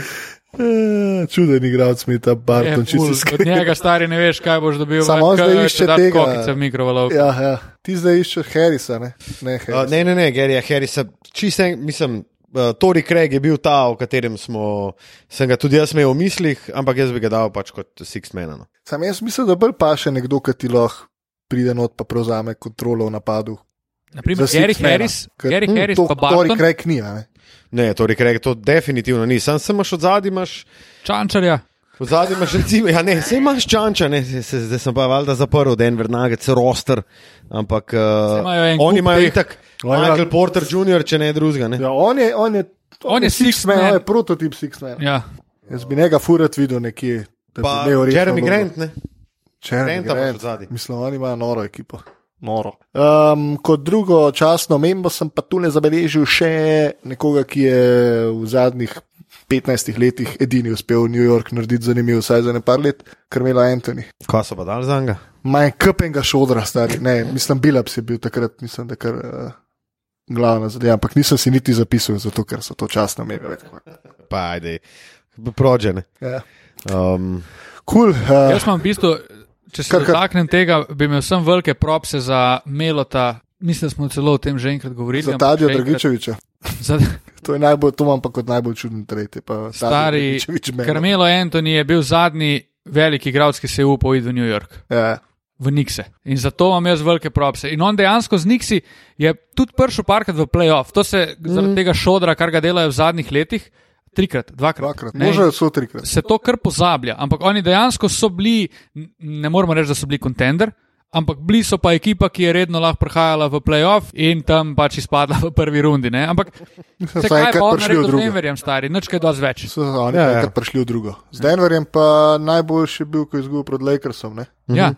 [SPEAKER 2] Eh, Čuden igralec mi je ta
[SPEAKER 3] Je
[SPEAKER 2] Barton, če
[SPEAKER 3] ful.
[SPEAKER 2] si
[SPEAKER 3] Od
[SPEAKER 2] skrbel.
[SPEAKER 3] njega stari ne veš, kaj boš dobil.
[SPEAKER 2] Samo
[SPEAKER 3] manj,
[SPEAKER 2] zdaj
[SPEAKER 3] kaj
[SPEAKER 2] išče
[SPEAKER 3] še dati
[SPEAKER 2] tega.
[SPEAKER 3] Kokice v mikrovalovko.
[SPEAKER 2] Ja, ja. Ti zdaj iščeš Harrisa, ne? Ne,
[SPEAKER 1] Uh,
[SPEAKER 2] Harris.
[SPEAKER 1] ne, ne, ne, Gerija Harrisa, čisto en, mislim. Uh, Tori Craig je bil ta, o katerem smo, sem ga tudi jaz imel v mislih, ampak jaz bi ga dal pač kot Sixmana. No.
[SPEAKER 2] Sam jaz mislim, da bolj paše nekdo, ki ti lahko pride not pa prevzame kontrolo v napadu.
[SPEAKER 3] Naprimer,
[SPEAKER 2] Za
[SPEAKER 3] Gary
[SPEAKER 2] sixth mana,
[SPEAKER 3] Harris,
[SPEAKER 2] ker-
[SPEAKER 3] Gary
[SPEAKER 2] hm,
[SPEAKER 3] Harris
[SPEAKER 2] to
[SPEAKER 3] pa
[SPEAKER 2] Tori
[SPEAKER 3] Barton,
[SPEAKER 2] Craig ni, a ne?
[SPEAKER 1] Ne, Tori Craig to definitivno ni, sam sem imaš od zadaj, imaš
[SPEAKER 3] Čančarja.
[SPEAKER 1] od zadaj, imaš recimo, ja ne, sej imaš čanča, ne, se, se, zdaj sem pa valjda zaprl, Denver Nuggets, roster, ampak uh,
[SPEAKER 3] imajo en kup
[SPEAKER 1] oni imajo
[SPEAKER 3] teh-
[SPEAKER 1] itak
[SPEAKER 2] Oni imajo-
[SPEAKER 1] Michael Porter Jr., če ne drugega, ne.
[SPEAKER 2] Ja, on je, on je,
[SPEAKER 3] On je sixth man.
[SPEAKER 2] on je prototip sixth man.
[SPEAKER 3] Ja.
[SPEAKER 2] Jaz bi njega furat videl nekje. da bi
[SPEAKER 1] Pa
[SPEAKER 2] imel resno
[SPEAKER 1] Jeremy
[SPEAKER 2] vlogo.
[SPEAKER 1] Grant, ne.
[SPEAKER 2] Jeremy
[SPEAKER 1] Granta imaš
[SPEAKER 2] Grant.
[SPEAKER 1] od zadaj.
[SPEAKER 2] Mislim, oni imajo noro ekipo. Noro. Um, kot drugo časno membo sem pa tu ne zabeležil še nekoga, ki je v zadnjih 15 letih edini uspel New York narediti zanimiv, vsaj za nekaj let, Krmela Anthony.
[SPEAKER 1] Kaj so pa dal za njega?
[SPEAKER 2] Manj kapenega šodra, stari. Ne, mislim, Bilaps je bil takrat, mislim, da kar. Uh, Glavna zadeva, ampak nisem si niti zapisal, zato ker so to časno meme.
[SPEAKER 1] Pa ajde, prođene.
[SPEAKER 2] Ja.
[SPEAKER 1] Um,
[SPEAKER 2] Cool, uh,
[SPEAKER 3] Jaz imam v bistvu, če se
[SPEAKER 2] Kar- kar-
[SPEAKER 3] dotaknem tega, bi imel sem velike propse za Melota. Mislim, da smo celo o tem že enkrat govorili.
[SPEAKER 2] za
[SPEAKER 3] ampak
[SPEAKER 2] Tadija
[SPEAKER 3] še enkrat-
[SPEAKER 2] Dragičeviča.
[SPEAKER 3] Za,
[SPEAKER 2] To, je najbolj, to imam pa kot najbolj čuden tretje.
[SPEAKER 3] Stari Karmelo Antoni je bil zadnji veliki igralec, ki se je upal iti v New York,
[SPEAKER 2] Ja,
[SPEAKER 3] v Nikse. In zato imam jaz velike propse. In on dejansko z Niksi je tudi prišel parkrat v playoff. To se
[SPEAKER 2] Mm.
[SPEAKER 3] zaradi tega šodra, kar ga delajo v zadnjih letih, trikrat, dvakrat.
[SPEAKER 2] dvakrat,
[SPEAKER 3] ne.
[SPEAKER 2] možno so trikrat.
[SPEAKER 3] Se to kar pozablja, ampak oni dejansko so bili, n- ne moramo reči, da so bili kontender, ampak bili so pa ekipa, ki je redno lahko prihajala v playoff in tam pač izpadla v prvi rundi. Ne? Ampak se
[SPEAKER 2] Vsaj
[SPEAKER 3] kaj
[SPEAKER 2] enkrat
[SPEAKER 3] pa on
[SPEAKER 2] prišli v
[SPEAKER 3] naredi z
[SPEAKER 2] drugo.
[SPEAKER 3] Denverjem, stari, nič kaj dosti več.
[SPEAKER 2] So oni
[SPEAKER 1] Ja, ja.
[SPEAKER 2] ja, ja. prišli v drugo. Z Denverjem pa najboljši je bil, ko je izgubil pred Lakersom. Ne?
[SPEAKER 3] Ja,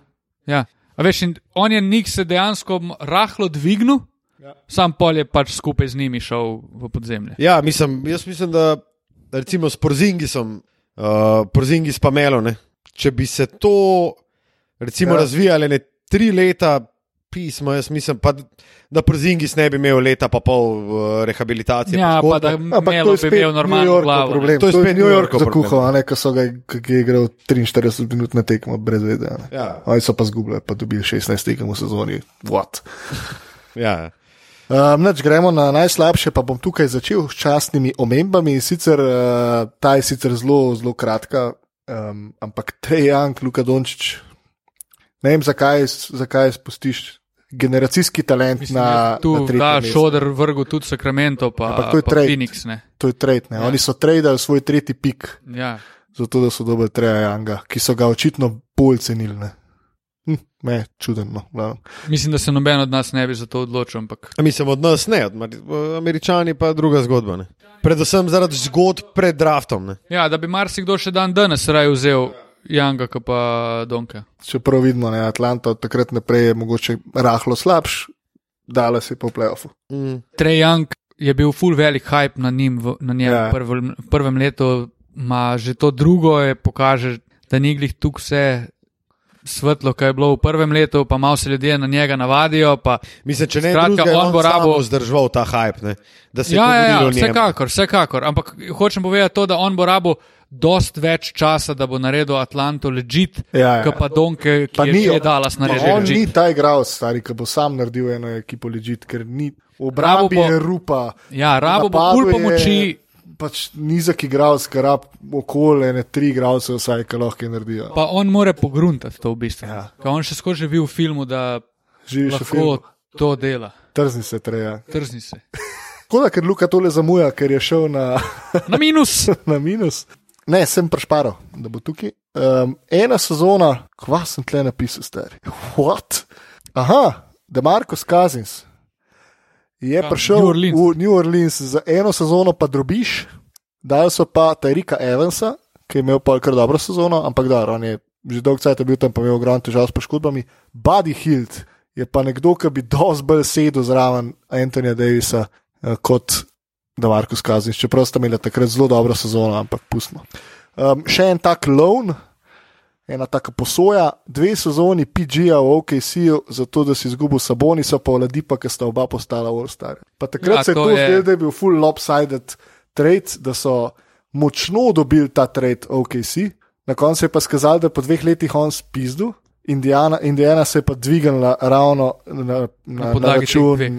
[SPEAKER 3] ja. A veš, in on je nik se dejansko m- rahlo dvignil,
[SPEAKER 2] Ja.
[SPEAKER 3] Sam pol je pač skupaj z njimi šel v podzemlje.
[SPEAKER 1] Ja, mislim, jaz mislim, da recimo s Porzingisom, uh, Porzingis pa Melo, ne? če bi se to recimo
[SPEAKER 2] Ja.
[SPEAKER 1] ja. razvijalo ne tri leta. Pismo, jaz mislim, pa, da Porzingis ne bi imel leta pa pol uh, rehabilitacije.
[SPEAKER 3] Ja, pa da
[SPEAKER 1] poškodbe.
[SPEAKER 2] pač Ampak
[SPEAKER 3] Melo bi imel normalno
[SPEAKER 2] Yorkov
[SPEAKER 3] glavo. ne.
[SPEAKER 2] problem.
[SPEAKER 1] To je spet
[SPEAKER 2] New
[SPEAKER 1] New
[SPEAKER 2] York
[SPEAKER 1] Yorkov
[SPEAKER 2] zakuhal,
[SPEAKER 1] problem.
[SPEAKER 2] a ne, ko so ga ko je igral 43 minut na tekmo brez vedea. ne.
[SPEAKER 1] Ja.
[SPEAKER 2] Oni so pa zgubili, pa dobili 16 tekem v sezoni. What?
[SPEAKER 1] ja.
[SPEAKER 2] Um, nač, gremo na najslabše, pa bom tukaj začel s častnimi omembami. Sicer, uh, ta je sicer zelo, zelo kratka, um, ampak Trejang, Luka Dončić, ne vem, zakaj, zakaj spustiš generacijski talent
[SPEAKER 3] Mislim,
[SPEAKER 2] na,
[SPEAKER 3] na, tu
[SPEAKER 2] na tretje
[SPEAKER 3] da
[SPEAKER 2] mesto.
[SPEAKER 3] šoder vrgu tudi Sacramento, pa,
[SPEAKER 2] Ampak to je
[SPEAKER 3] pa
[SPEAKER 2] trade.
[SPEAKER 3] Phoenix. Ne.
[SPEAKER 2] To je trade. Ja.
[SPEAKER 3] Ja.
[SPEAKER 2] Oni so tradali svoj tretji pik,
[SPEAKER 3] Ja.
[SPEAKER 2] zato da so dobili Trejanga, ki so ga očitno bolj cenili. Ne, hm, ne čudno. No.
[SPEAKER 3] Mislim, da se noben od nas ne bi za to odločil, ampak
[SPEAKER 1] A Mislim, od nas ne, od Mari- američani pa druga zgodba. Ne? Predvsem zaradi zgodb pred draftom. Ne?
[SPEAKER 3] ja, da bi marsikdo še dan danes raje vzel Janga, kot pa Donka.
[SPEAKER 2] Čeprav vidimo, da je Atlanta od takrat naprej je mogoče rahlo slabš, dala si po playoffu.
[SPEAKER 1] Mm.
[SPEAKER 3] Trey Young je bil full velik hype na, njim, v, na njem
[SPEAKER 2] Ja.
[SPEAKER 3] ja. v prvem, prvem letu, ima že to drugo, je pokaže, da ni glih tu vse svetlo, kar je bilo v prvem letu, pa malo se ljudje na njega navadijo. Pa,
[SPEAKER 1] Mislim, če ne
[SPEAKER 3] Skratka,
[SPEAKER 1] drugega, je
[SPEAKER 3] on bo
[SPEAKER 1] on
[SPEAKER 3] rabo-
[SPEAKER 1] bo vzdržal ta hype. Ne? Da se je
[SPEAKER 3] ja, ja, ja,
[SPEAKER 1] govorilo o njem.
[SPEAKER 3] vsekakor, vsekakor. Ampak hočem povedati to, da on bo rabo dost več časa, da bo naredil Atlanto legit,
[SPEAKER 2] Ja, ja.
[SPEAKER 3] kot pa Donke, ki
[SPEAKER 2] Pa
[SPEAKER 3] pa je
[SPEAKER 2] ni
[SPEAKER 3] že
[SPEAKER 2] on- Ma,
[SPEAKER 3] dala snarežen
[SPEAKER 2] On ni
[SPEAKER 3] legit.
[SPEAKER 2] ta igralec, stari, ki bo sam naredil eno ekipo ležit, ker ni
[SPEAKER 3] Rabo
[SPEAKER 2] obrambi
[SPEAKER 3] bo-
[SPEAKER 2] je rupa.
[SPEAKER 3] Ja, rabo bo
[SPEAKER 2] napadu
[SPEAKER 3] kul
[SPEAKER 2] je
[SPEAKER 3] pomoči,
[SPEAKER 2] Pač nizek igralec, ki rab okolje, ne tri igralce, vsaj, ki lahko naredijo.
[SPEAKER 3] pa on more pogruntati to v bistvu.
[SPEAKER 2] Ja.
[SPEAKER 3] Ja. On še skozi živi v filmu, da
[SPEAKER 2] Živiš v filmu,
[SPEAKER 3] lahko to dela.
[SPEAKER 2] trzni se treja.
[SPEAKER 3] Trzni se.
[SPEAKER 2] Tako da, ker Luka tole zamuja, ker je šel na,
[SPEAKER 3] Na minus.
[SPEAKER 2] na minus. Ne, sem prešparal, da bo tukaj. Um, ena sezona, kva sem tle napisal, stari. What? Aha, da Marko Skazins je
[SPEAKER 3] Kam?
[SPEAKER 2] prišel
[SPEAKER 3] New Orleans.
[SPEAKER 2] v New Orleans za eno sezono, pa drobiš. Dali so pa Tarika Evansa, ki je imel pa kar dobro sezono, ampak da, on je že dolgo časa bil tam, pa je imel ogromno težav s poškodbami. Buddy Hilt je pa nekdo, ki bi dosti bolj sedel zraven Antonija Davisa eh, kot da Marko Skaznič, čeprav sta imela takrat zelo dobro sezono, ampak pustimo. Um, še en tak loan, ena taka posoja, dve sezoni PG-ja v OKC-ju, zato da si izgubil Sabonisa, pa Oladipa, ker sta oba postala All-Star. Pa takrat ja,
[SPEAKER 3] Ja,
[SPEAKER 2] se je
[SPEAKER 3] to
[SPEAKER 2] to
[SPEAKER 3] je-
[SPEAKER 2] zdelo, da je bil full lopsided trade, da so močno dobili ta trade OKC, na koncu je pa skazal, da je po dveh letih on spizdu. Indiana, Indiana se je pa dvignila ravno na, na, na, na
[SPEAKER 3] podlagi teh
[SPEAKER 2] račun
[SPEAKER 3] dveh.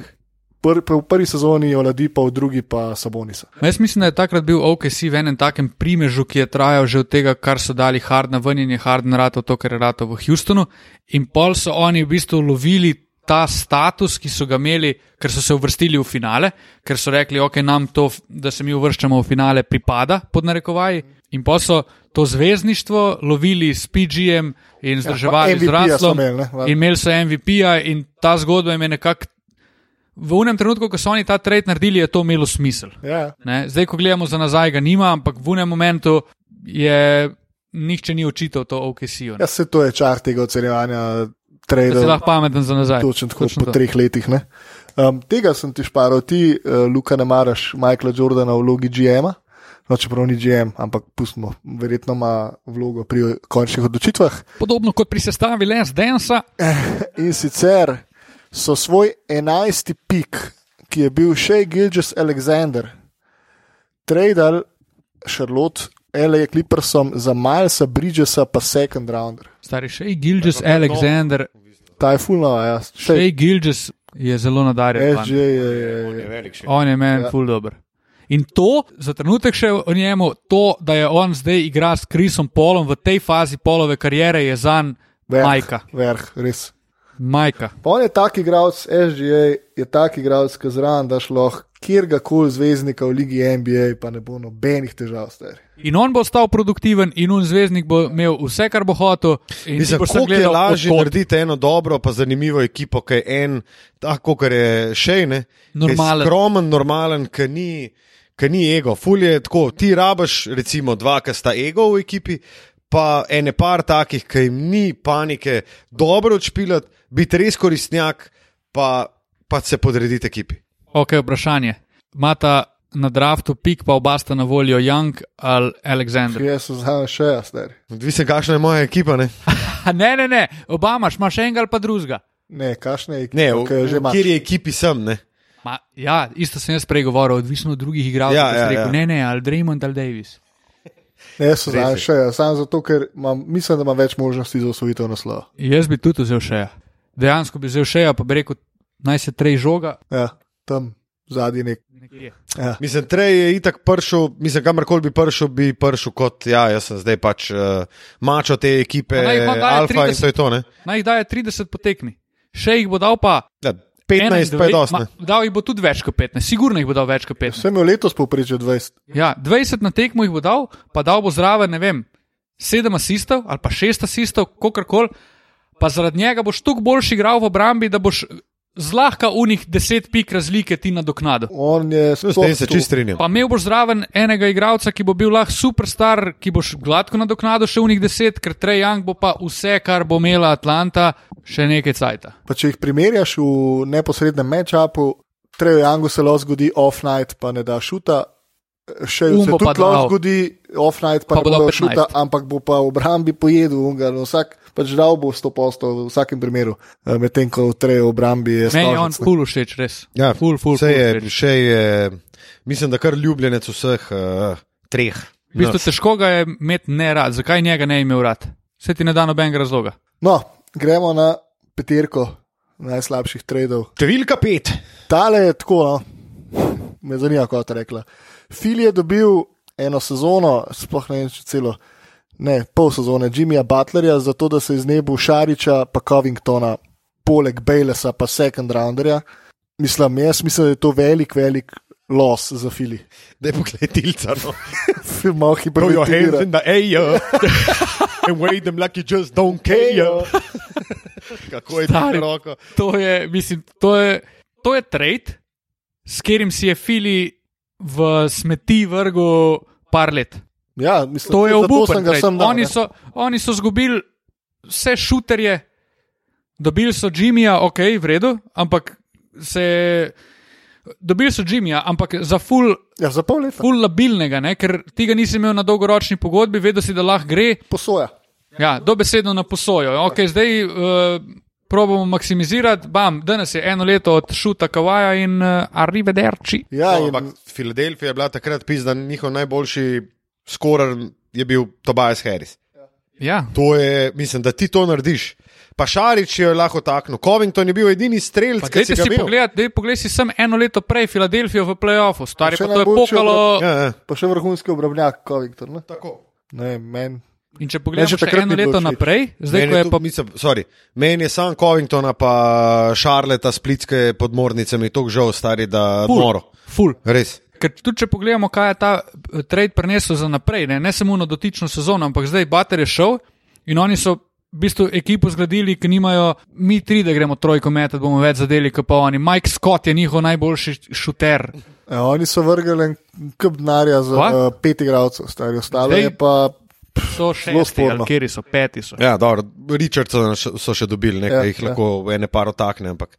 [SPEAKER 2] pr, pr, v prvi sezoni je Oladipa, v drugi pa Sabonisa.
[SPEAKER 3] Ma Jaz mislim, da je takrat bil OKC v enem takem primežu, ki je trajal že od tega, kar so dali Hardna ven in je Hardna rato to, kar je rato v Houstonu. In pol so oni v bistvu lovili ta status, ki so ga imeli, ker so se uvrstili v finale, ker so rekli, ok, nam to, da se mi uvrščamo v finale, pripada pod narekovaji. In pol so to zvezdništvo lovili s PG-jem in zdrževali ja, z
[SPEAKER 2] MVP-ja so
[SPEAKER 3] Raslom.
[SPEAKER 2] imeli, ne? Valjda.
[SPEAKER 3] In imeli so MVP-ja in ta zgodba jim je nekako. V unem trenutku, ko so oni ta trade naredili, je to imelo smisel.
[SPEAKER 2] Ja,
[SPEAKER 3] Ne? Zdaj, ko gledamo za nazaj, ga nima, ampak v unem momentu je nihče ni očital to OKC-ju.
[SPEAKER 2] ja se to je čar tega ocenjevanja
[SPEAKER 3] Da si
[SPEAKER 2] trade.
[SPEAKER 3] Ja, lahko pameten za nazaj.
[SPEAKER 2] Točno tako po
[SPEAKER 3] to.
[SPEAKER 2] treh letih. Ne? Um, tega sem ti šparil, ti, uh, Luka, ne maraš Michaela Jordana v vlogi GM-a. No, čeprav ni GM, ampak pustimo, verjetno ima vlogo pri končnih odločitvah.
[SPEAKER 3] Podobno kot pri sestavi Les Densa,
[SPEAKER 2] In sicer so svoj enajsti pik, ki je bil še Gilgis Alexander, tradal Charlotte, L.A. Clippersom za Milesa Bridgesa, pa second rounder.
[SPEAKER 3] stari Shea Gilges, Alexander.
[SPEAKER 2] Ta je fulno, ja. Še
[SPEAKER 3] Shea Gilges je zelo nadarjen. fan.
[SPEAKER 2] SJ
[SPEAKER 1] ja,
[SPEAKER 2] je. je- je-
[SPEAKER 3] On je meni
[SPEAKER 2] Ja.
[SPEAKER 3] ja. ful dober. In to, za trenutek še o njemu, to, da je on zdaj igra s Krisom Polom v tej fazi polove karijere, je zanj
[SPEAKER 2] Verh,
[SPEAKER 3] Majka.
[SPEAKER 2] Verh, res.
[SPEAKER 3] Majka.
[SPEAKER 2] Pa On je tak igralec, SGA je tak igralec, ki zraven daš lahko kjerkoli zvezdnika v ligi NBA, pa ne bo nobenih težav. Stari.
[SPEAKER 3] In on bo ostal produktiven, in un zvezdnik bo imel vse, kar bo hotel. In
[SPEAKER 1] Mislim,
[SPEAKER 3] bo
[SPEAKER 1] koliko je lažje narediti eno dobro, pa zanimivo ekipo, ki je en, tako kot je še ne. ki je
[SPEAKER 3] Normalen.
[SPEAKER 1] Skromen, normalen, ki ni, ki ni ego. Ful je tako, ti rabaš recimo dva, ki sta ego v ekipi, pa ene par takih, ki jim ni panike, dobro odšpilati, biti res koristnjak, pa pa se podredite ekipi.
[SPEAKER 3] Ok, vprašanje. Mata na draftu pik, pa oba sta na voljo Young ali Alexander.
[SPEAKER 2] Jaz sem zraven še jaz, ne.
[SPEAKER 1] Odvisno, kakšna je moja ekipa. Ne,
[SPEAKER 3] Ha, ne, ne, ne, oba imaš, imaš enega ali pa drugega.
[SPEAKER 2] Ne, kašne je,
[SPEAKER 1] ne
[SPEAKER 2] ki jo že imaš.
[SPEAKER 1] kjer je ekipi sem. Ne.
[SPEAKER 3] Ma, ja, isto sem jaz prej govoril, odvisno od drugih igralcev.
[SPEAKER 1] Ja,
[SPEAKER 3] Ja, ja,
[SPEAKER 1] ja,
[SPEAKER 3] rekel,
[SPEAKER 1] ja.
[SPEAKER 3] ja. Ne, ne, ali Draymond ali Davis.
[SPEAKER 2] Ne, jaz sem
[SPEAKER 1] Res
[SPEAKER 2] zraven
[SPEAKER 1] je.
[SPEAKER 2] še jaz, samo zato, ker imam, mislim, da imam več možnosti za osvojitev naslova.
[SPEAKER 3] Jaz bi tudi vzel še. Dejansko bi vzel še, pa bi rekel, naj se trej žoga.
[SPEAKER 2] Ja, tam zadnji nek.
[SPEAKER 3] Nekje.
[SPEAKER 2] Ja.
[SPEAKER 1] Mislim, Trej je itak pršel, mislim, kamorkoli bi pršel, bi pršel kot, ja, jaz sem zdaj pač uh, mačo te ekipe,
[SPEAKER 3] Pa naj jih on daje
[SPEAKER 1] alfa in
[SPEAKER 3] 30.
[SPEAKER 1] to je to. Ne?
[SPEAKER 3] Naj jih daje 30 potekni. Še jih bo dal pa
[SPEAKER 1] Ja, 15 pa je
[SPEAKER 3] 21,
[SPEAKER 1] dosti.
[SPEAKER 3] ma-
[SPEAKER 1] ne.
[SPEAKER 3] Dal jih bo tudi več kot 15, sigurno jih bo dal več kot 15.
[SPEAKER 2] Vse mi je letos povprečje 20.
[SPEAKER 3] Ja, 20 na tekmo jih bo dal, pa dal bo zraven, ne vem, 7 asistov ali pa 6 asistov, kakorkoli. Pa zaradi njega boš toliko boljši igral v obrambi, da boš zlahka unih 10 pik razlike ti nadoknadil.
[SPEAKER 2] On je
[SPEAKER 1] S tem se
[SPEAKER 2] sploh tu.
[SPEAKER 1] čist strinjam.
[SPEAKER 3] Pa imel boš zraven enega igralca, ki bo bil lahko superstar, ki boš gladko nadoknadil še unih 10, ker Trey Young bo pa vse, kar bo imela Atlanta, še nekaj cajt.
[SPEAKER 2] Pa če jih primerjaš v neposrednem matchupu, Trejo Jangu se lahko zgodi off-night, pa ne da šuta. Še
[SPEAKER 3] Um
[SPEAKER 2] se
[SPEAKER 3] bo
[SPEAKER 2] tudi
[SPEAKER 3] pa dal.
[SPEAKER 2] lahko zgodi off-night, pa,
[SPEAKER 3] Pa
[SPEAKER 2] pa
[SPEAKER 3] bo
[SPEAKER 2] ne
[SPEAKER 3] dal
[SPEAKER 2] bo
[SPEAKER 3] 15.
[SPEAKER 2] šuta, ampak bo pa v obrambi pojedel. unga, No, vsak pač dal bo 100 postov v vsakem primeru, Eh, medtem ko v Trejo obrambi je
[SPEAKER 3] Meni je on
[SPEAKER 2] stalo.
[SPEAKER 3] ful všeč, res.
[SPEAKER 1] Ja,
[SPEAKER 3] ful, ful,
[SPEAKER 1] vse
[SPEAKER 3] ful
[SPEAKER 1] je,
[SPEAKER 3] všeč.
[SPEAKER 1] še je, mislim, da kar ljubljenec vseh uh, treh. No.
[SPEAKER 3] V bistvu težko ga je imeti ne rad. Zakaj njega ne bi imel rad? Se ti ne da nobenega razloga.
[SPEAKER 2] No, gremo na peterko najslabših tradov.
[SPEAKER 1] Številka pet.
[SPEAKER 2] Tale je tako, no. me zanima, kako je rekla. Fil je dobil eno sezono, sploh ne vem, če celo, ne, pol sezone Jimmyja Butlerja, zato da se je znebil Šariča, pa Covingtona, poleg Baylessa, pa second rounderja. Mislim, jaz mislim, da je to velik, velik los za Fili.
[SPEAKER 1] Da je pokletilca. No.
[SPEAKER 2] Malo
[SPEAKER 1] Throw your hands
[SPEAKER 2] hibernirati.
[SPEAKER 1] in the air and wave them like you just don't care. Kako je
[SPEAKER 3] Stari.
[SPEAKER 1] to roko?
[SPEAKER 3] To je, mislim, to je, to je trade, s katerim si je Fili v smeti vrgel par let.
[SPEAKER 2] Ja, mislim,
[SPEAKER 3] To je
[SPEAKER 2] zato sem
[SPEAKER 3] obupen.
[SPEAKER 2] ga
[SPEAKER 3] trade.
[SPEAKER 2] sem dal,
[SPEAKER 3] Oni
[SPEAKER 2] ne.
[SPEAKER 3] so, oni so zgubili vse šuterje, dobili so Jimmyja, ok, v redu, ampak se. Dobili so Jimmyja, ampak za full
[SPEAKER 2] Ja, za pol leta.
[SPEAKER 3] ful labilnega, ne? ker tega nisi imel na dolgoročni pogodbi, vedel si, da lahko gre,
[SPEAKER 2] Posoja.
[SPEAKER 3] Ja, dobesedno na posojo. Okay, zdaj uh, probujemo maksimizirati. Bam, danes je eno leto od šuta Kavaja in uh, Arrivederci.
[SPEAKER 2] Ja,
[SPEAKER 1] No,
[SPEAKER 2] in-
[SPEAKER 1] ampak Filadelfija je bila takrat pisna, njihov najboljši skorer je bil Tobias Harris.
[SPEAKER 3] Ja,
[SPEAKER 1] To je, mislim, da ti to narediš. Pa Šarič je lahko takno. Covington je bil edini strelc, ki
[SPEAKER 3] Dajte
[SPEAKER 1] si ga
[SPEAKER 3] si
[SPEAKER 1] imel.
[SPEAKER 3] pogled, daj pogled si sem eno leto prej Filadelfijo v playoffu, stari
[SPEAKER 2] Še
[SPEAKER 3] pa to je
[SPEAKER 2] najboljši
[SPEAKER 3] pokalo.
[SPEAKER 1] Ja, ja.
[SPEAKER 2] pa še vrhunski obrambljak, Covington. Ne,
[SPEAKER 1] Tako.
[SPEAKER 2] ne vem, meni.
[SPEAKER 3] In
[SPEAKER 2] Meni
[SPEAKER 3] če
[SPEAKER 2] še
[SPEAKER 3] pogledamo še
[SPEAKER 2] takrat
[SPEAKER 3] eno
[SPEAKER 2] ni bilo
[SPEAKER 3] leto
[SPEAKER 2] všeč.
[SPEAKER 3] naprej, zdaj
[SPEAKER 1] Meni
[SPEAKER 3] ko
[SPEAKER 1] je,
[SPEAKER 3] je
[SPEAKER 1] tudi,
[SPEAKER 3] pa
[SPEAKER 1] mislim, sorry, meni je sam Covingtona, pa Šarleta, splitske podmornice, mi je tako žal, stari, da
[SPEAKER 3] Ful.
[SPEAKER 1] moro.
[SPEAKER 3] full.
[SPEAKER 1] Res.
[SPEAKER 3] Ker tudi če pogledamo, kaj je ta eh, trade prinesel za naprej, ne, ne samo na dotično sezono, ampak zdaj Bater je šel in oni so v bistvu ekipo zgradili, ki nimajo, mi tri, da gremo trojko metati, bomo več zadeli, kot pa oni. Mike Scott je njihov najboljši šuter.
[SPEAKER 2] Ja, oni so vrgli en kup denarja za
[SPEAKER 3] Kva?
[SPEAKER 2] uh, pet igralcev, stari ostalo
[SPEAKER 3] Zdaj-
[SPEAKER 2] je pa.
[SPEAKER 3] So
[SPEAKER 2] Zelo
[SPEAKER 3] šesti,
[SPEAKER 2] sporno.
[SPEAKER 3] ali kjer so, peti so.
[SPEAKER 1] Ja, dobro, Richardson še- so še dobili, nekaj
[SPEAKER 2] Ja,
[SPEAKER 1] ja, jih
[SPEAKER 2] ja.
[SPEAKER 1] ja. lahko ene par otakne, ampak.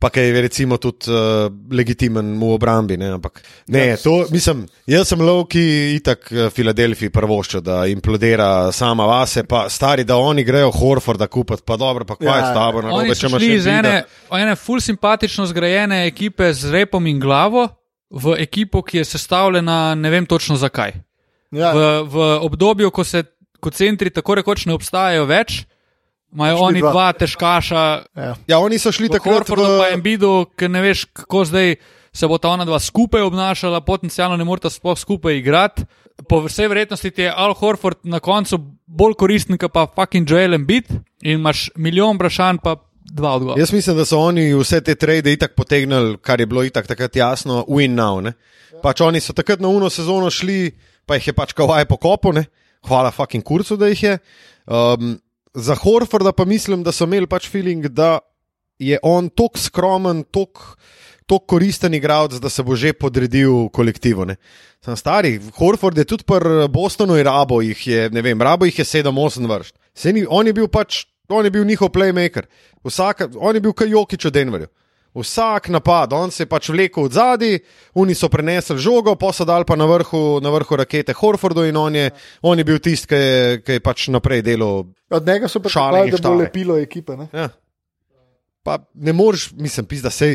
[SPEAKER 1] Pa kaj je recimo tudi uh, legitimen v obrambi. Ne, ampak,
[SPEAKER 2] Ja.
[SPEAKER 1] ne, to, mislim, jaz sem lov, ki itak eh, Filadelfiji prvošča, da implodira sama vase, pa stari, da oni grejo Horforda kupiti, pa dobro, pa kaj
[SPEAKER 2] Ja,
[SPEAKER 1] je s tabo na robe,
[SPEAKER 3] Oni
[SPEAKER 1] če
[SPEAKER 3] so
[SPEAKER 1] no, imaš
[SPEAKER 3] šli iz
[SPEAKER 1] Embiida.
[SPEAKER 3] ene, ene ful simpatično zgrajene ekipe z repom in glavo v ekipo, ki je sestavljena ne vem točno zakaj.
[SPEAKER 2] Ja,
[SPEAKER 3] v, v obdobju, ko se ko centri tako rekoč ne obstajajo več, imajo
[SPEAKER 2] Šli
[SPEAKER 3] oni
[SPEAKER 2] dva.
[SPEAKER 3] dva težkaša,
[SPEAKER 2] ja.
[SPEAKER 1] Ja, oni so šli
[SPEAKER 3] tako
[SPEAKER 1] takrat
[SPEAKER 3] Horfordu pa
[SPEAKER 1] v
[SPEAKER 3] Embidu, ker ne veš, kako zdaj se bo ta ona dva skupaj obnašala, potencialno ne morata sploh skupaj igrati. Po vsej verjetnosti ti je Al Horford na koncu bolj koristen, kot pa fucking Joel Embid in imaš milijon vprašanj, pa dva odgovora.
[SPEAKER 1] Jaz mislim, da so oni vse te trade itak potegnili, kar je bilo itak takrat jasno, win now. Ne? Pač oni so takrat na uno sezono šli, pa jih je pač kawaii pokopal, ne? hvala fucking kurcu, da jih je. Um, za Horforda pa mislim, da so imeli pač feeling, da je on tako skromen, tako tako koristen igralec, da se bo že podredil kolektivu. Ne. Sam stari, Horford je tudi pri Bostonu in rabo jih je, ne vem, rabo jih je 7-8 vrst. Ni, on je bil pač, on je bil njihov playmaker. Vsaka, on je bil kaj Jokič v Denverju. Vsak napad, on se je pač vlekel od zadaj, oni so prenesli žogo, posadali pa na vrhu, na vrhu rakete Horfordu in on je, on je bil tisti, ki je, ki je pač naprej delal.
[SPEAKER 2] Od njega so
[SPEAKER 1] Šale in
[SPEAKER 2] pričakovali, da bo
[SPEAKER 1] štale.
[SPEAKER 2] lepilo ekipe. Ne?
[SPEAKER 1] Ja. Pa ne moreš, mislim, da se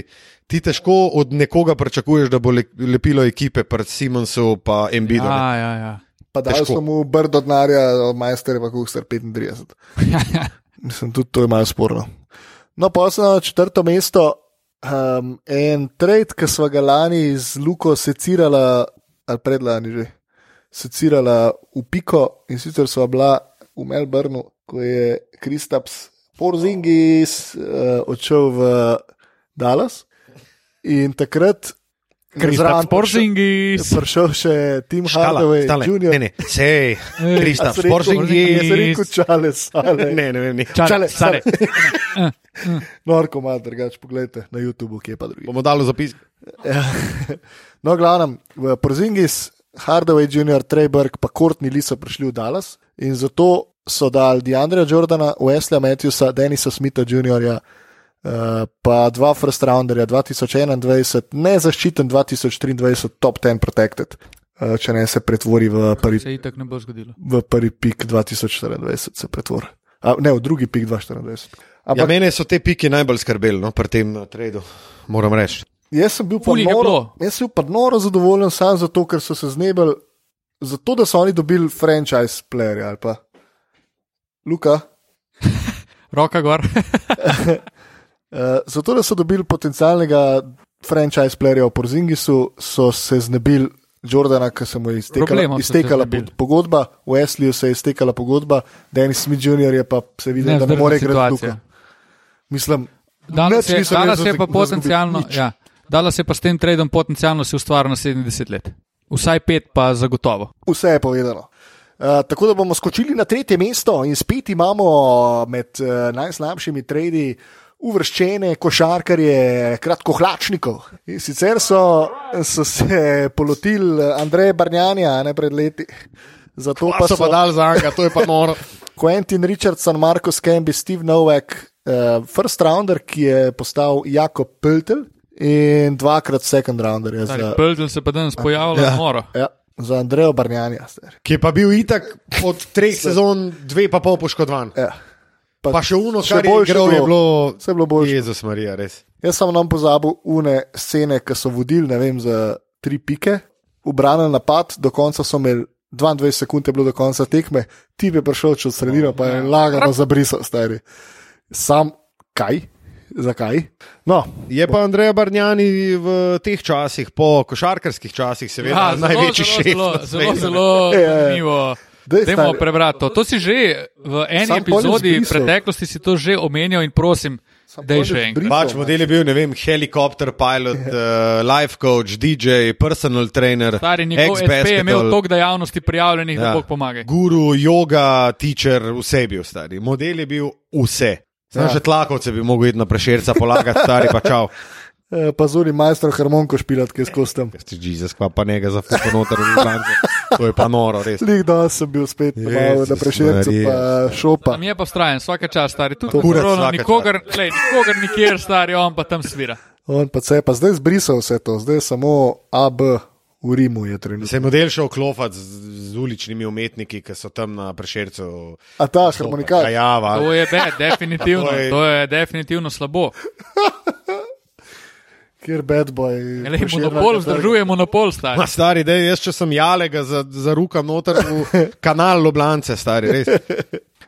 [SPEAKER 1] ti težko od nekoga pričakuješ, da bo le- lepilo ekipe pred Simonsom in Embiidom. ne.
[SPEAKER 3] Ja, ja, ja.
[SPEAKER 2] Pa dali
[SPEAKER 1] Težko.
[SPEAKER 2] smo mu brdo denarja, od majsterja pa kuhar 35.
[SPEAKER 1] Ja,
[SPEAKER 2] Mislim, tudi to je malo sporno. No, pa sem na četrto mesto. Um, en trade, ki smo ga lani z Luko secirala, ali predlani že, secirala v Piko in sicer so bila v Melbournu, ko je Kristaps Porzingis uh, odšel v Dallas. In takrat,
[SPEAKER 3] Kristaps
[SPEAKER 2] zraven pač-
[SPEAKER 3] Porzingis.
[SPEAKER 2] prišel- Prišel še Tim
[SPEAKER 1] Štala,
[SPEAKER 2] Hardaway,
[SPEAKER 1] stale.
[SPEAKER 2] Junior.
[SPEAKER 1] ne, ne, sej,
[SPEAKER 2] A
[SPEAKER 1] Kristaps,
[SPEAKER 2] sem rekel-
[SPEAKER 1] Porzingis.
[SPEAKER 2] Jaz sem rekel, čale, sale.
[SPEAKER 1] Ne, ne vem, ne.
[SPEAKER 2] Čale,
[SPEAKER 3] Čale, stare.
[SPEAKER 2] Norko ima drugače, pogledajte na YouTubu, kje pa drugi.
[SPEAKER 1] Bomo dali zapis.
[SPEAKER 2] Ja. No, glavnem, v Porzingis, Hardaway Jr., Treyberg, pa Kortni Lee so prišli v Dallas in zato so dali Deandra Jordana, Wesleyja Matthewsa, Denisa Smitha Jr., eh, pa dva first rounderja 2021, nezaščiten 2023, top 10 protected, eh, če ne se pretvori v prvi
[SPEAKER 3] Se itak ne bo zgodilo.
[SPEAKER 2] v prvi pik 2024 se pretvori. A, Ne, v drugi pik 2024.
[SPEAKER 1] Ja,
[SPEAKER 2] Ampak
[SPEAKER 1] mene so te pike najbolj skrbeli no, pri tem eh, tradu, moram reči.
[SPEAKER 2] jaz sem bil pa
[SPEAKER 3] Ful jih je bilo.
[SPEAKER 2] noro, jaz sem bil pa noro zadovoljen sam zato, ker so se znebili, zato da so oni dobili franchise playerja ali pa. Luka,
[SPEAKER 3] Roka gor.
[SPEAKER 2] eh, zato da so dobili potencialnega franchise playerja v Porzingisu, so se znebili Jordana, ki se mu je iztekala,
[SPEAKER 3] Problemov so se
[SPEAKER 2] iztekala
[SPEAKER 3] znebili.
[SPEAKER 2] po- pogodba, v Esliju se je iztekala pogodba, Denis Smith Jr. je pa se videl, da ne
[SPEAKER 3] Nevzdržna
[SPEAKER 2] more igrati
[SPEAKER 3] situacija.
[SPEAKER 2] tukaj. Mislim,
[SPEAKER 3] Danes
[SPEAKER 2] nič
[SPEAKER 3] je,
[SPEAKER 2] niso
[SPEAKER 3] danes
[SPEAKER 2] res
[SPEAKER 3] je pa
[SPEAKER 2] zazgu-
[SPEAKER 3] potencialno,
[SPEAKER 2] zazgubili, nič.
[SPEAKER 3] ja, dala se pa s tem tradom potencialno si ustvarila naslednjih deset let. Vsaj pet pa zagotovo.
[SPEAKER 2] Vse je povedano. Uh, tako da bomo skočili na tretje mesto in spet imamo med uh, najslabšimi tredi uvrščene košarkarje kratkohlačnikov. In sicer so, so se polotili Andreja Barnjanja ne pred leti. Zato
[SPEAKER 1] Pa
[SPEAKER 2] pa
[SPEAKER 1] so pa dali za anga, to je pa noro.
[SPEAKER 2] Quentin Richardson, Marcus Camby, Steve Novak, uh, first rounder, ki je postal Jakob Peltel in dvakrat second rounder. je Za,
[SPEAKER 3] Pelden se pa danes pojavlja ja. moro.
[SPEAKER 2] ja, za Andreja Barnjanja. star.
[SPEAKER 1] Ki je pa bil itak od treh sezon, dve pa pol poškodovan.
[SPEAKER 2] Ja.
[SPEAKER 1] E, Pa še uno,
[SPEAKER 2] Še
[SPEAKER 1] kar je
[SPEAKER 2] boljše
[SPEAKER 1] igral, je
[SPEAKER 2] bilo.
[SPEAKER 1] bilo.
[SPEAKER 2] Vse je bilo boljše.
[SPEAKER 1] Jezus Marija, res.
[SPEAKER 2] Jaz sem nam pozabil une scene, ki so vodili, ne vem, za tri pike, ubranili napad, do konca so imeli 22 sekund, je bilo do konca tekme, ti bi prišel čez sredino, pa
[SPEAKER 1] Ja.
[SPEAKER 2] je lagano zabrisal, stari. Sam kaj? Zakaj? No,
[SPEAKER 1] Je pa Andrej Barnjani v teh časih, po košarkarskih časih, seveda, ja,
[SPEAKER 3] zelo,
[SPEAKER 1] največji
[SPEAKER 3] zelo,
[SPEAKER 1] šef.
[SPEAKER 3] Zelo,
[SPEAKER 1] na
[SPEAKER 3] zelo,
[SPEAKER 1] svetu.
[SPEAKER 3] zelo
[SPEAKER 2] Ja, ja.
[SPEAKER 3] zanimivo.
[SPEAKER 2] Daj,
[SPEAKER 3] Dajmo
[SPEAKER 2] stari.
[SPEAKER 3] prebrati to. To si že v eni
[SPEAKER 2] Sam pol je
[SPEAKER 3] epizodi
[SPEAKER 2] zbrisal.
[SPEAKER 3] preteklosti si to že omenjal in prosim, da je še enkrat.
[SPEAKER 1] Pač model je bil, ne vem, helikopter, pilot, uh, life coach, DJ, personal trainer, ja.
[SPEAKER 3] Stari njegov SP je imel toliko dejavnosti prijavljenih, da Bog pomaga.
[SPEAKER 1] Guru, yoga, teacher, vse je bil stari. Model je bil vse. Sam
[SPEAKER 2] Ja.
[SPEAKER 1] ja. že tlakovce bi mogel iti na prešerca polagati, stari pa čau.
[SPEAKER 2] Eh, Pa zuri majster harmoniko špilat, ki je skostem.
[SPEAKER 1] Jaz ti Jezus, pa pa ne ga za fucking noter v Ljubljani. To je pa noro, res.
[SPEAKER 2] Lik da sem bil spet malo
[SPEAKER 1] Jezus
[SPEAKER 2] na prešercu, pa
[SPEAKER 1] Marija.
[SPEAKER 2] šopa.
[SPEAKER 3] Tam je pa vztrajen, vsaka čas stari, tudi
[SPEAKER 1] Kurac
[SPEAKER 3] korona,
[SPEAKER 1] vsaka
[SPEAKER 3] nikogar, lej, nikogar nikjer stari, on pa tam svira.
[SPEAKER 2] On pa se je pa zdaj zbrisal vse to, zdaj je samo AB v Rimu je trenutno.
[SPEAKER 1] Se je model šel klopati z, z uličnimi umetniki, ki so tam na prešercu.
[SPEAKER 2] A ta harmonika.
[SPEAKER 1] Kajava.
[SPEAKER 3] To je bed, definitivno,
[SPEAKER 1] To je-
[SPEAKER 3] to je definitivno slabo.
[SPEAKER 2] Kjer bad boy.
[SPEAKER 3] Lej,
[SPEAKER 2] Prešerna
[SPEAKER 3] monopol
[SPEAKER 2] katarga.
[SPEAKER 3] vzdržuje monopol stari.
[SPEAKER 1] Ma, stari, dej, jaz če sem jalega, zarukam noter v kanal Loblance, stari, res.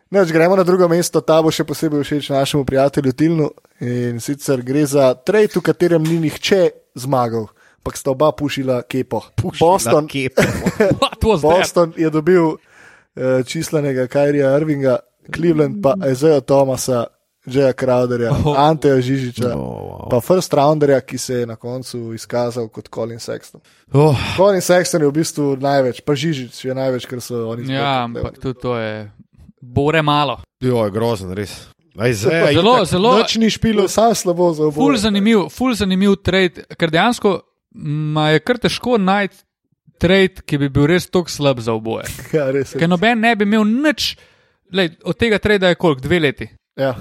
[SPEAKER 2] No, če gremo na drugo mesto, ta bo še posebej všeč našemu prijatelju Tilnu in sicer gre za trade, v katerem ni nihče zmagal, ampak sta oba pušila kepo. Boston,
[SPEAKER 3] What was that?
[SPEAKER 2] Boston je dobil uh, čislenega Kajrija Irvinga, Cleveland pa Ezeja Thomasa, Jaya Crowderja, oh. Anteja Žižiča, oh, wow. pa first rounderja, ki se je na koncu izkazal kot Colin Sexton.
[SPEAKER 1] Oh,
[SPEAKER 2] Colin Sexton je v bistvu največ, pa Žižič je največ, ker so oni
[SPEAKER 3] Ja, ampak tudi to je bore malo.
[SPEAKER 1] jo, je grozen, res. Aj, zdaj,
[SPEAKER 3] Zelo, zelo-
[SPEAKER 1] Noč ni špilo.
[SPEAKER 2] bilo sam slabo za oboje.
[SPEAKER 3] Ful zanimiv, ful zanimiv trade, ker dejansko ma je kar težko najti trade, ki bi bil res tako slab za oboje.
[SPEAKER 2] Ja, res je.
[SPEAKER 3] Ker noben ne bi imel nič, lej, od tega trada je koliko, dve leti.
[SPEAKER 2] Ja.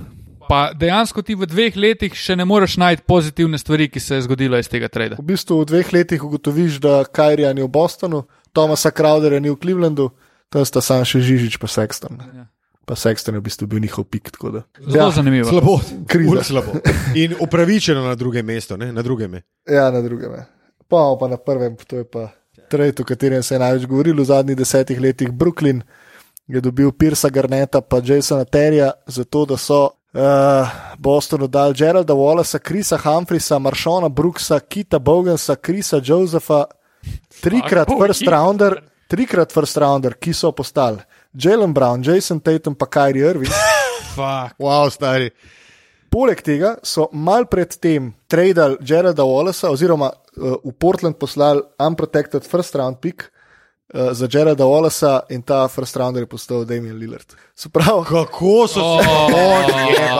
[SPEAKER 3] Pa dejansko ti v dveh letih še ne moreš najti pozitivne stvari, ki se je zgodilo iz tega trada.
[SPEAKER 2] V bistvu v dveh letih ugotoviš, da Kajrija ni v Bostonu, Tomasa Crowderja ni v Clevelandu, tam sta sam še Žižič pa Sexton.
[SPEAKER 3] Ja.
[SPEAKER 2] Pa Sexton je v bistvu bil njihov pik. tako da-
[SPEAKER 3] Zelo ja, zanimivo.
[SPEAKER 1] Slabo,
[SPEAKER 2] Kriza.
[SPEAKER 1] Ul slabo. In upravičeno na druge mesto, ne? na druge me.
[SPEAKER 2] Ja, na drugem. je. Pa, pa na prvem, to je pa trend, o katerem se je največ govorilo v zadnjih desetih letih. Brooklyn je dobil Pirsa Garneta pa Jasona Terja, zato da so uh, Bostonu dali Geralda Wallacea, Krisa Humphreya, Maršona Brooksa, Kita Bogensa, Krisa Josefa, trikrat
[SPEAKER 3] Fuck,
[SPEAKER 2] first
[SPEAKER 3] Keith.
[SPEAKER 2] rounder, trikrat first rounder, ki so postali. Jalen Brown, Jason Tatum pa Kyrie Irving.
[SPEAKER 3] Fuck.
[SPEAKER 1] Wow, stari.
[SPEAKER 2] Poleg tega so mal predtem tradali Jareda Wallacea, oziroma uh, v Portland poslali unprotected first round pick uh, za Jareda Wallacea in ta first rounder je postal Damien Lillard. Se pravi,
[SPEAKER 1] Kako so
[SPEAKER 3] O,
[SPEAKER 1] se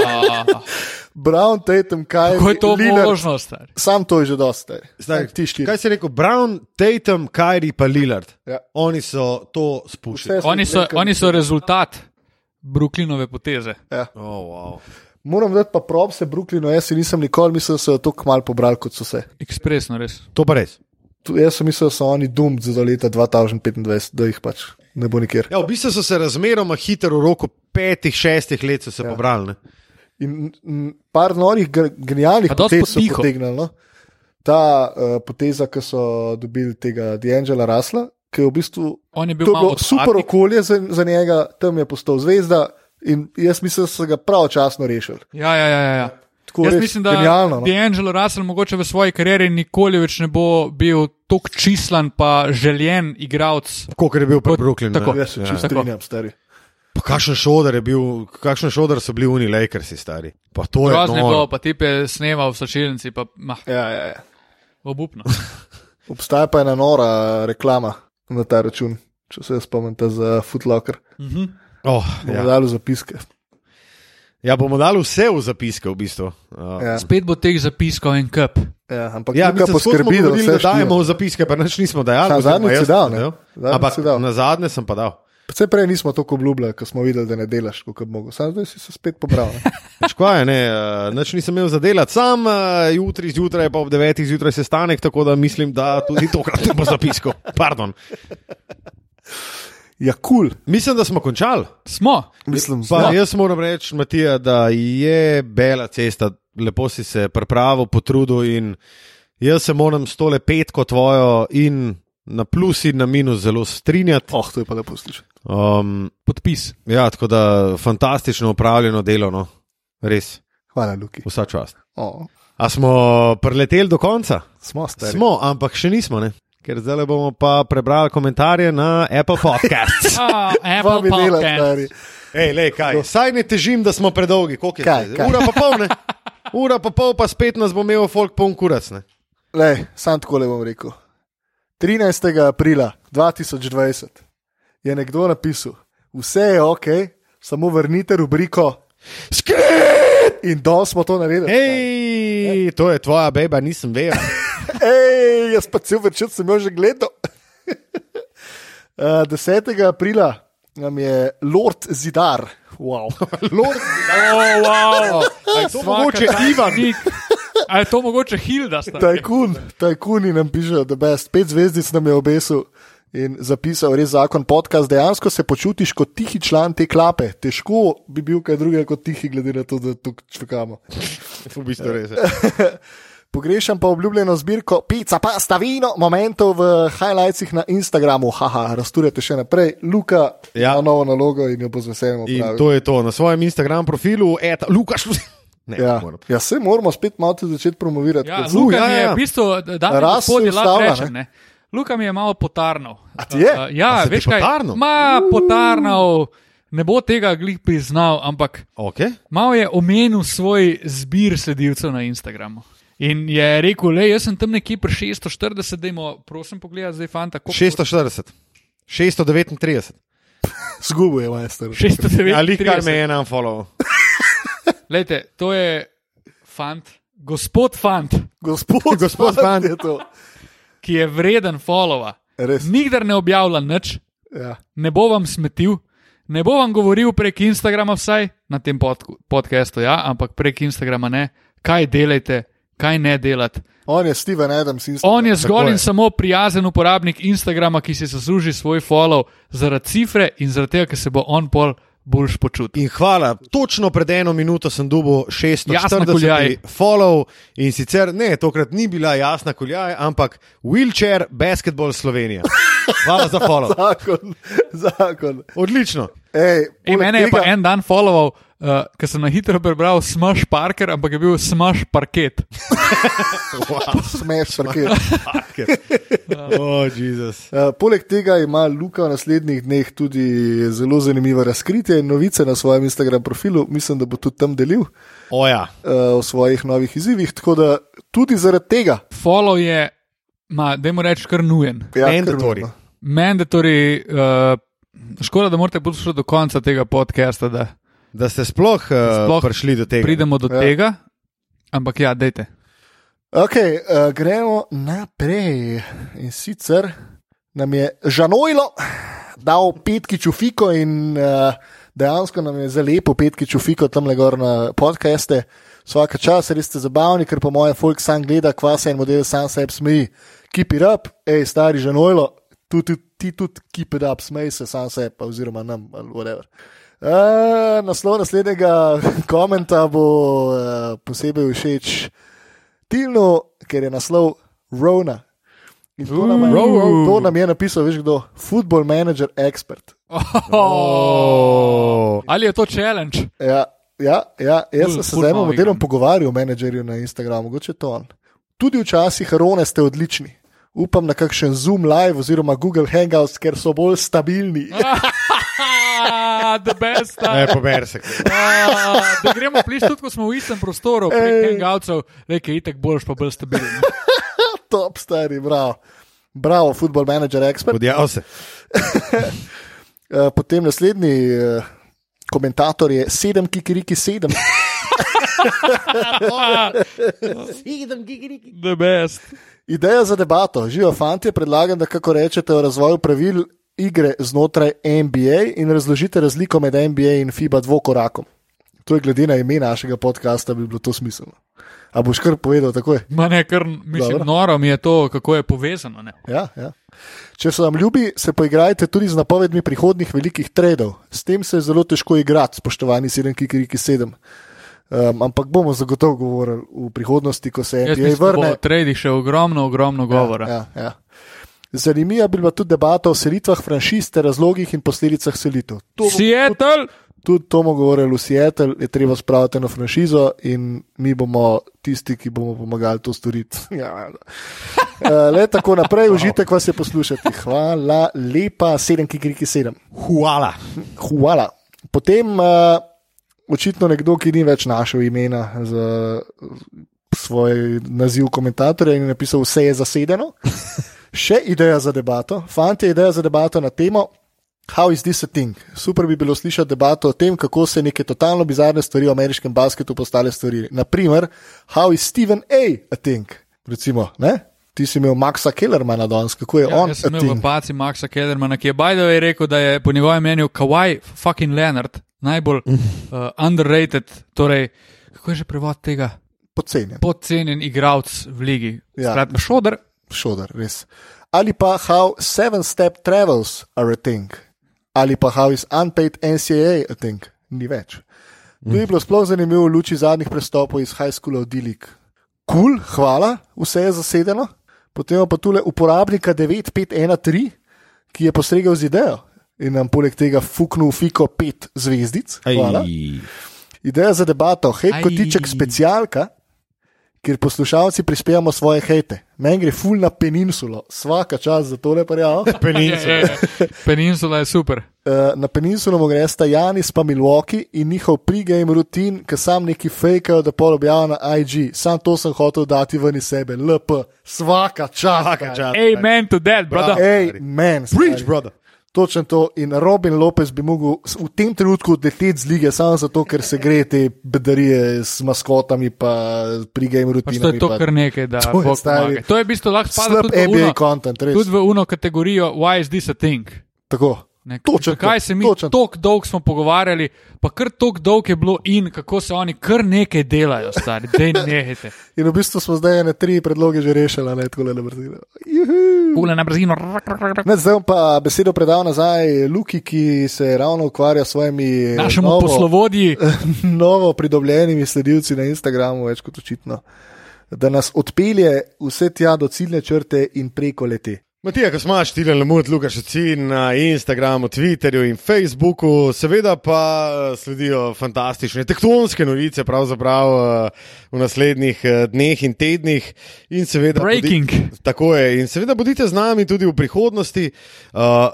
[SPEAKER 2] Brown, Tatum, Kyle,
[SPEAKER 3] Kako je to
[SPEAKER 2] Lillard,
[SPEAKER 3] možno, star?
[SPEAKER 2] Sam to je že dosti. eh.
[SPEAKER 1] Zdaj,
[SPEAKER 2] ti štiri.
[SPEAKER 1] Kaj si rekel? Brown, Tatum, Kyrie pa Lillard.
[SPEAKER 2] Ja.
[SPEAKER 1] Oni so to spuščali.
[SPEAKER 2] Vse so-
[SPEAKER 3] Oni so, oni so rezultat Brooklynove poteze.
[SPEAKER 1] Oh, wow.
[SPEAKER 2] Moram dati pa prob se Brooklynu, jaz si nisem nikoli mislil, da so jo tako malo pobrali kot so se.
[SPEAKER 3] Ekspresno, res.
[SPEAKER 1] To pa res.
[SPEAKER 2] Tu, jaz sem mislil, da so oni dumci do leta 2025, da jih pač ne bo nikjer.
[SPEAKER 1] Ja, v bistvu so se razmeroma hitro, v roku petih, šestih let so se ja. pobrali. Ne?
[SPEAKER 2] In m, par norih, gr- genialnih
[SPEAKER 3] A dosti
[SPEAKER 2] potez so
[SPEAKER 3] potiho.
[SPEAKER 2] potegnili. No? Ta uh, poteza, ki so dobili tega D'Angela Rasla, ki je v bistvu
[SPEAKER 3] On je bil
[SPEAKER 2] to je
[SPEAKER 3] malo
[SPEAKER 2] bilo super
[SPEAKER 3] odpadnik.
[SPEAKER 2] okolje za, za njega, tam je postal zvezda in jaz mislim, da so ga pravočasno rešili.
[SPEAKER 3] Ja, ja, ja. ja, ja.
[SPEAKER 2] Tako
[SPEAKER 3] Jaz
[SPEAKER 2] res
[SPEAKER 3] mislim, da
[SPEAKER 2] genialno, no.
[SPEAKER 3] D'Angelo Russell mogoče v svoji karieri nikoli več ne bo bil tako čislan, pa željen igralec.
[SPEAKER 1] Kot je bil pri Brooklynu.
[SPEAKER 3] tako.
[SPEAKER 1] ne.
[SPEAKER 2] Jaz se čisto
[SPEAKER 1] Ja.
[SPEAKER 2] strinjam, stari.
[SPEAKER 1] Pa Kakšen šodar je bil, kakšen šodar so bili oni Lakersi stari. Pa to je
[SPEAKER 3] Grozno je
[SPEAKER 1] noro.
[SPEAKER 3] bilo, pa ti je snemal v sočilnici, pa mah,
[SPEAKER 2] Ja, ja, ja.
[SPEAKER 3] obupno.
[SPEAKER 2] Obstaja pa ena nora reklama na ta račun, če se spomnite za Footlocker.
[SPEAKER 3] Mhm.
[SPEAKER 1] Oh,
[SPEAKER 2] Ja.
[SPEAKER 1] ja.
[SPEAKER 2] Dali zapiske.
[SPEAKER 1] ja, bomo dali vse v zapiske, v bistvu. Uh,
[SPEAKER 2] Ja,
[SPEAKER 3] Spet bo teh zapiskov en kup.
[SPEAKER 2] ja, ampak
[SPEAKER 1] ja,
[SPEAKER 2] ja,
[SPEAKER 1] mi smo
[SPEAKER 2] poskrbi, da
[SPEAKER 1] govorili,
[SPEAKER 2] vse
[SPEAKER 1] da
[SPEAKER 2] štiri.
[SPEAKER 1] dajemo v zapiske, pa nič nismo dajali.
[SPEAKER 2] Samo
[SPEAKER 1] oziroma
[SPEAKER 2] zadnjič
[SPEAKER 1] jaz
[SPEAKER 2] si dal,
[SPEAKER 1] sem
[SPEAKER 2] ne?
[SPEAKER 1] dajal.
[SPEAKER 2] Zadnjič
[SPEAKER 1] Ampak
[SPEAKER 2] si dal.
[SPEAKER 1] na zadnje sem pa dal.
[SPEAKER 2] Vse prej nismo tako obljubljali, ko smo videli, da ne delaš, kot bogo. Sam zdaj si se spet pobral. ne.
[SPEAKER 1] Škoda, ne, eh, nič nisem imel za delati. Sam eh, jutri zjutraj, pa ob devetih zjutraj sestanek, tako da mislim, da tudi tokrat ne bo zapiskal. Pardon.
[SPEAKER 2] Ja, kul. Cool.
[SPEAKER 1] Mislim, da smo končali.
[SPEAKER 3] Smo.
[SPEAKER 2] Mislim,
[SPEAKER 1] Pa,
[SPEAKER 2] da je
[SPEAKER 1] jaz moram reči, Matija, da je bela cesta, lepo si se pripravil, potrudil in jaz se moram s tole petko tvojo in na plus in na minus zelo strinjati.
[SPEAKER 2] oh, to je pa lepo slišati.
[SPEAKER 1] Um,
[SPEAKER 3] Podpis.
[SPEAKER 1] ja, tako da fantastično upravljeno delo, no. res,
[SPEAKER 2] Hvala, Luki.
[SPEAKER 1] vsa čast.
[SPEAKER 2] Oh,
[SPEAKER 1] A smo preleteli do konca?
[SPEAKER 2] smo stari.
[SPEAKER 1] Smo, ampak še nismo, ne? ker zdaj bomo pa prebrali komentarje na Apple Podcasts.
[SPEAKER 3] Ah,
[SPEAKER 2] Dva
[SPEAKER 3] Apple
[SPEAKER 2] bi dela,
[SPEAKER 3] Podcast.
[SPEAKER 2] stari.
[SPEAKER 1] Ej, lej, kaj, saj ne težim, da smo predolgi, koliko je
[SPEAKER 2] Kaj,
[SPEAKER 1] zdaj?
[SPEAKER 2] kaj?
[SPEAKER 1] Ura pa pol, ne? Ura pa pol, pa spet nas bo imel folk poln kurac. Ne?
[SPEAKER 2] Lej, sam tako le bom rekel. 13. aprila 2020 je nekdo napisal, vse je ok, samo vrnite rubriko in dol smo to naredili.
[SPEAKER 1] Hej, to je tvoja beba, nisem vedel.
[SPEAKER 2] Ej, jaz pa cel večer sem jo že gledal. Eh, 10. aprila nam je Lord Zidar. Wow. Lord
[SPEAKER 3] Oh, wow.
[SPEAKER 1] A je to mogoče Ivan?
[SPEAKER 3] Ali je to mogoče Hilda? stari?
[SPEAKER 2] Tajkun, tajkuni nam piše, da best, spet zvezdic nam je obesil in zapisal res zakon podcast. Dejansko se počutiš kot tihi član te klape. Težko bi bil kaj drugega kot tihi, glede na to, da tukaj čakamo.
[SPEAKER 1] v bistvu res. je.
[SPEAKER 2] Pogrešam pa obljubljeno zbirko pica, pasta, vino, momentov v highlightsih na Instagramu, haha, rasturjate še naprej, Luka
[SPEAKER 1] Ja.
[SPEAKER 2] ja. ima novo nalogo in jo bo z veseljem
[SPEAKER 1] In
[SPEAKER 2] opravil.
[SPEAKER 1] to je to na svojem Instagram profilu, eta, Lukaš. Ne,
[SPEAKER 2] Ja.
[SPEAKER 1] ne morem.
[SPEAKER 2] ja, se moramo spet malo začeti promovirati.
[SPEAKER 3] Ja,
[SPEAKER 2] kot-
[SPEAKER 1] Lu-
[SPEAKER 3] Luka
[SPEAKER 1] ja,
[SPEAKER 3] mi
[SPEAKER 1] ja,
[SPEAKER 3] je
[SPEAKER 1] ja.
[SPEAKER 3] v bistvu, eh, da mi
[SPEAKER 2] Raz
[SPEAKER 3] gospodje
[SPEAKER 2] se
[SPEAKER 3] lahko
[SPEAKER 2] ustavlja,
[SPEAKER 3] rečem. Ne? Luka mi je malo potarnal. A
[SPEAKER 2] ti je?
[SPEAKER 1] A
[SPEAKER 3] ja,
[SPEAKER 1] se ti
[SPEAKER 3] veš kaj?
[SPEAKER 1] potarnal?
[SPEAKER 3] Ma potarnal, ne bo tega glih priznal, ampak
[SPEAKER 1] Okay.
[SPEAKER 3] malo je omenil svoj zbir sledilcev na Instagramu. In je rekel, le jaz sem tam nekje pri 640, dajmo, prosim, pogledaj zdaj fanta, koliko
[SPEAKER 1] 640, 639.
[SPEAKER 2] Zgubil je majster.
[SPEAKER 3] 690.
[SPEAKER 1] Ali kar me je en unfollow.
[SPEAKER 3] Lejte, to je fant, gospod fant,
[SPEAKER 2] Gospod,
[SPEAKER 1] Gospod Zvan.
[SPEAKER 2] je to.
[SPEAKER 3] ki je vreden followa.
[SPEAKER 2] Res.
[SPEAKER 3] Nikdar ne objavlja nič,
[SPEAKER 2] Ja.
[SPEAKER 3] ne bo vam smetil, Ne bom vam govoril prek Instagrama, vsaj na tem pod, podkastu, ja, ampak prek Instagrama ne, kaj delate, kaj ne delate.
[SPEAKER 2] On je Steven Adams in
[SPEAKER 3] On je
[SPEAKER 1] Tako
[SPEAKER 3] zgolj
[SPEAKER 1] je.
[SPEAKER 3] in samo prijazen uporabnik Instagrama, ki si zasluži svoj follow zaradi cifre in zaradi tega, ker se bo on pol boljš počutil.
[SPEAKER 1] In hvala, točno pred eno minuto sem dobil
[SPEAKER 3] Jasna Kuljaj.
[SPEAKER 1] 640 follow in sicer ne, tokrat ni bila jasna koljaj, ampak wheelchair basketball Slovenija. Hvala za follow.
[SPEAKER 2] zakon. zakon.
[SPEAKER 1] Odlično.
[SPEAKER 2] Ej,
[SPEAKER 3] Ej,
[SPEAKER 2] poleg
[SPEAKER 3] mene je pa
[SPEAKER 2] tega-
[SPEAKER 3] en dan followal, uh, ker sem na hitro prebral Smash Parker, ampak je bil Smash Parket.
[SPEAKER 1] Wow,
[SPEAKER 2] Smeš, parkir.
[SPEAKER 1] fucker. oh, Jezus.
[SPEAKER 2] Eh, Poleg tega ima Luka v naslednjih dneh tudi zelo zanimivo razkritje in novice na svojem Instagram profilu, mislim, da bo tudi tam delil eh,
[SPEAKER 1] Oja.
[SPEAKER 2] o svojih novih izzivih. Tako da tudi zaradi tega,
[SPEAKER 3] Follow je, ma, dajmo reči, kar nujen.
[SPEAKER 2] ja,
[SPEAKER 1] Mandatory.
[SPEAKER 2] krvno.
[SPEAKER 3] Mandatory, uh, škoda, da morate poslušati do konca tega podcasta, da
[SPEAKER 1] Da ste sploh, uh, sploh
[SPEAKER 3] Sploh
[SPEAKER 1] prišli do tega.
[SPEAKER 3] pridemo do
[SPEAKER 2] Ja.
[SPEAKER 3] ja. tega. Ampak ja, dejte.
[SPEAKER 2] Okay, uh, gremo naprej. In sicer nam je Žanojlo dal petki čufiko in uh, dejansko nam je zalepo petki čufiko tam le gor na podcaste. Vsaka čas, res ste zabavni, ker po mojem folk sam gleda kvasa in model sam sebi smeji. Keep it up, hej, stari Žanojlo, tudi ti tudi keep it up, smej se sam sebi, pa oziroma nam ali whatever. Uh, naslov naslednjega komenta bo uh, posebej všeč Tilno, ker je naslov Rona. In to nam, je,
[SPEAKER 3] Row, row.
[SPEAKER 2] to nam je napisal, veš kdo, football manager expert.
[SPEAKER 1] Oh.
[SPEAKER 3] Ali je to challenge?
[SPEAKER 2] Ja, ja, ja jaz sem se
[SPEAKER 3] Ful
[SPEAKER 2] z enim
[SPEAKER 3] novigan.
[SPEAKER 2] modelom pogovarjal, menedžerju na Instagramu, mogoče je to on. Tudi včasih Rone ste odlični. Upam na kakšen Zoom Live oziroma Google Hangouts, ker so bolj stabilni. Ja,
[SPEAKER 3] Ah, the best. ah.
[SPEAKER 1] Ne, pober se.
[SPEAKER 3] Ah, Da gremo plišti tudi, ko smo v istem prostoru,
[SPEAKER 2] Ej.
[SPEAKER 3] prek hangoutsov, nekaj itek boljš, pa bolj stabilen.
[SPEAKER 2] Top stari, bravo. Bravo, football manager expert.
[SPEAKER 1] Podjavil se.
[SPEAKER 2] Eh, Potem naslednji eh, komentator je sedem, ki kriki sedem.
[SPEAKER 3] The best.
[SPEAKER 2] Ideja za debato. Živijo fanti, predlagam, da kako rečete o razvoju pravil igre znotraj NBA in razložite razliko med NBA in FIBA dvokorakom. To je glede na ime našega podcasta, bi bilo to smiselno. A boš kar povedal takoj?
[SPEAKER 3] Ma ne, kar mislim,
[SPEAKER 2] Dobro.
[SPEAKER 3] noro mi je to, kako je povezano. Ne?
[SPEAKER 2] Ja, ja. Če se vam ljubi, se poigrajte tudi z napovedmi prihodnih velikih tradov. S tem se je zelo težko igrati, spoštovani 7, ki kriki 7. Um, ampak bomo zagotovo govorili v prihodnosti, ko se
[SPEAKER 3] Jaz
[SPEAKER 2] NBA
[SPEAKER 3] mislim, da bo
[SPEAKER 2] Ja, vrne.
[SPEAKER 3] o tradih še ogromno, ogromno govora.
[SPEAKER 2] Ja, ja. Zanimiva bi bila tudi debata o selitvah franšiz, ter razlogih in posledicah selitev. To,
[SPEAKER 3] Seattle,
[SPEAKER 2] tudi to bomo govorili v Seattle, je treba spraviti na franšizo in mi bomo tisti, ki bomo pomagali to storiti. Ja, ja. Eh, Le tako naprej, užitek vas je poslušati. Hvala lepa, sedem kikriki sedem.
[SPEAKER 1] Hvala.
[SPEAKER 2] Hvala. Potem uh, očitno nekdo, ki ni več našel imena za svoj naziv komentatorja in je napisal, vse je zasedeno. Še ideja za debato. Fantje, ideja za debato na temo. How is this a thing? Super bi bilo slišati debato o tem, kako se neke totalno bizarne stvari v ameriškem basketu postale stvari. Naprimer, how is Steven A. a thing? Recimo, ne? ti si imel Maxa Kellermana danes, kako je
[SPEAKER 3] ja,
[SPEAKER 2] on
[SPEAKER 3] jaz
[SPEAKER 2] a
[SPEAKER 3] sem imel
[SPEAKER 2] thing?
[SPEAKER 3] v paci Maxa Kedermana, ki je Bajdo je rekel, da je po njegovem mnenju Kawhi fucking Leonard najbolj uh, underrated, torej, kako je že prevod tega,
[SPEAKER 2] Podcenjen.
[SPEAKER 3] podcenjen igralec v ligi.
[SPEAKER 2] Ja.
[SPEAKER 3] Ja. Skratka, šoder.
[SPEAKER 2] šodar, res. Ali pa how seven step travels are a thing, ali pa how is unpaid NCAA a thing, ni več. To je bilo sploh zanimivo v luči zadnjih prestopov iz high schoola v Dilik. Kul, cool, hvala, vse je zasedeno. Potem imamo pa tule uporabnika 9513, ki je postregel z idejo in nam poleg tega fuknil fiko pet zvezdic. Hvala. Ideja za debato, hej,
[SPEAKER 3] Aj.
[SPEAKER 2] kotiček specialka, kjer poslušalci prispevamo svoje hejte. Meni gre ful na peninsulo, vsaka čas za tole prijavo.
[SPEAKER 1] Peninsula.
[SPEAKER 3] Je, je. Peninsula je super.
[SPEAKER 2] Eh, Na peninsulo mu gresta Janis pa Milwaukee in njihov pregame rutin, ki sam neki fejkajo, da pol objavijo na IG. Sam to sem hotel dati ven iz sebe, LP, vsaka čas. Svaka pač. čas.
[SPEAKER 3] Amen to that, brother.
[SPEAKER 2] Ej, men.
[SPEAKER 1] Preach, brother.
[SPEAKER 2] Točno to. In Robin Lopez bi mogel s- v tem trenutku odleteti z lige, samo zato, ker se gre te bedarije s maskotami, pa prigajim
[SPEAKER 3] Pač
[SPEAKER 2] rutinami.
[SPEAKER 3] to je to
[SPEAKER 2] pa-
[SPEAKER 3] kar nekaj, da
[SPEAKER 2] To je,
[SPEAKER 3] Bog
[SPEAKER 2] stari,
[SPEAKER 3] pomaga. To je v bistvu lahko spada
[SPEAKER 2] Slab
[SPEAKER 3] tudi v,
[SPEAKER 2] NBA
[SPEAKER 3] uno,
[SPEAKER 2] content, res.
[SPEAKER 3] tudi v uno kategorijo, why is this a thing?
[SPEAKER 2] Tako.
[SPEAKER 3] Ne,
[SPEAKER 2] Točen
[SPEAKER 3] zakaj
[SPEAKER 2] to,
[SPEAKER 3] se mi
[SPEAKER 2] točen.
[SPEAKER 3] tako dolgo smo pogovarjali, pa kar tako dolgo je bilo in kako se oni kar nekaj delajo, stari, da ne nehete.
[SPEAKER 2] In v bistvu smo zdaj ene tri predloge že rešili, ne tako le brzino.
[SPEAKER 3] Ule na brzino.
[SPEAKER 2] Ne, zdaj bom pa besedo predal nazaj Luki, ki se ravno ukvarja s svojimi eh,
[SPEAKER 3] Našemu
[SPEAKER 2] novo-
[SPEAKER 3] poslovodji,
[SPEAKER 2] novo pridobljenimi sledilci na Instagramu, več kot očitno, da nas odpelje vse tja do ciljne črte in preko leti.
[SPEAKER 1] Matija, ko imaš ti lemut, Lukaš Ocin na Instagramu, Twitterju in Facebooku, seveda pa eh, sledijo fantastične tektonske novice, pravzaprav eh, v naslednjih eh, dneh in tednih. In seveda,
[SPEAKER 3] Breaking.
[SPEAKER 1] Bodi, tako je. In seveda bodite z nami tudi v prihodnosti. Uh,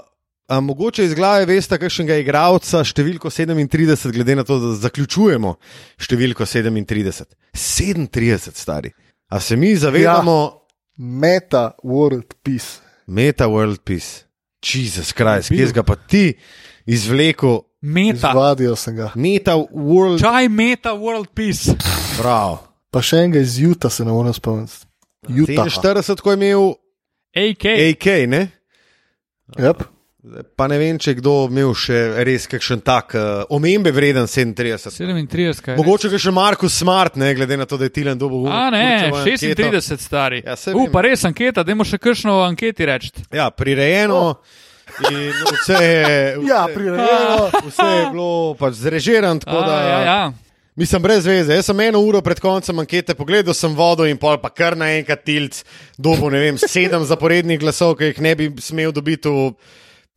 [SPEAKER 1] A mogoče iz glave veste, kakšnega igralca, številko 37, glede na to, da zaključujemo številko 37. 37, stari. A se mi zavedamo, ja.
[SPEAKER 2] Meta World Peace.
[SPEAKER 1] Meta World Peace, Jezus Christ,
[SPEAKER 3] Bil.
[SPEAKER 1] kje si ga pa ti izvlekel,
[SPEAKER 3] meta,
[SPEAKER 2] Izvadijo sem ga.
[SPEAKER 1] Meta World
[SPEAKER 3] čaj meta world peace.
[SPEAKER 1] Prav.
[SPEAKER 2] Pa še enega iz Juta se ne morem spomniti. Juta.
[SPEAKER 1] 47, ko je imel
[SPEAKER 3] AK,
[SPEAKER 1] AK, ne?
[SPEAKER 2] Yep.
[SPEAKER 1] Pa ne vem, če je kdo imel še res kakšen tak uh, omembe vreden 37.
[SPEAKER 3] 37, kaj. je?
[SPEAKER 1] Mogoče ga še Marko Smart, ne glede na to, da je Tilan dobil
[SPEAKER 3] A ne, 36 stari.
[SPEAKER 1] Ja, saj
[SPEAKER 3] U,
[SPEAKER 1] vem.
[SPEAKER 3] pa res anketa, dajmo še kršno v anketi reči.
[SPEAKER 1] Ja,
[SPEAKER 3] Oh.
[SPEAKER 1] prirejeno. In vse je, vse,
[SPEAKER 2] Ja, prirejeno.
[SPEAKER 1] vse je bilo pač zrežirano, tako da
[SPEAKER 3] A, ja, ja.
[SPEAKER 1] Mislim, brez veze. Jaz sem eno uro pred koncem ankete pogledal, sem vodo in pol, pa kar naenkrat tilc, dobo ne vem, sedem zaporednih glasov, ki jih ne bi smel dobiti v,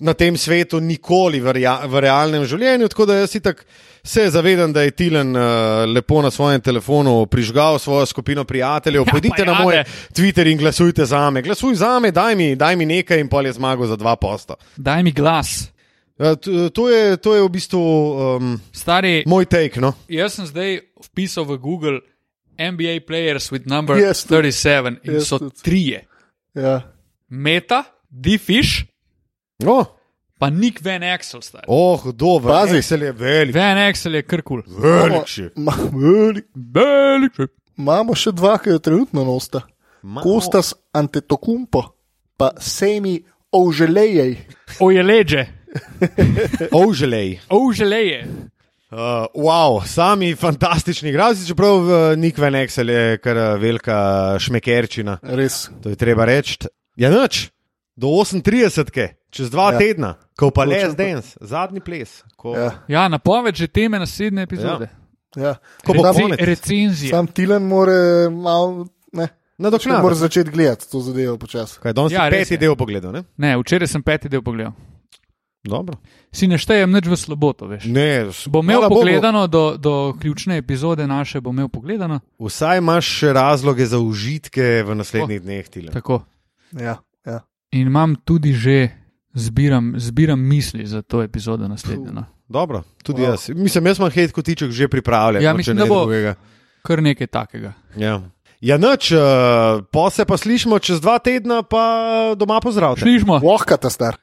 [SPEAKER 1] na tem svetu, nikoli v, rea, v realnem življenju. Tako da jaz itak se zavedam, da je Tilen uh, lepo na svojem telefonu prižgal svojo skupino prijateljev.
[SPEAKER 3] Ja,
[SPEAKER 1] Pojdite
[SPEAKER 3] pa
[SPEAKER 1] na
[SPEAKER 3] jade.
[SPEAKER 1] moj Twitter in glasujte za me. Glasuj za me, daj mi, daj mi nekaj in pol je zmagal za dva posta.
[SPEAKER 3] Daj mi glas.
[SPEAKER 1] Uh, to, to, je, to je v bistvu um,
[SPEAKER 3] Stari,
[SPEAKER 1] moj take. No?
[SPEAKER 3] jaz sem zdaj vpisal v Google NBA players with number
[SPEAKER 2] Jaz tudi.
[SPEAKER 3] 37 in
[SPEAKER 2] Jaz
[SPEAKER 3] so
[SPEAKER 2] tudi.
[SPEAKER 3] trije.
[SPEAKER 2] Ja.
[SPEAKER 3] Meta, D-Fish,
[SPEAKER 1] Oh.
[SPEAKER 3] pa Nick Van Axel star.
[SPEAKER 1] Oh, dobro.
[SPEAKER 2] Pazi.
[SPEAKER 1] se je velik.
[SPEAKER 3] Van Axel je krkul.
[SPEAKER 1] Velik še.
[SPEAKER 2] Ma- velik.
[SPEAKER 3] Velik.
[SPEAKER 2] Imamo še dva, ki jo trenutno nosta.
[SPEAKER 1] Ma-
[SPEAKER 2] Kostas Antetokumpo, pa Semi Oželejej.
[SPEAKER 3] Ojeleže.
[SPEAKER 1] Oželej.
[SPEAKER 3] Ojeleje.
[SPEAKER 1] Uh, wow, sami fantastični igralci, čeprav uh, Nik Veneksel je kar uh, velika šmekerčina,
[SPEAKER 2] Res.
[SPEAKER 1] to je treba reči. Ja, noč, do 38, čez dva ja.
[SPEAKER 2] Ja.
[SPEAKER 1] tedna, ko pa le
[SPEAKER 2] Točno to.
[SPEAKER 1] zdens, zadnji ples. Ko, ja.
[SPEAKER 2] Ja.
[SPEAKER 3] Ja, napoved že teme naslednje epizode.
[SPEAKER 2] Ja.
[SPEAKER 1] ko bo
[SPEAKER 2] Reci-
[SPEAKER 3] Reci,
[SPEAKER 1] konec,
[SPEAKER 3] recenzije.
[SPEAKER 2] Sam Tilan mora malo. Pač Ne. Če moraš
[SPEAKER 1] nadoknaditi.
[SPEAKER 2] začeti gledati to zadevo počasi.
[SPEAKER 1] Kaj, danes
[SPEAKER 3] Ja,
[SPEAKER 1] ja,
[SPEAKER 3] res
[SPEAKER 1] peti
[SPEAKER 3] je.
[SPEAKER 1] del pogledal, ne?
[SPEAKER 3] Ne, včeraj sem peti del pogledal.
[SPEAKER 1] Dobro.
[SPEAKER 3] Si ne štejem nič v sloboto, veš.
[SPEAKER 1] Ne, s-
[SPEAKER 3] Bo imel
[SPEAKER 1] hvala Bogu,
[SPEAKER 3] pogledano do, do ključne epizode naše, bo imel pogledano.
[SPEAKER 1] Vsaj imaš še razloge za užitke v naslednjih dneh, Tile.
[SPEAKER 3] Oh. Tako.
[SPEAKER 2] Ja. Ja.
[SPEAKER 3] In imam tudi že, zbiram, zbiram misli za to epizodo naslednjo. No.
[SPEAKER 1] Dobro, tudi wow.
[SPEAKER 2] Wow.
[SPEAKER 1] jaz. Mislim, jaz imam hate kotiček že pripravljen.
[SPEAKER 3] Ja,
[SPEAKER 1] no, če
[SPEAKER 3] mislim,
[SPEAKER 1] ne
[SPEAKER 3] da bo-
[SPEAKER 1] drugega.
[SPEAKER 3] Kar nekaj takega.
[SPEAKER 1] Ja, ja noč, uh, pa se pa slišmo čez dva tedna, pa doma pozdravljen.
[SPEAKER 3] Slišmo.
[SPEAKER 2] Vohkata star.